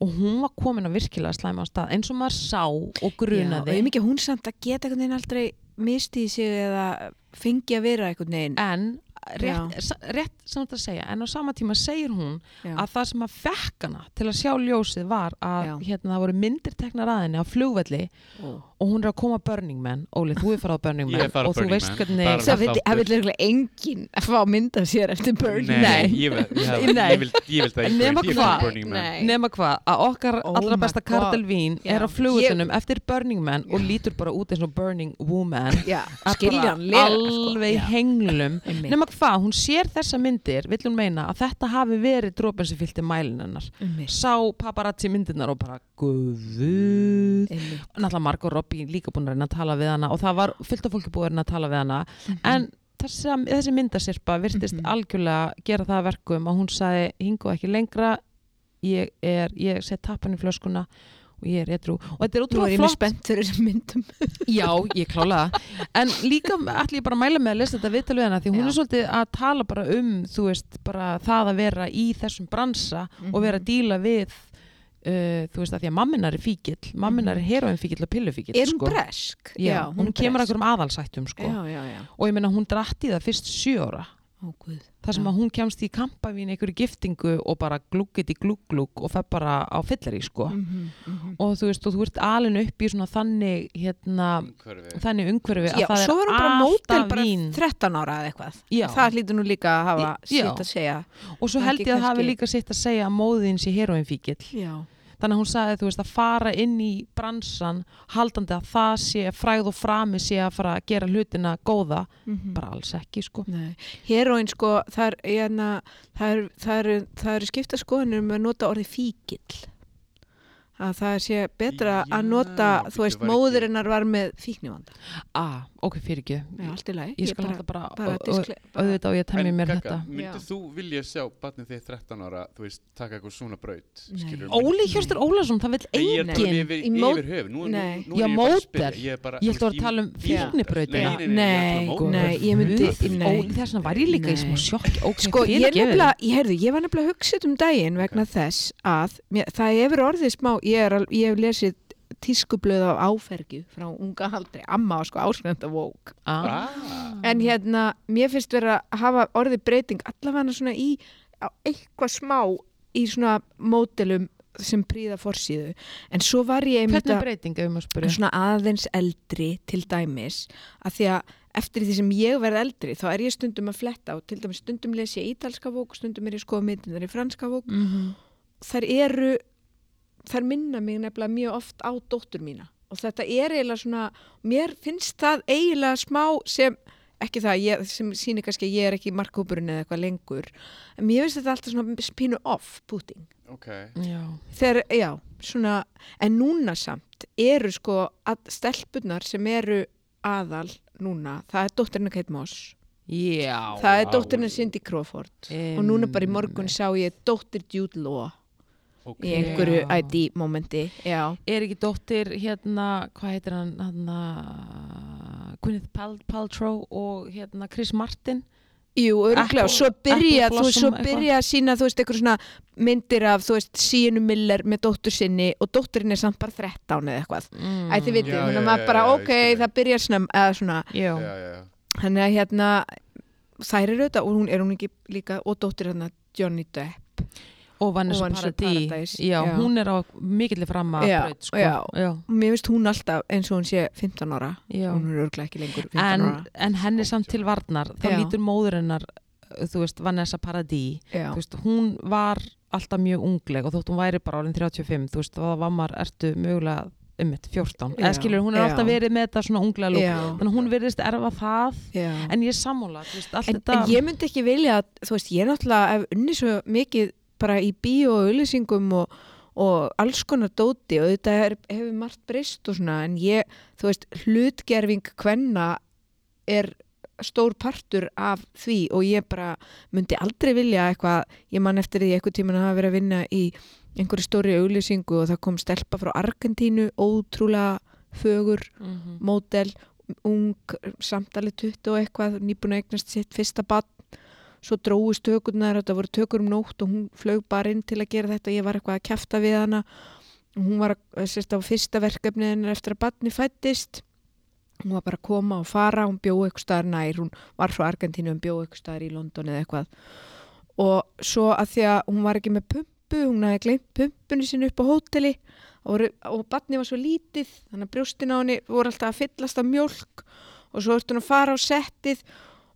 og hún var komin að virkilega slæma á stað eins og maður sá og
Brunaði. Já,
grunaði
og ég mikið hún samt að geta einhvern veginn aldrei mistið sig eða fengi að vera einhvern veginn.
en
Já.
rétt, sa- rétt samt að segja en á sama tíma segir hún
Já.
að það sem að fekk hana til að sjá ljósið var
Já.
að hérna, það voru myndir teknar að henni á flugvelli
Ó.
og hún er að koma að Burning Man Óli, þú er farað á Burning
Ég
Man
er farið á
og þú
Burning
veist
Man.
hvernig
Bara-
Það vill-
þáttur.
það vill eiginlega enginn að fá mynda sér eftir Burning
Nei,
Nei.
ég vil, ég, hef-
Nei.
ég vil, ég vil það ekki
Nema
Ég vil
hvað?
Burning Man.
Nei.
nema hvað, að okkar
Oh
allra
my
besta
God.
Kardel Vín
Já.
er á flugvöldunum eftir Burning Man og lítur bara út eins og Burning Woman
Já,
Að
skiljanlega
bara alveg
sko.
henglum
Já, einmitt,
nema hvað, hún sér þessa myndir vill hún meina að þetta hafi verið drópin sem fylgti mælin hennar
einmitt,
sá paparazzi myndirnar og bara guðu
einmitt.
náttúrulega Margot Robbie líka búin að reyna að tala við hana og það var fullt af fólki búin að reyna að tala við hana en þessi, þessi myndasirpa virtist
Mhm.
algjörlega gera það að verkum að hún sagði hingu ekki lengra ég er, ég set tappan í flöskuna og ég er edru og þetta er
Nú er
útrúlega
ég mjög
flott
spennt fyrir þessum myndum
Já, ég klála það. En líka ætlum ég bara að mæla með að lesa þetta viðtal við hana því hún
Já.
er svolítið að tala bara um, þú veist, bara það að vera í þessum bransa og
Mhm.
vera að díla við, uh, þú veist, að því að mamminar er fíkil, mamminar er heroin fíkil og pillufíkil.
Mhm. Er hún
sko.
bresk?
Já, hún,
er
kemur að
bresk.
einhverjum aðalsættum, sko.
Já, já, já
Og ég meina hún dratt í það fyrst sjö ára.
Ó, guð
þar sem
Já.
að hún kemst í kampavín einhverju giftingu og bara glúkit í glúk-glúk og fer bara á fyllir sko.
Mhm, mhm.
Og þú veist, og þú ert alin upp í svona þannig, hérna,
Umhverfi.
þannig umhverfi að
Já,
það
svo
er
var hún bara mótel
alltaf
bara
vín
13 ára eða eitthvað
Já.
Það hlýtur nú líka að hafa
Já.
sitt að segja
og svo
ekki
held ég að hafi
kannski-
líka sitt að segja að móðin sé heroinfíkil
Já,
þannig að hún sagði þú veist að fara inn í bransan haldandi að það sé fræð og frami sé að fara að gera hlutina góða bara alls ekki sko
Nei. Heroin sko, það er, hérna, það er, það er, það er skipta skoðunum um að nota orðið fíkil. Að það sé betra
Já,
að nota,
bíddu,
þú veist,
var ekki-
móðurinnar var með fíknivanda.
ah, ok fyrir
Já,
ekki
allt í lagi.
ég skal
bara,
hægt bara,
bara
bara
diskle...
auðvitað og ég temmi
En
mér
Gagga,
þetta
myndir
Já.
þú vilja sjá batnið þitt 13 ára, þú veist, taka eitthvað svona braut
Nei.
skilurðu?
Óli Hjörstur Ólason, það vil
Nei, ég er bara
engin
yfir,
Í mót-
yfir höf nú, er-
Nei.
nú, nú er
Já,
ég bara að
módel.
spyrja. Ég er bara-
ég ætla að
í-
tala um
í-
fíknibrautina
Nei, nei, nei,
Nei,
ég ætla að um móta
nei,
þig.
ég myndi,
Guð,
nei.
Ó, þess vegna var ég líka í smá
Nei.
sjokk okay,
Sko, ég
fyrirgefðu.
nefnilega, ég heyrðu, ég var nefnilega hugsað um daginn vegna þess að mér, það hefur orðið smá, ég, er, al- ég hef lesið tískublöð af áfergju frá unga aldrei, amma var sko áskrenda vók.
ah,
Ah,
en hérna, mér finnst vera að hafa orðið breyting allavega svona í á eitthvað smá í svona mótelum sem príða forsíðu, en svo var ég einmitt
hvernig
að-
breyting ef maður
en
spyrja
svona aðeins eldri til dæmis að því að eftir því sem ég verð eldri þá er ég stundum að fletta og til dæmis stundum les ég ítalska vók, stundum er ég skoða myndinar í franska vók,
mm -hmm.
þær eru þær minna mig nefnilega mjög oft á dóttur mína og þetta er eiginlega svona mér finnst það eiginlega smá sem, ekki það, ég, sem sýnir kannski að ég er ekki í markhópurinn eða eitthvað lengur en mér finnst þetta alltaf svona spínu off putting
ok
já
þegar, já, svona en núna samt samt eru sko að stelpunar sem eru aðal núna, það er dóttirinn Kate Moss,
Já.
það er
vá.
dóttirinn Cindy Crawford og núna bara í morgun sá ég dóttir Jude Law
ok.
í einhverju
Já.
ID momenti, já,
Er ekki dóttir hérna, hvað heitir hann, hann Gwyneth Pal- Paltrow og hérna Chris Martin?
jú, örgulega,
Apple-
svo byrja,
Apple
þú veist, svo
Blossom eitthvað.
byrja að sína, þú veist, einhverju svona myndir af, þú veist, Sienu Miller með dóttur sinni og dótturinn er samt bara 13 eða eitthvað,
Mm.
æ, þið vitið,
Já,
þannig
já,
að maður
já,
bara,
já, ég
ok,
skil.
það byrja snem, eða svona,
Já.
Já, já, já.
Þannig að hérna, þær eru auðvitað og hún er hún ekki líka, og dóttir hérna Johnny Depp.
Og Vanessa
Og Vanessa
Paradis.
Paradise,
Já,
já.
hún er á mikillir fram að
Já,
braut, sko.
já.
já.
Mér finnst hún alltaf eins og hún sé 15 ára.
já.
Hún er örglega ekki lengur 15
En,
ára.
en henni samt til varnar, þá
Já.
lítur móður hennar, uh, þú veist, Vanessa Paradis.
Já,
Þú veist, hún var alltaf mjög ungleg og þótt hún væri bara orðin 35, þú veist, þá var maður ertu mögulega um 14. Eða
Já,
skilur, hún er
já.
alltaf verið með þetta svona unglega lúk.
já,
Þannig að hún virðist erfa það
já. En,
En ég er sammála, þú veist, allt
en,
þetta
ég myndi ekki vilja að, þú veist, ég náttúrulega hef unni svo mikið bara í bíó og auðlýsingum og, og alls konar dóti og þetta er, hefur margt breyst og svona, en ég, þú veist, hlutgerfing kvenna er stór partur af því og ég bara myndi aldrei vilja eitthvað, ég man eftir því eitthvað tíman að hafa verið að vinna í einhverju stóri auglýsingu og það kom stelpa frá Argentínu, ótrúlega fögur,
Mhm.
módel ung, samtalið 20 og eitthvað, nýbúin að eignast sitt fyrsta bann svo dróðust tökurnar þetta voru tökur um nótt og hún flög bara inn til að gera þetta, ég var eitthvað að kjafta við hana og hún var að, sérst á fyrsta verkefnið hennar eftir að barni fættist hún var bara að koma og fara hún bjóð eitthvað staðar nær, hún var frá Argentínu hún bjóð eitthvað staðar í London eða eitthvað og svo að því að hún var ekki með pumpu, hún hafði gleymt pumpunni sinni upp á hóteli og, voru- og barni var svo lítið, þannig að brjóstin á henni voru alltaf að fyllast af mjólk og svo ertu hún að fara á settið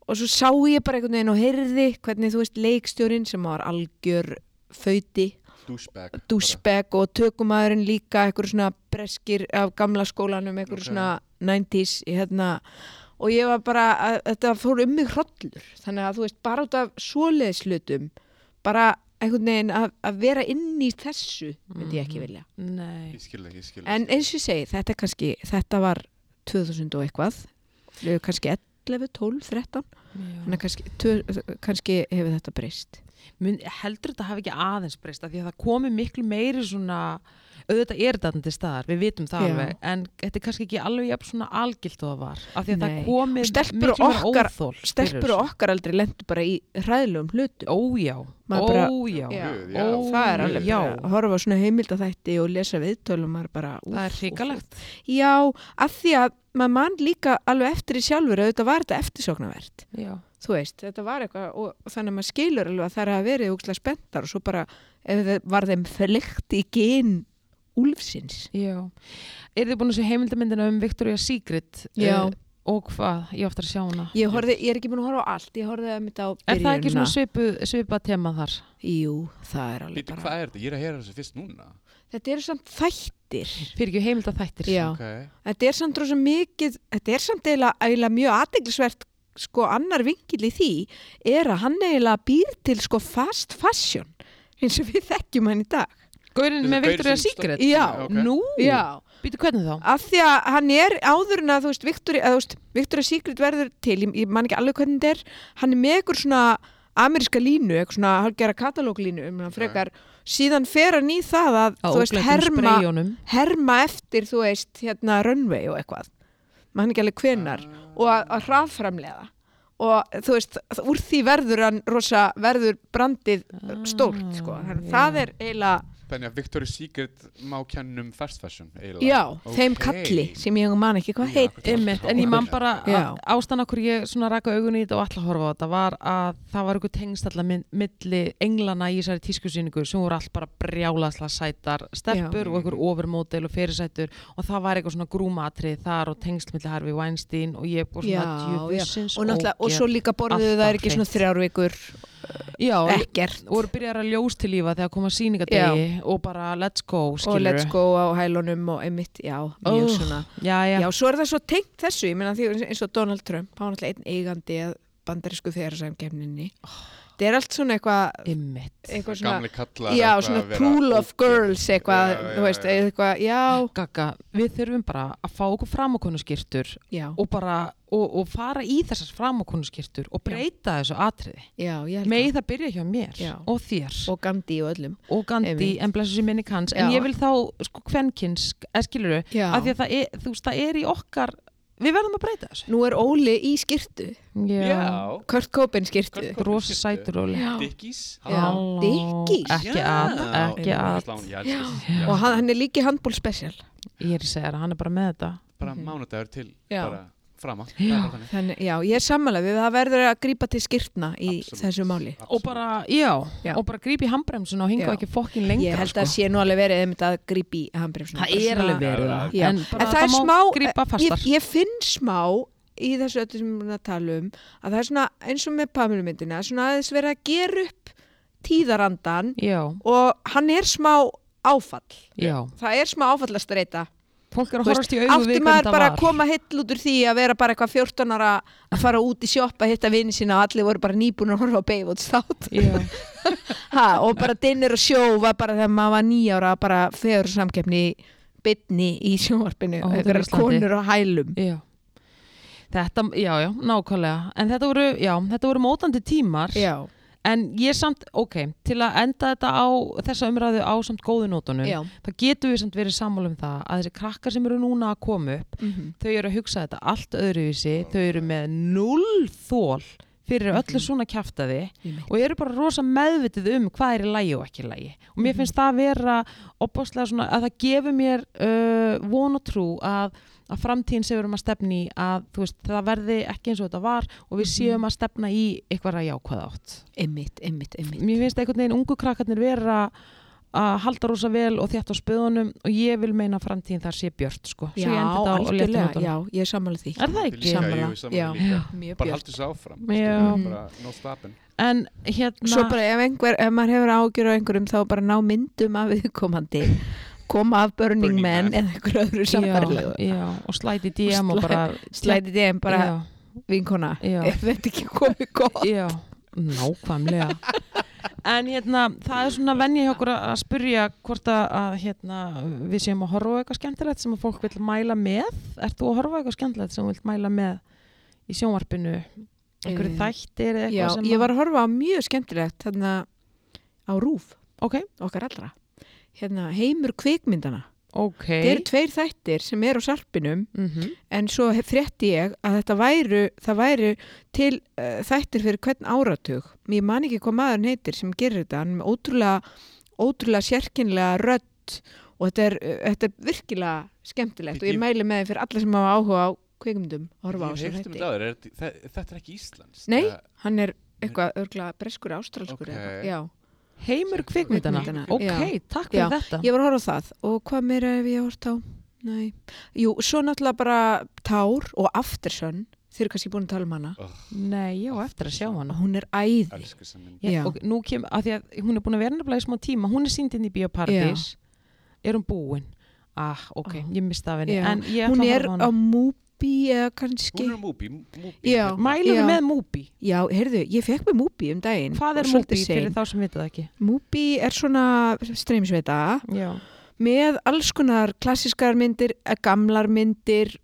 og svo sá ég bara einhvern veginn og heyrði hvernig þú veist leikstjórin sem var algjör föyti
Douchebag. bara.
dúsbeg og tökumæðurinn líka einhverjum svona breskir af gamla skólanum
Ok.
einhverjum svona 90s í hérna og ég var bara, að, þetta fór um mig hrollur þannig að þú veist, bara út af svoleiðslutum bara einhvern veginn að, að vera inn í þessu myndi ég ekki vilja
Nei,
Ég skil það, ég skil það.
en eins og ég segi, þetta er kannski þetta var 2000 og eitthvað Við erum kannski 11, 12, 13
já.
þannig að kannski, tvö- kannski hefur þetta breyst
Mun, heldur þetta hafi ekki aðeins breyst af því að það komi miklu meiri svona auðvitað er þetta þarna til staðar, við vitum það
Já.
alveg en þetta er kannski ekki alveg jafn svona algilt og það var, af því að
Nei.
það komi
Og stelpur
miklu meira
okkar-
óþol fyrir
stelpur
þessu.
og okkar aldrei lendu bara í hræðlum hlutum
ójá,
Maður bara-
ójá
Já.
Guð, já.
Ó,
það er alveg
já.
bara að horfa á svona heimildaþætti og lesa viðtölum maður bara, úff,
það er hrikalegt
úff. já, af því að maður mann líka alveg eftir í sjálfur að þetta var þetta eftirsóknarvert
já.
þú veist, þetta var eitthvað og, og þannig að maður skilur alveg að það er að verið úkslega spenntar og svo bara ef það var þeim flykt í gyn úlfsins
Já. er þið búin að sjá heimildamindina um Victoria Secret
Já.
Eh, og hvað, ég á eftir að sjá hana
ég, hérna. horfði, ég er ekki búin að horfa á allt, ég horfði að mynda á
er það ekki
byrjunina
svona svipu, svipa tema þar?
jú, það er alveg
Býtu,
bara
hvað er þetta? Ég er að heyra þessu fyrst núna.
þetta eru samt þættir
fyrir ekki heimildaþættir
Já.
Ok.
Þetta er samt rosa mikið, þetta er samt eiginlega, eiginlega mjög aðdeglisvert sko annar vingil í því er að hann eiginlega býr til sko fast fashion eins og við þekkjum hann í dag.
Gaurinn
Þessi
með
gaur
Victoria
sem
Secret?
Já,
ok.
Nú?
Já,
Býtu hvernig þá?
af því að hann er áður en að þú veist, Victoria, að, þú veist, Victoria Secret verður til, ég, ég man ekki alveg hvernig þetta er, hann er með ykkur svona ameríska línu, eitthvað svona halgera katalóglínu um hann frekar, síðan fer hann í það að, þú veist, herma, herma eftir, þú veist, hérna runway og eitthvað. Man ekki alveg hvenar. og að, að hraðframlega og þú veist, þ- úr því verður hann rosa, verður brandið stórt, sko, þannig að það er eiginlega,
Þannig að Victoria's Secret má kennum fast fashion, eiginlega.
já,
Ok.
þeim kalli sem ég man ekki hvað heit
Einmitt, en ég man bara
Já.
að ástæðan okkur ég svona raka augun í þetta og ætla að horfa á þetta var að það var einhver tengstalla milli englana í þessari tískusýningu sem voru allt bara brjálasla sætar stelpur
Já.
og einhver ofurmódel og fyrirsætur og það var eitthvað svona grúmatrið þar og tengsl milli Harvey Weinstein og ég og
já,
svona
já,
djöfusins
og náttúrulega, og svo líka borðuðu
Alltaf
það er ekki svona
hreint.
þrjár vikur,
já,
ekkert
og voru byrjar að ljós til lífa þegar koma síningadegi og bara let's go
og
skilurðu.
let's go á hælunum og einmitt, já, mjög
Ugh,
svona
já, já,
já, svo er það svo tengt þessu, ég meina því eins og Donald Trump, hann var náttúrulega einn eigandi að bandarísku þeirra samkemninni þetta er allt svona eitthvað
Ymmit.
eitthvað svona,
Gamli kallar
já,
eitthvað
svona
að vera
pool of
ógeð.
girls eitthvað,
Já,
þú
já,
veist,
já.
eitthvað já,
Gaga, við þurfum bara að fá okkur framokonuskirtur
já,
og bara, og, og fara í þessar framokonuskirtur og breyta þessu atriði.
já, ég held
Megið það byrja hjá mér
Já.
og þér
það og Gandhi og öllum
og Gandhi
Einmitt.
en blessu sér minni kanns en
Já.
ég vil þá sko kvenkins, skilur þau
já.
af því að það er, þú veist, það er í okkar við verðum að breyta þessu
nú er Óli í skirtu
Já,
Kurt Cobain skirtu
Kurt Cobain.
rosa sætur og
Já.
Dickies
Já.
hann-
Dickies.
ekki
Já.
að, ekki
Já.
að
Slán, ég elska þessi- já.
og hann, hann er líki handból special
ég er að segja það, hann er bara með þetta
bara mánudagur til
Já.
bara frama
Já.
Þannig, já, ég er sammála við það verður að grípa til skirtna í
Absolutt.
þessu máli
og bara, já,
Já.
og bara grípi handbremsun og hinga
Já.
ekki fokkin lengra
ég held að
sko.
sé nú alveg verið einmitt að grípi í handbremsuna
það er alveg verið það
Já.
en, bara,
en það er
má
smá, eh,
grípa
ég,
fastar
ég finn smá í þessu öllu sem við erum að tala um að það er svona eins og með Pamilumyndina svona aðeins verið að gera upp tíðarandan
já,
og hann er smá áfall
já,
það er smá áfall að streyta
fólk er
Þú
að
veist,
horfast í augu
átti
við hvernig
maður
það
bara
var
að koma heill út úr því að vera bara eitthvað 14 ára að fara út í sjoppa að hitta vini sína og allir voru bara nýbúin að horfa á Baywatch þátt
já,
ha, og bara dinnir og sjó var bara þegar maður var nýjára bara fegur samkeppni bytni í sjónvarpinu
Á Hótel
einhverjar
Íslandi.
konur á hælum
já Þetta, já, já, nákvæmlega, en þetta voru, já, þetta voru mótandi tímar
já,
En ég samt, ok, til að enda þetta á þessa umræðu á samt góðu nótunum,
já.
þá getum við samt verið sammála um það að þessi krakkar sem eru núna að koma upp,
Mm
þau eru að hugsa þetta allt öðruvísi, þau eru með null þól fyrir
Mhm.
öllu svona kjaftaði
-hmm.
og eru bara rosa meðvitið um hvað er í lægi og ekki í lægi. Og
Mhm.
mér finnst það að vera opaslega svona að það gefur mér uh, von og trú að að framtíðin sem við erum að stefna í að þú veist, það verði ekki eins og þetta var og
Mhm.
við séum að stefna í eitthvað að jákvæða átt
einmitt, einmitt, einmitt
mér finnst einhvern veginn ungu krakkarnir vera að halda rosa vel og þjátt á spöðunum og ég vil meina að framtíðin þar sé björt sko. Svo ég
já,
endi þetta á léttum
algjörlega,
nótum.
já, ég er sammála því
er það ekki?
Sammála. Já.
já
mjög
bara
björn
haldur þessu áfram
Já.
skilur, bara no stoppin
en hérna
svo bara ef, einhver, ef maður hefur ágjur á einhverjum þá bara ná myndum af viðkomandi koma af Burning,
Burning
Man,
Man.
eða einhverju öðru
já,
sambarlegu
já, og slæti DM og
Slæ-
bara
slæti DM bara
já,
vinkona
Já.
ef þetta ekki komið gott
já, nákvæmlega en hérna það er svona venja hjá okkur að að spurja hvort að, að hérna, við séum að horfa á eitthvað skemmtilegt sem að fólk vil mæla með ert þú að horfa á eitthvað skemmtilegt sem þú vilt mæla með í sjónvarpinu einhverju
Eh,
þættir eða
já,
eitthvað sem
ég
að-
var að horfa á mjög skemmtilegt þarna á Rúf
Ok,
okkar allra hérna, heimur kvikmyndana
ok.
þetta eru tveir þættir sem er á sarpinum
mm
en svo hef- frétti ég að þetta væru það væru til uh, þættir fyrir hvern áratug ég man ekki hvað maður neytir sem gerir þetta hann er með ótrúlega, ótrúlega sérkinlega rödd og þetta er, uh, þetta er virkilega skemmtilegt og
Ég-
ég mæli með því fyrir alla sem hafa áhuga á kvikmyndum að horfa á
Ég hef
þessu
heyrt um
þætti
þetta áður, er þetta- þe- þetta er ekki eh, Íslands
Nei.
Eða-
hann er eitthvað örgla breskur ástralskur
Ok.
okay. já
Heimur kvikmyndana.
Kvikmyndana,
Ok,
já.
takk fyrir
Já.
þetta.
Ég var að horfa á það og hvað meira hef ég horft á? Nei. Jú, svo náttúrulega bara Tár og Aftersun, þeir eru kannski búin að tala um hana.
Nei, ég á eftir að sjá hana.
Hún er æði.
elsku sem minn
Ég,
Já.
og nú kem, að því að hún er búin að vera nefnilega í smá tíma, hún er sínd inn í Bíóparadís, er hún búin? Ah, ok,
Ah.
ég mista af henni.
Já.
En ég
Hún
ætla að
er
horfa
á Mubi eða kannski.
hún er Hérna, múbi, múbi
Já.
Mælum við
Já.
með Mubi.
Já, heyrðu, ég fekk mig Mubi um daginn.
Hvað er
og
Mubi fyrir
svolítið sein.
þá sem vita það ekki?
Mubi er svona streymsveita
Já.
með alls konar klassískar myndir, eh, gamlar myndir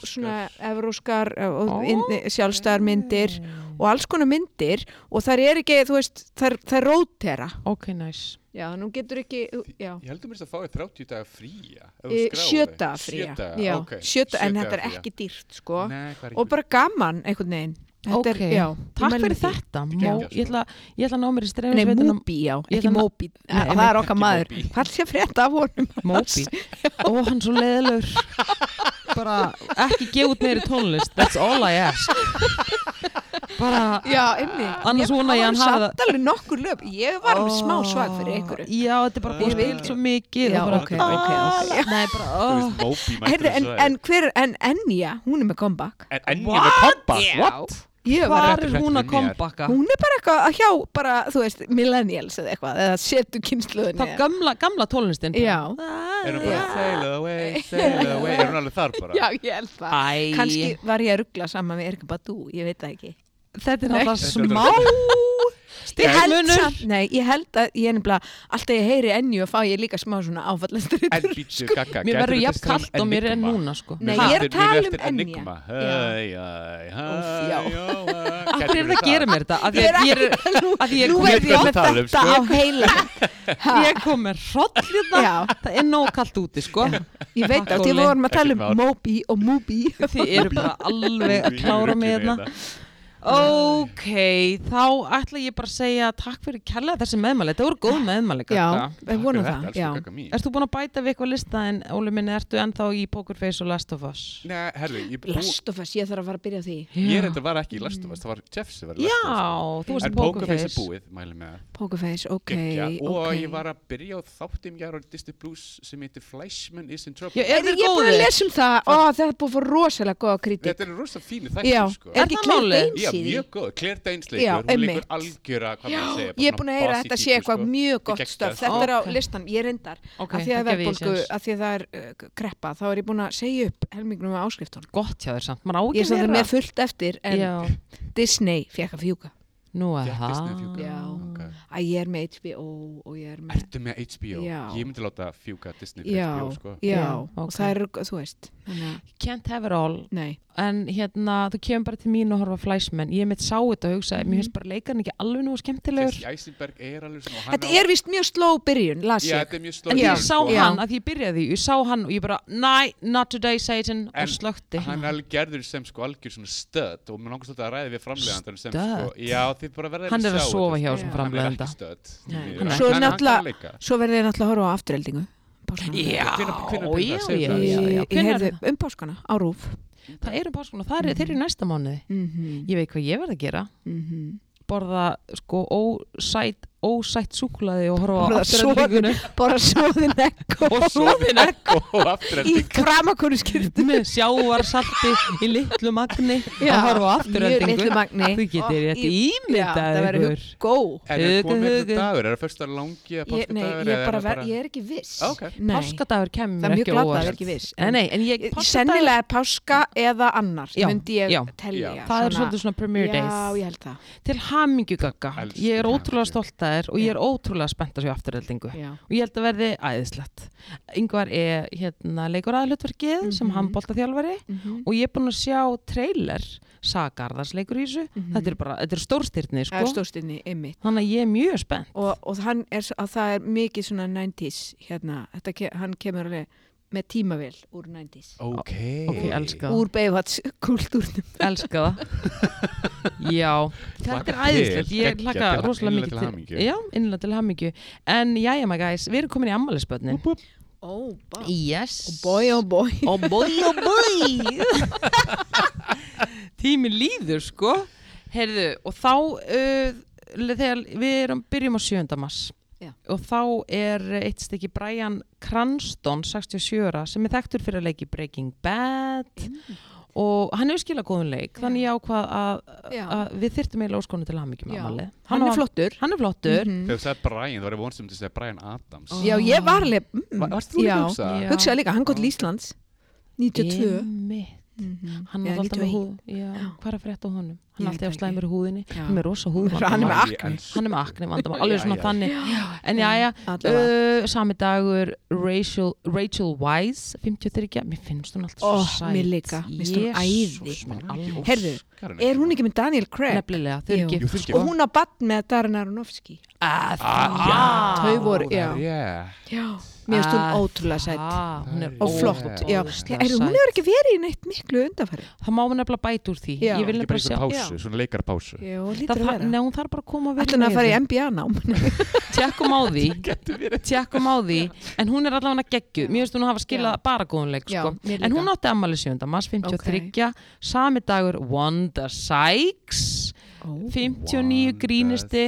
Evrópskar.
svona evróskar eh,
Ó.
og oh. sjálfstæðar myndir og alls konar myndir og þar er ekki, þú veist, þar, þar rótera.
Ok, næs.
Já, nú getur ekki, já.
ég heldur mér þess að fá ég 30 daga fría
Eh, sjö daga fría
sjöta,
Já,
okay.
sjö daga- en
Sjö daga
þetta er
fría.
ekki dýrt sko
Nei, hvað er
og
ekki-
bara gaman einhvern veginn Þetta
Ókei.
er, já,
Takk
ég mæli
fyrir
með því.
þetta.
Þetta er
Mó,
geggjað,
ég,
sko.
ætla, ég ætla að ná mér í
Nei,
streymisveitina
Móbi, já,
Ég
ekki
ætla að-
Móbi
Nei,
Það er
ekki
okkar maður
Moby.
Hvað sé frétta af honum?
Móbi Ó, hann er svo leðilegur Bara ekki gefa út meiri tónlist That's all I ask Bara
Já, einmi
Annars vona ég að hann hafi það-
Samt alveg nokkur löp Ég var alveg smá svag fyrir einhverju
Ah, Já, þetta er bara búið
Ég
að
veit.
spila svo mikið
Já,
og bara,
ok, ok, ok.
ah, Nei, bara
Þú
oh.
veist, Moby mættur
Heyrðu, en,
þessu
en hver, en Ennja, hún er með comeback
En enn ég með kompa
Já.
What?
Ég
Hvar
var,
Þetta
er hún
er fréttir
að
mér.
kompaka?
hún er bara eitthvað að hjá bara, þú veist, millennials eða eitthvað, eða setu kynsluðinni
Þá gamla, gamla tónlistin bara.
Já.
Er hún
Já.
bara sail away, sail away Er hún alveg þar bara?
Já, ég held það
Æ,
Kanski var ég að ruggla saman með Erika Badú, ég veit það ekki.
þetta er
Nei.
alltaf
Þetta er
smá
Ég held
Stikkmunur.
samt- Nei, ég held að ég er nefnilega alltaf ég heyri enni og fá ég líka smá svona
En
áfallastritur
býttu, kakka,
Sko, Mér
gætirðu
verður jafn
tekið saman
kallt og mér er
Enigma?
núna sko.
Nei,
Mér
ég er
eftir-
að tala
mér
um
eftir
Enya.
Enigma.
Já.
Hæ, hæ, hæ,
Úff, já.
hæ.
Akkur er það að gera mér þetta? Af því
Ég er
að Ég er
ekki nú,
að ég
nú
kom-
verð ég
Ég
með
tala um,
þetta
sko.
á heila
Ég kom með hroll hérna.
Já,
Það er nóg kallt úti sko.
ég veit
Takk,
að því
Óli.
við vorum að tala um
Ekkert
Moby og Mubi
Þið eru bara alveg að klára mig hérna. Ok, þá ætla ég bara að segja takk fyrir kærlega þessi meðmæli. Þetta voru góð meðmæli. Gagga.
Já, við vonum það já.
Erst þú búin að bæta við eitthvað lista en Óli minni, ertu ennþá í Pokerface og Last of Us?
Nei, herri, ég,
Last of Us, ég þarf að fara að byrja á því
ég reynda var ekki í Lastofast, það var Jeff sem var
Mm.
í
Já,
Lastofast.
þú varst í
En Pokerface er
Pokerface.
búið, mæli með að
Pokerface, ok,
gegja. Og
ok
ég var að byrja á þáttum ég á Disney Plus sem heitir Fleischman is in
Já,
Trouble.
er
Heyrðu,
þið
Ég er búin að
góðir?
lesa um það, ó það er búin að fá rosalega góða kritik
Þetta er rosa fínu
Já,
þættir, sko.
er ekki
Er það
Claire
málið?
Já,
Danes í því?
mjög góð, Claire Danes
Já,
leikur, hún leikur
einmitt.
algjöra, hvað maður segja,
Ég er búin að heyra að þetta sé eitthvað mjög gott
geggjað,
stöf
sko.
Þetta er á
Ok.
listan, ég reyndar
Ok,
að því að
það gef ég
verðbólgu,
séns.
að því að það er uh, kreppa þá er ég búin að segja upp helmingnum af áskriftunum
Gott hjá þér samt, maður á
Ég
ekki
sagði
meira.
með fullt eftir en
Já,
Disney fekk að fjúka
nú er
Fékk sko. Disney að fjúka.
það.
Ok.
Já. að ég er með HBO og ég er með
Ertu með HBO?
Já.
Ég myndi láta fjúka Disney fyrir
Já,
HBO, sko.
já,
Já,
og
ok.
það er, þú veist þannig að-
Can't have it all,
Nei,
en hérna, þú kemur bara til mín og horfa flæsmenn. Ég mitt sá þetta og hugsaði, mér
Mhm.
finnst bara leikarn ekki alveg nú skemmtilegur.
Jesse Eisenberg er alveg svona... og hann
þetta
á-
er vist mjög sló byrjun, las
Já,
ég
þetta er mjög sko.
En
slóð.
ég sá
Já.
hann, að ég byrjaði, ég sá hann og ég bara, næ, not today Satan,
En
og slökti.
Hann er alveg gerður sem sko algjör svona stödd og mér langast þetta að ræða við framlegandar sem sko,
Stödd?
já þið bara verða
Hann er að sofa hjá
Já.
þessum framlegenda.
sko. Hann er ekki
Nei.
stödd
Nei.
Svo er náttúrulega-
náttúrulega
Svo verði ég náttúrulega að horfa á afturheldingu Páskana.
Já,
Hvenær-
já,
hvenær byrjar það?
já,
Segðu
já, já.
Ég, ég
Hvenær er
heyrði
það?
um páskana á rúf
Það er um páskun og það er, þeir eru í næsta mánuði.
Mhm,
Ég veit hvað ég verð að gera.
mhm.
Borða sko ósætt, ósætt súkulaði og horfa
Borða
á afturöndingunum.
Bara svoðin ekko
Og svoðin
ekko og aftur
Í kramakonu skýrtu
með sjávarsalti í litlu magni
Já,
að horfa á
Mjög
afturöndingu.
litlu magni
Þú getur
Og
rétt
í- Já,
ímyndað
það verður
ykkur.
Gó
En er
Hugum,
komið
hugum.
eitthvað dagur, er það fyrsta langi eða
Ég- Nei,
páskadagur
ég
eða
er bara,
það
ver, ég er ekki viss
Ok.
Nei.
Páskadagur
Það
kemur
er mjög
ekki á
glata að
óvart.
vera ekki viss
Nei, nei, en ég,
Ég-
páskadagur,
Sennilega er páska eða annar
Já,
myndi ég
já.
telja
Já.
það er svolítið svona premiere
Já,
days.
ég held það
Til hamingju gagga.
Elsku
Ég er ótrúlega
hamingju.
stolt að þér og ég er ótrúlega spennt að sjá afturöldingu.
Já.
og ég held að verði æðislegt yngvar er hérna leikur aðhlutverkið sem
Mhm.
handbóltaþjálfari
Mhm.
og ég er búin að sjá trailer sagarðars leikur í þessu
Mhm.
þetta er bara, þetta er stórstyrni sko
Það er stórstinni, einmitt
þannig að ég er mjög spennt
og, og hann er, s- að það er mikið svona 90s hérna, Þetta, ke- hann kemur alveg með tímavél úr 90s
Ok
ok, elska það,
úr Beifats kultúrnum
elska það já, þetta er
Hlakka
æðislegt
til,
ég
geggjað,
hlaka
bara
rosalega mikið
innilega til hamingju.
já, innlega til hamingju en jæja my guys, við erum komin í ammælisbönnin
Ó, bá
yes
Og boy, oh boy
Oh boy, oh boy Tíminn líður sko Heyrðu, og þá uh, le- þegar við erum, byrjum á 7. mars
Já.
og þá er eitt stykki Brian Cranston 67 ára sem er þekktur fyrir að leiki Breaking Bad
Mm.
og hann hefur skilað góðun leik þannig ég ákvað að,
Já.
að við þyrtum eiginlega óskonu til aðmyggjum
Já.
hann,
Hann er
var-
flottur
hann er flottur
Mhm.
Þegar þú sagði Brian, þá var ég vonsum til að segja Brian Adams
Ó.
Já, ég var alveg
Var-
mm,
Varst þú líka
Já.
að hugsa?
Já.
Hugsaði líka, hann gott Íslands 92
Einmitt.
Mhm.
hann
Eða
er alltaf með
91.
húð já, hvað er að frétta á honum? hann
Ég
er
veit
alltaf
ekki.
slæmur í húðinni
Já.
hann er með rosa
Hann er
húðvandamál
með
Ég
akne.
elsku-
hann er með akne vandamál, alveg svona
Já, já.
þannig en já, já,
Allavega.
uh, sami dagur Rachel, Rachel Wise 53, mér finnst hún alltaf
Ó,
svo sæt
Oh, mér líka. Mér finnst hún
Jesús
æði.
minn, alveg.
Heyrðu,
Óskarinn
Er hún ekki með Daniel Craig?
nefnilega, þau
Jú.
eru
Jú, þau
gift
eru
sko.
gift.
Og hún á badn með Darren Aronofsky
Ah,
Ah,
já.
Þau voru, já
Yeah.
Já, mér finnst hún
Ah,
ótrúlega sætt
ah, hún er
Og
og flott, já,
ógeðslega
er, hún
sæt.
hefur ekki verið í neitt miklu undanfæri
það má hún nefnilega bæta úr því
Já.
ég vil
Ekki
nefnilega
bara
sjá
einhver
Já.
pásu, svona leikar pásu
Jó,
Það
lítur að
þarf-
vera
Nei, hún þarf bara að koma vel
Ætla hann að fara í
niður.
MBA nám
tjekkum á því tjekkum á því, en hún er allavega geggjuð, mér finnst hún hafa skilað bara góðan leik
Já,
sko.
mér líka.
en hún átti ammali 7. mars 53 sami dagur Wanda Sykes 59 grínisti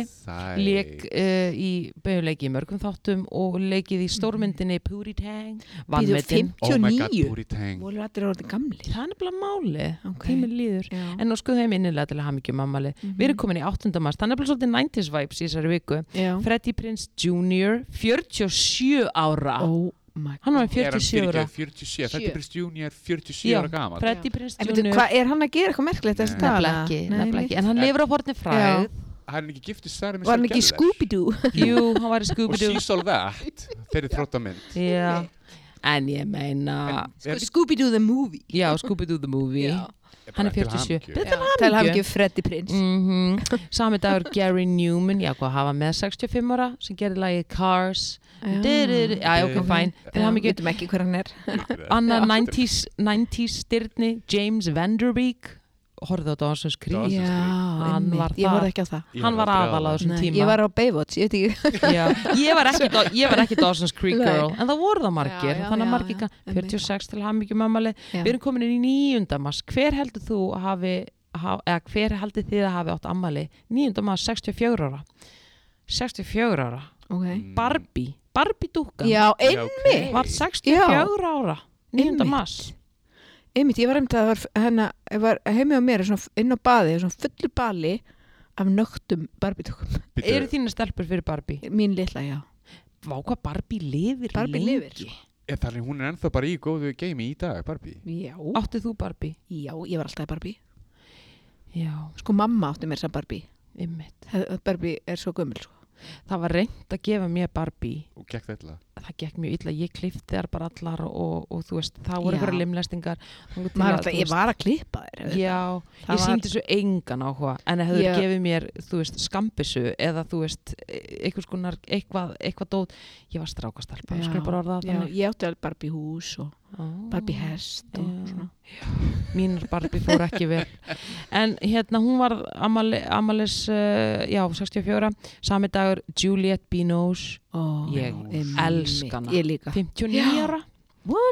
leik uh, í bauleiki í mörgum þáttum og leikið í stórmyndinni
Mhm.
Puri Tang vann
Býðu
með þinn.
Oh my god,
59
Puri Tang
Mólur allir orðin gamli
það er nefnilega máli,
Ok.
tíminn líður
Já,
en nú skoðum við minnilega til að hafa mikið mammali við
Mhm.
erum komin í 8. mars, það er nefnilega svolítið 90s vibes í þessari viku
já
Freddie Prince Jr. 47 ára
Oh my
Hann var
god
47 ára
47, þetta
Sjö.
er Prince Junior 47
Já,
ára gamal
Freddie Prince
En
Jr.
veitu, hvað er hann að gera eitthvað merkilegt þess að
Nei.
Nefnilega ekki, nefnilega ekki En hann lifir á forni fræð
hann er ekki giftist Sarah
Var hann ekki í Scooby-Doo?
Jú, hann var í
og
Scooby-Doo.
she's all that þeirri
Sko,
þróttamynd
Já, en ég meina,
Sko, Scooby-Doo the movie.
já, Scooby-Doo the movie.
Já.
hann er 47.
þetta
Til hann ekki Freddy Prince.
Mhm. Sami dagur Gary Newman, já, hvað hafa með 65 ára sem gerði lagið Cars.
Mm.
Du-du-du. Já, ok,
Ok.
fæn. Til hann
við
ekki
getum ekki hver hann er.
annar 90s, 90s styrni, James Vanderbeek. Horfðu á Dawson's Creek.
Dawson's-
Hann
einmitt.
var
Ég
þar.
voru ekki á það.
Hann var aðal á þessum
Nei,
tíma.
Ég var á Baywatch, ég veit ekki.
Já, ég var ekki, ég var ekki Dawson's Creek
Nei.
Girl en það voru það margir
Já, já,
þannig að
já,
margir
já,
kann
einmitt.
46 til hamingjum ammali
Já.
við erum komin inn í nýjundamass hver heldur þú að hafi ha, eða hver heldur þið að hafi átt ammali nýjundamass 64 ára 64 ára Mm,
Ok.
Mm,
Barbie, Barbie dúkan
Já, einmitt.
var 64
Já.
ára nýjundamass
Einmitt, ég var einmitt að það var, hennar, var heimi á mér er svona inn á baði, er svona fullu bali af nögtum barbítökum.
eru þína stelpur fyrir Barbie
Mín litla, já.
Vá hvað Barbie lifir
Barbie
lengi
lifir.
Þannig um, hún er ennþá bara í góðu geimi í dag, Barbie
Já.
Áttið þú Barbie?
Já, ég var alltaf í Barbie.
Já,
Sko mamma átti mér sem Barbie.
ymmit
Það- Barbie er svo gömul, sko.
Það var reynd að gefa mér Barbie
og gekk þetta
það gekk mjög illa, ég klifti þær bara allar og, og, og þú veist, það voru
Já.
eitthvað limlestingar Þangað til
Maður
að,
alltaf,
þú
ég
veist,
var að klippa þér. auðvitað.
já,
Það
ég
var-
síndi svo engan áhuga en hefur
Já.
gefið mér, þú veist, skambissu eða þú veist, e- einhvers konar eitthvað, eitthvað dót, ég var strákastelpa
Já.
ég skulle bara orða það
Já,
þannig
ég átti alveg Barbie hús og
Ó.
Barbie hest og
Já.
svona.
mínar Barbie fór ekki vel en hérna hún var amali, amalis, uh, já, 64 sami dagur, Juliette Binoche
Ó,
Ég
einmitt.
elska hana.
Ég líka.
59
Já.
ára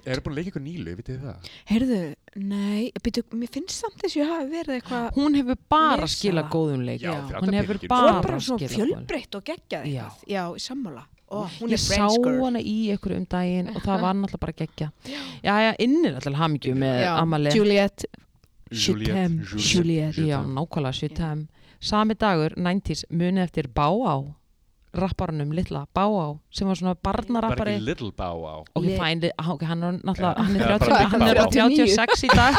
Er búin að leika ykkur nýlu, vitið þið það?
Heyrðu, nei, byrju, mér finnst samt þess að ég hafi verið eitthvað
hún hefur bara
Lesa
skila
það.
góðum leik
Já, fyrir
hún
alla sko.
hefur
peningin.
bara,
Hún var bara svona
skilað góðum leik.
fjölbreytt og geggjað
Já.
eitthvað. Já, í sammála. Ó, hún
ég
er
sá
French girl.
hana í ykkur um daginn og það var náttúrulega bara geggja já, já, innir alltaf hamingju með
Já,
Amali
Juliet.
Juliette,
Shitem.
Juliette,
Juliette.
já,
Juliette.
nákvæmlega sjutem sami dagur, 90s, muni eftir Báá rapparanum litla, Báá sem var svona
Bara
barnarappari
ekki little bow á
ok,
Lit-
fændi, ok, hann er náttúrulega hann er,
Já, bara
30,
Big
hann er
Bow Wow.
36 í dag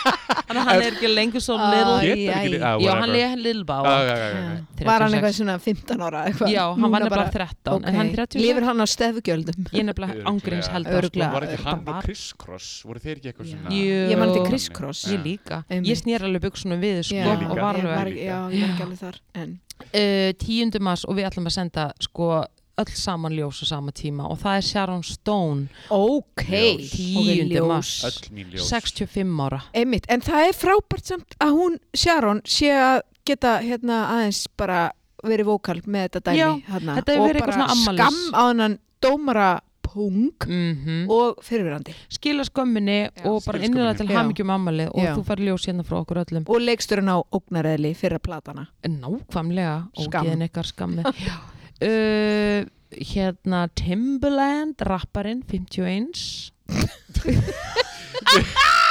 þannig að hann er ekki lengur svo little
Æ,
Getur ekki Ah, little
æ.
bow
já, hann leiði Little Báá
Ah, leika
Var
36.
hann eitthvað svona 15 ára eitthvað?
já, hann var nefnilega 13 en hann er 36
Lifir hann á stefugjöldum?
ég er nefnilega ángríns held að sko.
Örugglega.
Var ekki hann
Bara-
og Chris Cross, voru þeir ekki eitthvað
Já.
svona Ah.
Jú.
Ég man
þetta
þetta
er
Chris Cross.
ég líka,
Einmitt.
ég snýr alveg buksunum við sko,
Já,
Ég líka.
og var
ég
alveg
var, já, ég var ekki alveg þar en,
uh, tíundumars og við ætlum að senda sko öll saman ljós á sama tíma og það er Sharon Stone
Ok,
Ljós.
Tíundi mars.
ljós.
Öll mín ljós
65 ára
Einmitt, en það er frábært samt að hún Sharon sé að geta hérna aðeins bara verið vókal með þetta dæmi
Já,
hana,
þetta hefur
og
verið eitthvað
bara
svona afmælis.
skam á hennan dómara pung
mm
og fyrirverandi
skila skömminni og bara
Skila
innlega til
skömminni.
hamingjum ammalið og
Já.
þú fær ljós hérna frá okkur öllum
og leiksturinn á ógnareðli fyrir að platana
nákvæmlega og
Skam.
geðin ykkar skammi uh, hérna Timbaland rapparinn 51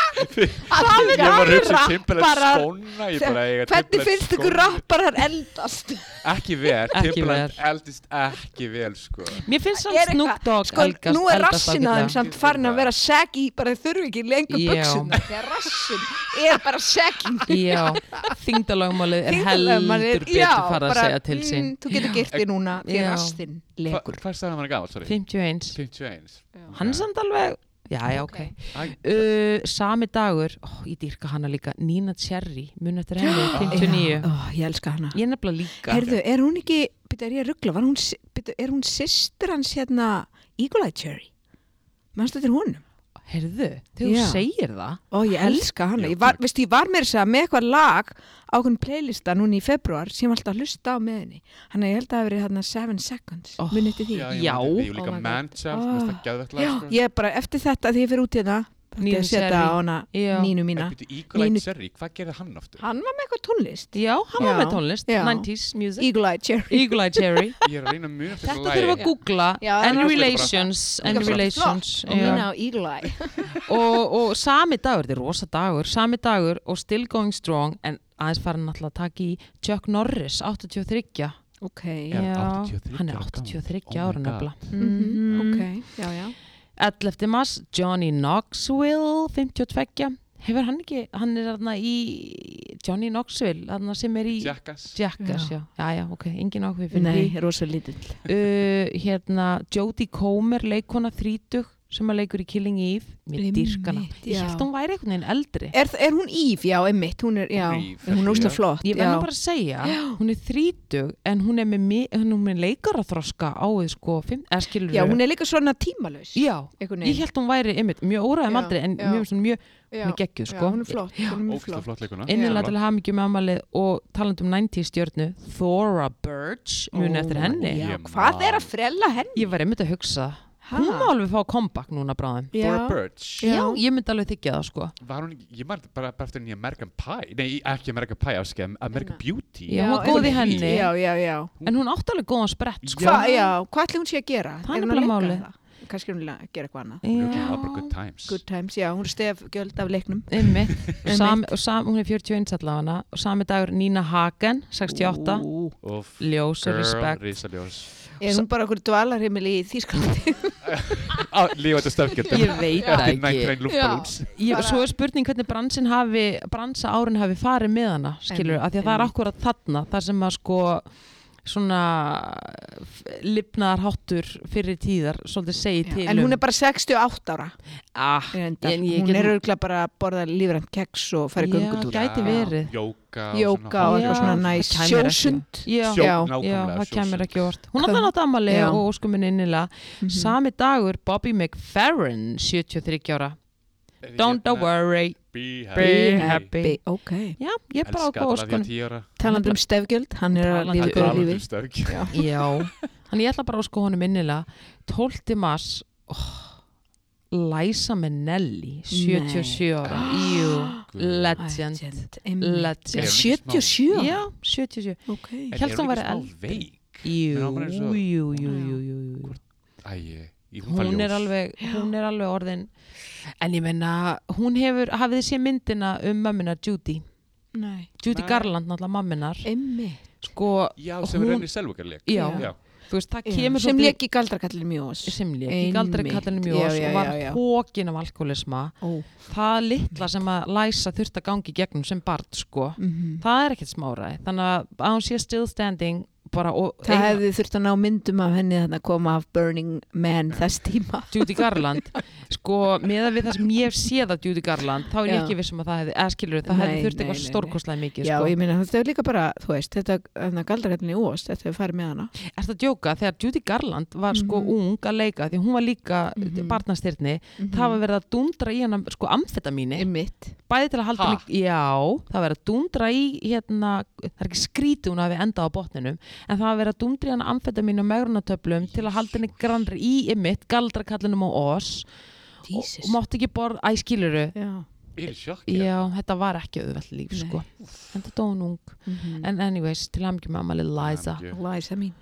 Hvað
Ég var að hugsa um Timbaland
rapparar-
skóna Ég bara eiga
Hvernig
Timberland
finnst ykkur
skóna.
rapparar eldast?
Ekki vel,
Ekki
Timbaland eldist ekki vel sko
mér finnst
Er
hann
eitthvað-
Snoop Dogg
Sko,
elgast-
nú er
eldast
rassin aðeins
ágætlega.
samt farin að vera saggy bara þau þurfi ekki lengur
Já.
buksum þegar rassin er bara saggy
Já, þingdalögmálið er heldur betur fara að segja til sín.
mm, Þú getur girt þig núna því
Já.
rassin
Hva-
legur
Hvað sagði hann var gammal, sorry?
51.
51
Hann er samt alveg, já, já, ok. Uh, sami dagur, ó, ég dýrka hana líka, Nina Cherry, mun eftir henni, 59.
oh, Ég elska hana
Ég er nefnilega líka.
Herðu, er hún ekki, byrja, er ég að ruggla hún, sy- byrju, er hún systir hans hérna Eagle Eye Cherry Manstu þetta er honum?
Herðu, þegar þú
Já.
segir það,
Ó, ég elska hana.
Já,
Ég var,
takk.
veistu, ég var meira að segja með eitthvað lag á okkur playlista núna í februar sem ég var alltaf að hlusta á með henni. Hann að ég held að það hafi verið hérna 7 seconds.
Ó,
Oh, Munið til því.
Já,
Já,
ég
Já.
man eftir
Oh
því, og
my
líka
God.
Manchild, mér finnst það geðvegt lag, sko.
ég er bara eftir þetta því ég fyrir út hérna, í þetta. Þetta
Nínu
er að setja
Cherry.
á hana
Já.
nínu
En
mína.
býttu, Eagle Eye
Nínu-
Cherry, hvað gerði hann aftur?
Hann var með eitthvað tónlist.
já, hann var
Já.
með tónlist,
Já.
90s music,
Eagle Eye Cherry.
Eagle Eye Cherry.
Ég er að reyna mjög eftir
Þetta
þessu
þurfum að
lagi.
googla,
Já, það
and
er
relations, and
Líka bara
relations.
Og
já.
mína á Eagle Eye.
og, og sami dagur, þetta er rosa dagur sami dagur og still going strong en aðeins farin náttúrulega að taka í Chuck Norris, 83
ok.
Er hann
Já,
83
hann er
ára gamall?
83
Oh my
ára
God.
nefnilega
Mhm, Ok, já, já.
11. mars, Johnny Knoxville 52 hefur hann ekki, hann er þarna í Johnny Knoxville, þarna sem er í
Jackass
Jackass, já. já, já, ok, engin áhuga fyrir
Nei,
því
rosa lítill.
uh, hérna, Jodie Comer leikona þrítug sem að leikur í Killing Eve mér
Einmitt,
dýrkana, ég
já.
held hún væri einhvern veginn eldri
Er, er hún Íf? Já, einmitt, hún er, já,
Eve, já.
hún er úrstu flott.
ég
já.
verðum bara að segja, hún er þrítug en hún er með, mi- hún er með leikara þroska á því sko, fimm, eða skilur
já, hún er líka svona tímalaus.
já,
einhvern
ég
veginn.
held hún væri einmitt, mjög óræðum
Já,
aldrei en
já.
mjög, svona, mjög,
Já,
hún er geggjuð
já,
sko.
hún er flott. Hún er mjög
Ógæslega
flott.
flott leikuna
innilega til að hafa mikið með amalið og talandum 90 stjörnu Thora Birch, muni
Ó,
eftir henni
Já,
Ég
hvað
man.
er að frella henni?
ég var einmitt að hugsa
Ha?
hún má alveg fá comeback núna bráðum
Thora
Já.
Birch
já.
Já.
ég myndi alveg þykja það sko
Var hún, ekki- ég maður bara, bara eftir henni í American Pie Nei, ekki American Pie, afskja, American Beauty
Já, hún var góð í
einmitt.
henni.
Já, já, já.
en hún átti alveg góðan sprett sko
Já.
Hva, já, hvað ætli hún sé að gera?
Það er
hún
nefnilega
að leika
málið.
það? Kannski er hún að gera eitthvað annað.
Hún er örugglega bara good times
Good times, já, hún er stef göld af leiknum.
einmitt, Og sam, og sam, hún er 41 allavega og sami dagur Nina Hagen 68,
Ú,
Uff,
ljós og
girl,
respect
risaljós
Er hún bara okkur dvalarheimili í Þýskalandi?
Lífandi stöfgjörnum
ég veit það ekki
Nægræn lúftalúns
Ég, svo er spurning hvernig bransin hafi bransa árin hafi farið með hana skilur,
Einmitt,
af því að það er
einmitt.
akkurat þarna þar sem að sko svona lipnaðar háttur fyrir tíðar svolítið segi til um,
En hún er bara 68 ára.
ah,
Reyndar.
En ég
Hún
get-
er örgulega bara að borða lífrænt keks og fara í
Já,
göngutúr.
Gæti verið.
Jóka
Jóka og eitthvað svona næs.
Það kæmir ekki.
Sjósund.
já,
Sjó,
Já,
já,
nákvæmlega
það kemur
sjósund.
ekki vort hún alltaf nátt amali
Já.
og óskumin innilega
Mhm.
sami dagur Bobby McFerrin 73 ára
Er ég
don't
hérna-
worry,
Be
be
happy,
happy
Ok.
já, ég er bara á
Elskar
góð
þetta að því
óskunum
að tíu ára
Talandi um stefgjöld, hann er að
Talandi
lifa
um-
góðu lífi.
stöfgjörn
Já, þannig ég ætla bara að sko honum innilega 12. mars oh, Læsa Minnelli 77 ára Jú, legend
Legend.
Legend
Er hún ekki
77?
Já, 77
Ok.
Ég held hún væri eldri.
veik
Jú,
langar eins
jú,
og-
jú, jú, jú, jú.
Æi, í- hún,
Hún er alveg hún er alveg orðin en ég menna, hún hefur hafið sér myndina um mömmunar Judy
Nei.
Judy
Nei. Eh.
Garland, náttúrulega mamminar
Emmi.
sko,
Já, sem
hún-
hún... rennir selvokarleik
Já. þú veist, það kemur
sem
svolítið-
leik í galdrakallinu mjós.
sem lék í galdrakallinum
Einmitt.
Jós
Já, já,
og var
já, já.
hókin af alkoholisma
Ó.
það litla sem að læsa þurft að gangi gegnum sem barn sko
Mhm.
það er ekkert smáraði þannig að- að hún sé still standing bara og
Það hefði þurft að ná myndum af henni þannig að koma af Burning Man þess tíma.
Judy Garland sko meða við það sem ég hef séð af Judy Garland þá er ég
Já.
ekki vissum að það hefði eða skilur það
Nei,
hefði þurft
nei,
eitthvað
nei, nei.
stórkostlega mikið
Já,
sko.
ég meina þetta er líka bara, þú veist, þetta galdrakallinu mjós, þetta hefur farið með hana.
er þetta að djóka þegar Judy Garland var sko
Mhm.
ung að leika því hún var líka mm
Mhm.
barnastyrni það var verið að dundra í hana sko amfetamíni
Emmitt.
bæði til að halda
Ha?
mig, já, það verið að dúndra í hérna, það er ekki skrítið hún að við enda á botninum, en það verið að dúndra í hana amfetamínu og megrunatöflum til að halda henni grannri í ymmit, galdrakallinum og oss og,
Jesus.
og mátt ekki borð, æ, skiluru
Já.
Ég er í sjokki
já, þetta var ekki auðvelt líf,
Nei.
sko en þetta dóin ung,
Mhm.
en anyways til að mikið með amali Liza
Hamingju.
Liza mín.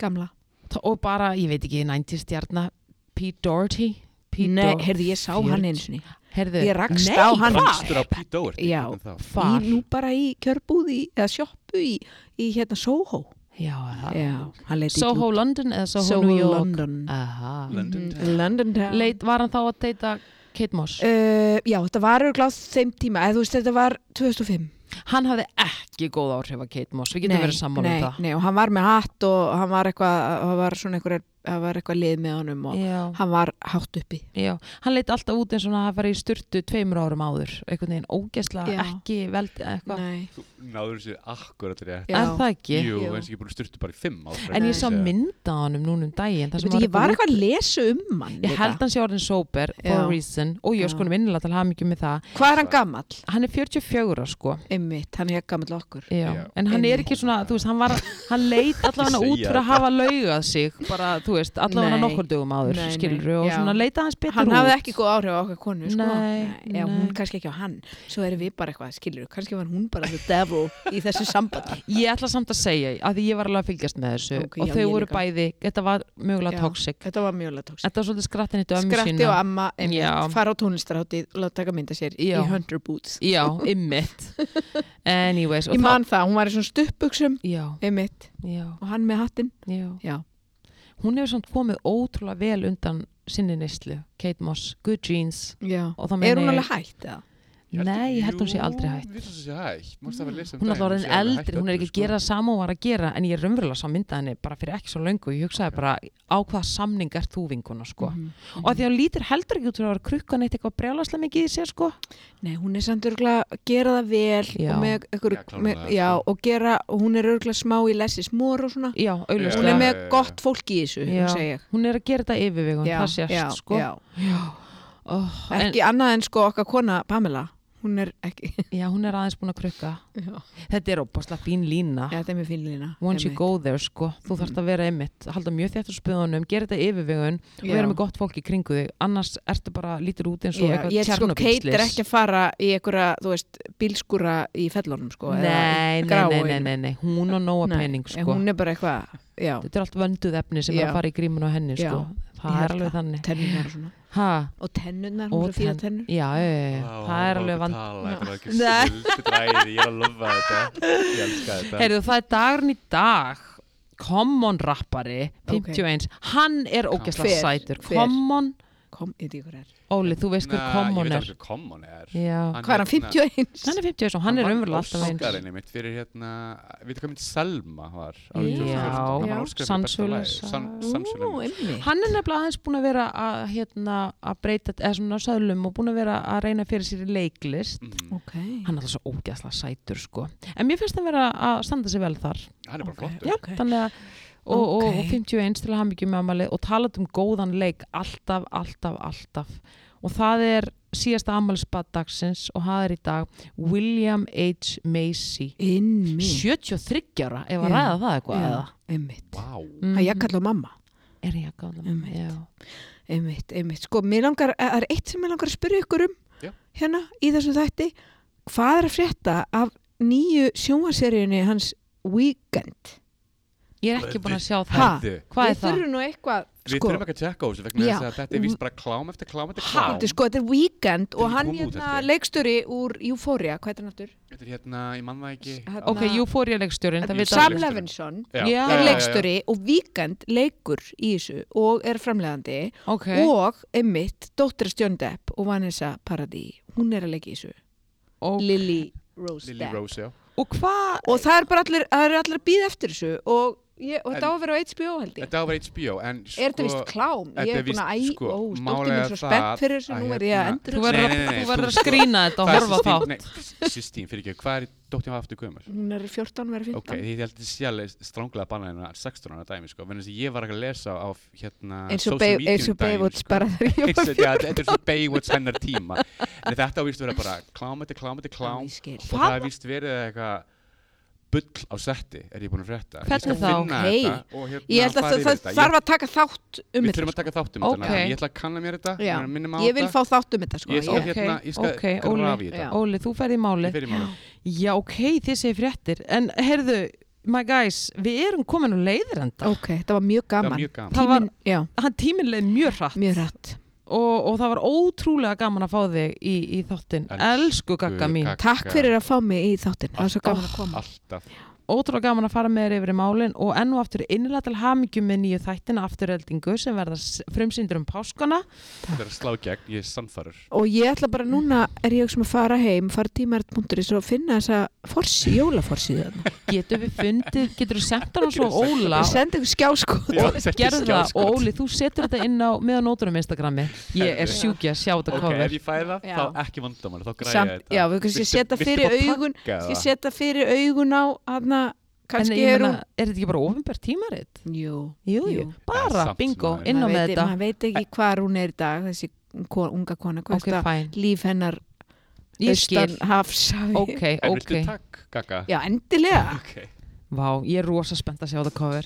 Gamla.
Þa- og bara, ég veit ekki, 90 stjarnar Pete Doherty Pete
Nei,
Doher-
heyrði, ég sá
Fjörutíu.
hann eins og ný.
heyrðu,
Ég rakst
nei,
á hann.
Rangstur á Pete Doherty
Já.
hvernig þá?
Hvar?
Í, nú bara í kjörbúði, eða sjoppu í, í hérna Soho.
já, það-
Já, hann leit illa
Soho
út.
London eða Soho,
Soho
New York
London.
Aha.
London
Mhm, London Town.
Leit, var hann þá að deyta Kate Moss?
Uh, já, þetta var örgláð þeim tíma, eða þú veist, þetta var 2005.
hann hafði ekki góð áhrif að Kate Moss, við getum verið sammála
Eh. nei,
um það.
Nei, og hann var með hatt og hann var eitthvað, hann var svona einhver, hann var eitthvað lið með honum og
Já,
hann var hátt uppi.
já, hann leit alltaf út eins og hann hafi farið í sturtu tveimur árum áður, einhvern veginn ógesla,
Já.
ekki veld, eitthvað,
Nei,
Þú náður sér akkurat rétt
já.
er það ekki?
Jú,
Jú.
eins og ég er búin að styrta bara í fimm ára
En
Nei.
ég sá mynda á hann um núnum daginn, þar
Ég,
sem
veit, ég var
eitthvað-
eitthvað að lesa um hann.
Ég held hann sé orðin sober, for a
Já.
reason, og ég
Já.
sko hann minnilega til að hafa mikið með það.
Hvað er hann gamall?
Hann er 44 ára, sko.
Einmitt, hann er gamall okkur.
Já.
Já.
en hann er
Einmitt.
ekki svona, þú veist, hann, var, hann leit allavega
Ekki
út
segja
fyrir að
þetta.
hafa laugað sig, bara, þú veist, allavega
Nei.
nokkur dögum áður,
Nei, nei.
skilur, og
Já.
svona leita hans betur
Hann
út.
hafði ekki góð áhrif á okkar konu, sko.
Nei,
Já, hún
nei.
kannski ekki á hann. Svo erum við bara eitthvað, skilur, kannski var hún bara the devil í þessu sambandi.
Ég ætla samt að segja að því ég var alveg að fylgjast með þessu
Ok,
og
já,
þau
ég
voru
líka.
bæði, þetta var mögulega
Já.
toxic.
Þetta var mjög tóks.
Þetta var svolítið skrattin eitt á ömmu sína.
Skratti og amma, einmitt,
Já.
fara á tónlistarháttið, láta taka mynda sér
Já.
í Hunter Boots.
Já, ymmit. Anyways. og
Ég
þá-
man það, hún var í svona stuppbuksum,
Já,
einmitt,
já,
og hann með hattinn.
já.
Já.
Hún hefur samt komið ótrúlega vel undan sinni neyslu, Kate Moss, good jeans
Já.
og þá
Er
meina
hún
ég-
alveg hægt eða?
Nei, ég held hún sé aldrei hætt.
Jú, við þess að sé hætt, mást það að lesa um
Hún er alltaf
daginn,
orðin
sé alveg sko. hætt
eldri, hún er ekki
sko.
öllu,
að gera sama og var að gera en ég er raunverulega sá myndað henni bara fyrir ekki svo löngu ég hugsaði bara á hvaða samning er þú vinkuna sko.
Mhm.
og að því að hún lítur heldur ekki út fyrir að vera krukkan eitt eitthvað brjálaslega mikið í sér sko.
Nei, hún er samt örgulega að gera það vel
Já.
og með
Já,
einhverju, já,
klárlega, sko.
já, og gera, og hún er örgulega smá í lessis mór og svona.
Já,
Hún er
auðvitað.
Já.
með gott fólk í þessu,
Já.
hún segja.
Hún er að gera þetta yfirvegun, það sést
já,
sko.
já.
Oh, en,
Ekki annað en sko okkar kona Pamela, hún er ekki.
já, hún er aðeins búin að krukka.
Já,
Þetta er óbáslega fín lína.
þetta er mjög fín lína.
Once you
einmitt.
go there sko, þú þarft að vera einmitt, halda mjög þétt á spöðunum, gera þetta yfirvegun og
Já.
vera með gott fólk í kringu þig, annars ertu bara lítur út eins og
Já, ég
eitthvað
er sko, Kate er
tjarnabílslis.
ekki að fara í einhverja, þú veist, bílskúra í fellunum, sko. eða
nei,
í
nei,
gráu.
nei, nei, nei, nei, hún og nóa
Nei,
penning
en
sko.
Hún er bara eitthvað, já,
Þetta er allt vönduð efni sem er
Já.
að fara í grímun á henni
Já,
sko.
ég
Það er
held
alveg þannig.
tennurnar og svona.
Ha,
Og tennurnar, hún
Og
er svo fíða
tenn-
tennur.
já, já, já, já, það er alveg vand.
Tala, þetta var ekki
Nei.
snillt dræði, ég er að lofa þetta Ég elska þetta
Heyrðu, það er dagurinn í dag. Common rappari, 51, hann er ógæslega
Hver?
sætur.
Hver?
Common,
Kom, ég veit ekki hver er.
Óli, þú veist hver
Na,
Common
Ég veit
er.
alveg hvað Sko, common er
Já,
Hvað er hann, 51?
hann er 51 og hann er umverulega alltaf eins.
Óskarinn mitt fyrir hérna, við hvað mynd Selma var
Já. Já. Sannsölusa.
Sannsvölu
einmitt.
Hann er nefnilega aðeins búin að vera að, hérna, að breyta, eða svona söðlum og búin að vera að reyna fyrir sér í leiklist.
Mm,
Ok.
Hann er alltaf svo ógæslega sætur sko. En mér finnst hann vera að standa sig vel þar.
Hann er bara
Ok.
flottur
Já,
Ok.
þannig að og, og, og
Ok.
51 til að hafa mikið með amalið og talað um góðan leik alltaf, alltaf, alltaf og það er síðasta amalisbad dagsins og það er í dag William H. Macy
Einmitt.
73 ára, ef
Já,
að ræða það eitthvað
Já,
eða Mhm.
einmitt.
Vá,
Það er jakkall og mamma.
er ég að gáða
Einmitt. Einmitt, einmitt. Sko, mér langar, það er eitt sem mér langar að spyrja ykkur um
Já.
hérna í þessu þætti. Hvað er að frétta af nýju sjónvaseríunni hans Weekend?
ég er ekki búin að sjá það
Ha?
Heyrðu,
hvað er
Við
það?
þurfum nú eitthvað,
Við
sko.
þurfum ekki að tjekka á þessu vegna
Já.
þess að þetta er víst bara klám eftir klám eftir
Ha?
klám
Þetta er sko, þetta er Weekend
Þetta
og
er
hann
komið út,
hérna
held ég.
leikstjóri úr Euphoria, hvað er hann aftur?
Þetta er hérna, ég mann það ekki
Hérna-
ok,
Na-
Euphoria leikstjórin það
Ég
vita
sá-
Sam
leikstjóri.
Levinson
Já,
Já.
já, já,
er
já.
leikstjóri og Weekend leikur í þessu og er framlegandi
ok,
og einmitt dóttir Stjón Depp og Vanessa Paradis, hún er að leika í þessu.
og,
Lily Rose
Lily
Depp.
Rose, já
og hvað
og það er bara allir, það eru allir að býða eftir þessu og, ég, og þetta á
En-
að vera á HBO held ég
Þetta á að vera HBO en sko
er þetta vist klám,
þetta
ég
er
er búin
víst,
að æ,
sko,
sko, ó, stóttir
málega
mér svo
það
spennt fyrir þessu,
að
nú er ég
hérna-
að endur
þú verður
Nei, nei, nei,
að-
nei,
þú verður
þú-
að skrína þetta og
Það er
horfa á
Sistine-
þátt
Nei, Sistine, fyrir ekki, hvað er dóttir hann aftur gömur?
hún er 14, verður 15
Ok, ég held að sé alveg stránglega að banna hérna 16 ára dæmi, sko, en þess að ég var ekki að lesa á hérna
eins og
social
Bay-
media
eins og
um daginn,
Baywatch
sko.
bara þegar ég
Eins
var
og- já, Þetta er svo Baywatch hennar tíma en þetta á víst að vera bara klám, þetta er klám, þetta er klám
fjórtán
og það er víst verið eitthvað bull á setti, er ég búin að frétta Ég skal
Hvernig þá?
finna
Hey.
þetta og hérna
ég held að
fara
það,
yfir
það
þetta.
þarf að taka þátt um
Við þurfum að
þetta
taka þátt um
Ok.
þetta Ég ætla að kanna mér þetta,
Já.
ég er að minna mig á
ég vil
þetta.
fá þátt um þetta sko
Ég skal
Ok,
hérna, ég skal
ok, Óli.
grafi í þetta
Já.
Óli, þú ferði í
Ég
máli
fer í málið.
Já, ok, þið segir fréttir. En heyrðu, my guys, við erum komin á leiðir enda.
ok, þetta var mjög
Það er
gaman
mjög gaman
Það var-
Tíminn- já,
Hann tíminn leið mjög hratt
mjög rætt
og, og það var ótrúlega gaman að fá þig í, í þáttinn. Elsku
Elsku
gagga mín.
Gagga.
takk fyrir að fá mig í þáttin það var svo gaman að koma
Alltaf
Ótrúlega gaman að fara með þér yfir í málinn og enn og aftur innlega til hamingjum með nýju þættina afturöldingu sem verða s- frumsýndur um páskana.
Þetta er að slá í gegn, ég er sannfarur
og ég ætla bara núna er ég sem að fara heim, fara tímarit.is og finna þessa forsi, jólaforsið þarna.
Getur við fundið, getur við senda hann svo Óla
ég sendi ykkur skjáskot
Já, þetta er
gerðu það
skjáskot.
og Óli, þú setur þetta inn á meðanótunum Instagrami. Ég er sjúki að sjá þetta
Ok,
cover.
ef ég fæði það,
Já.
þá ekki vandamál, þá græði
Samt-
ég þetta
já, við kannski
Viltu-
setja
viltu
fyrir
bara
augun-
taka
ég
það?
setja fyrir augun á hana,
En
kannski
ég
er
meina, er þetta ekki bara ofinbært tímarit?
hún jú,
Jú, jú,
Jú.
Það er
bara,
samt
bingo,
sem aðeins.
inn á
Maður
með
veit-
þetta
maður veit ekki hvar hún er í dag þessi ko- unga kona, hvað
Ok,
okay,
fæn,
líf hennar
ég skil
austan hafs
Ok,
En
ok,
viltu takk, Gagga?
já, endilega
Ok,
vá, ég er rosa spennt að sjá það cover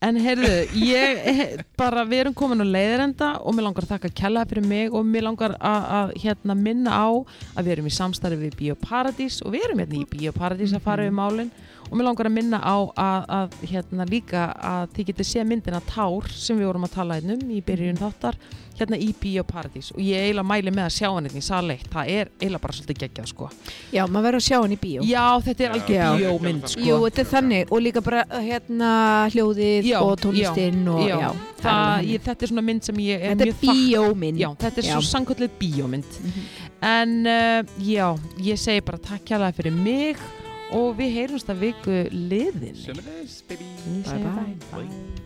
En heyrðu, ég he- bara, við erum komin á leiðirenda og mér langar að þakka kella fyrir mig og mér langar að, að hérna, minna á að við erum í samstarfi við Bíóparadís og við erum hérna í Bíóparadís að fara við málin og mér langar að minna á að, að hérna, líka að þið getið séð myndina Tár sem við vorum að tala einnum í byrjun þáttar hérna í Bíóparadís og ég eiginlega mæli með að sjá hann hérna í saleitt, það er eiginlega bara svolítið geggjað sko
já, maður verður að sjá hann í bíó
Já, þetta er
Já.
algjör
Já.
bíómynd sko.
Jú, þetta er þannig og líka bara hérna hljóðið
Já,
og tónlistinn og
já.
já,
það,
alveg
ég, þetta er svona mynd sem ég er
þannig.
mjög
þetta er bíóminn
Já, þetta er
Já.
svo sannkvöldlega bíómynd en uh, já, ég segi bara takk kjærlega fyrir mig og við heyrumst að viku liðinni
Sömmulegis, baby
Ég segi
Bye, bye.
bye. bye.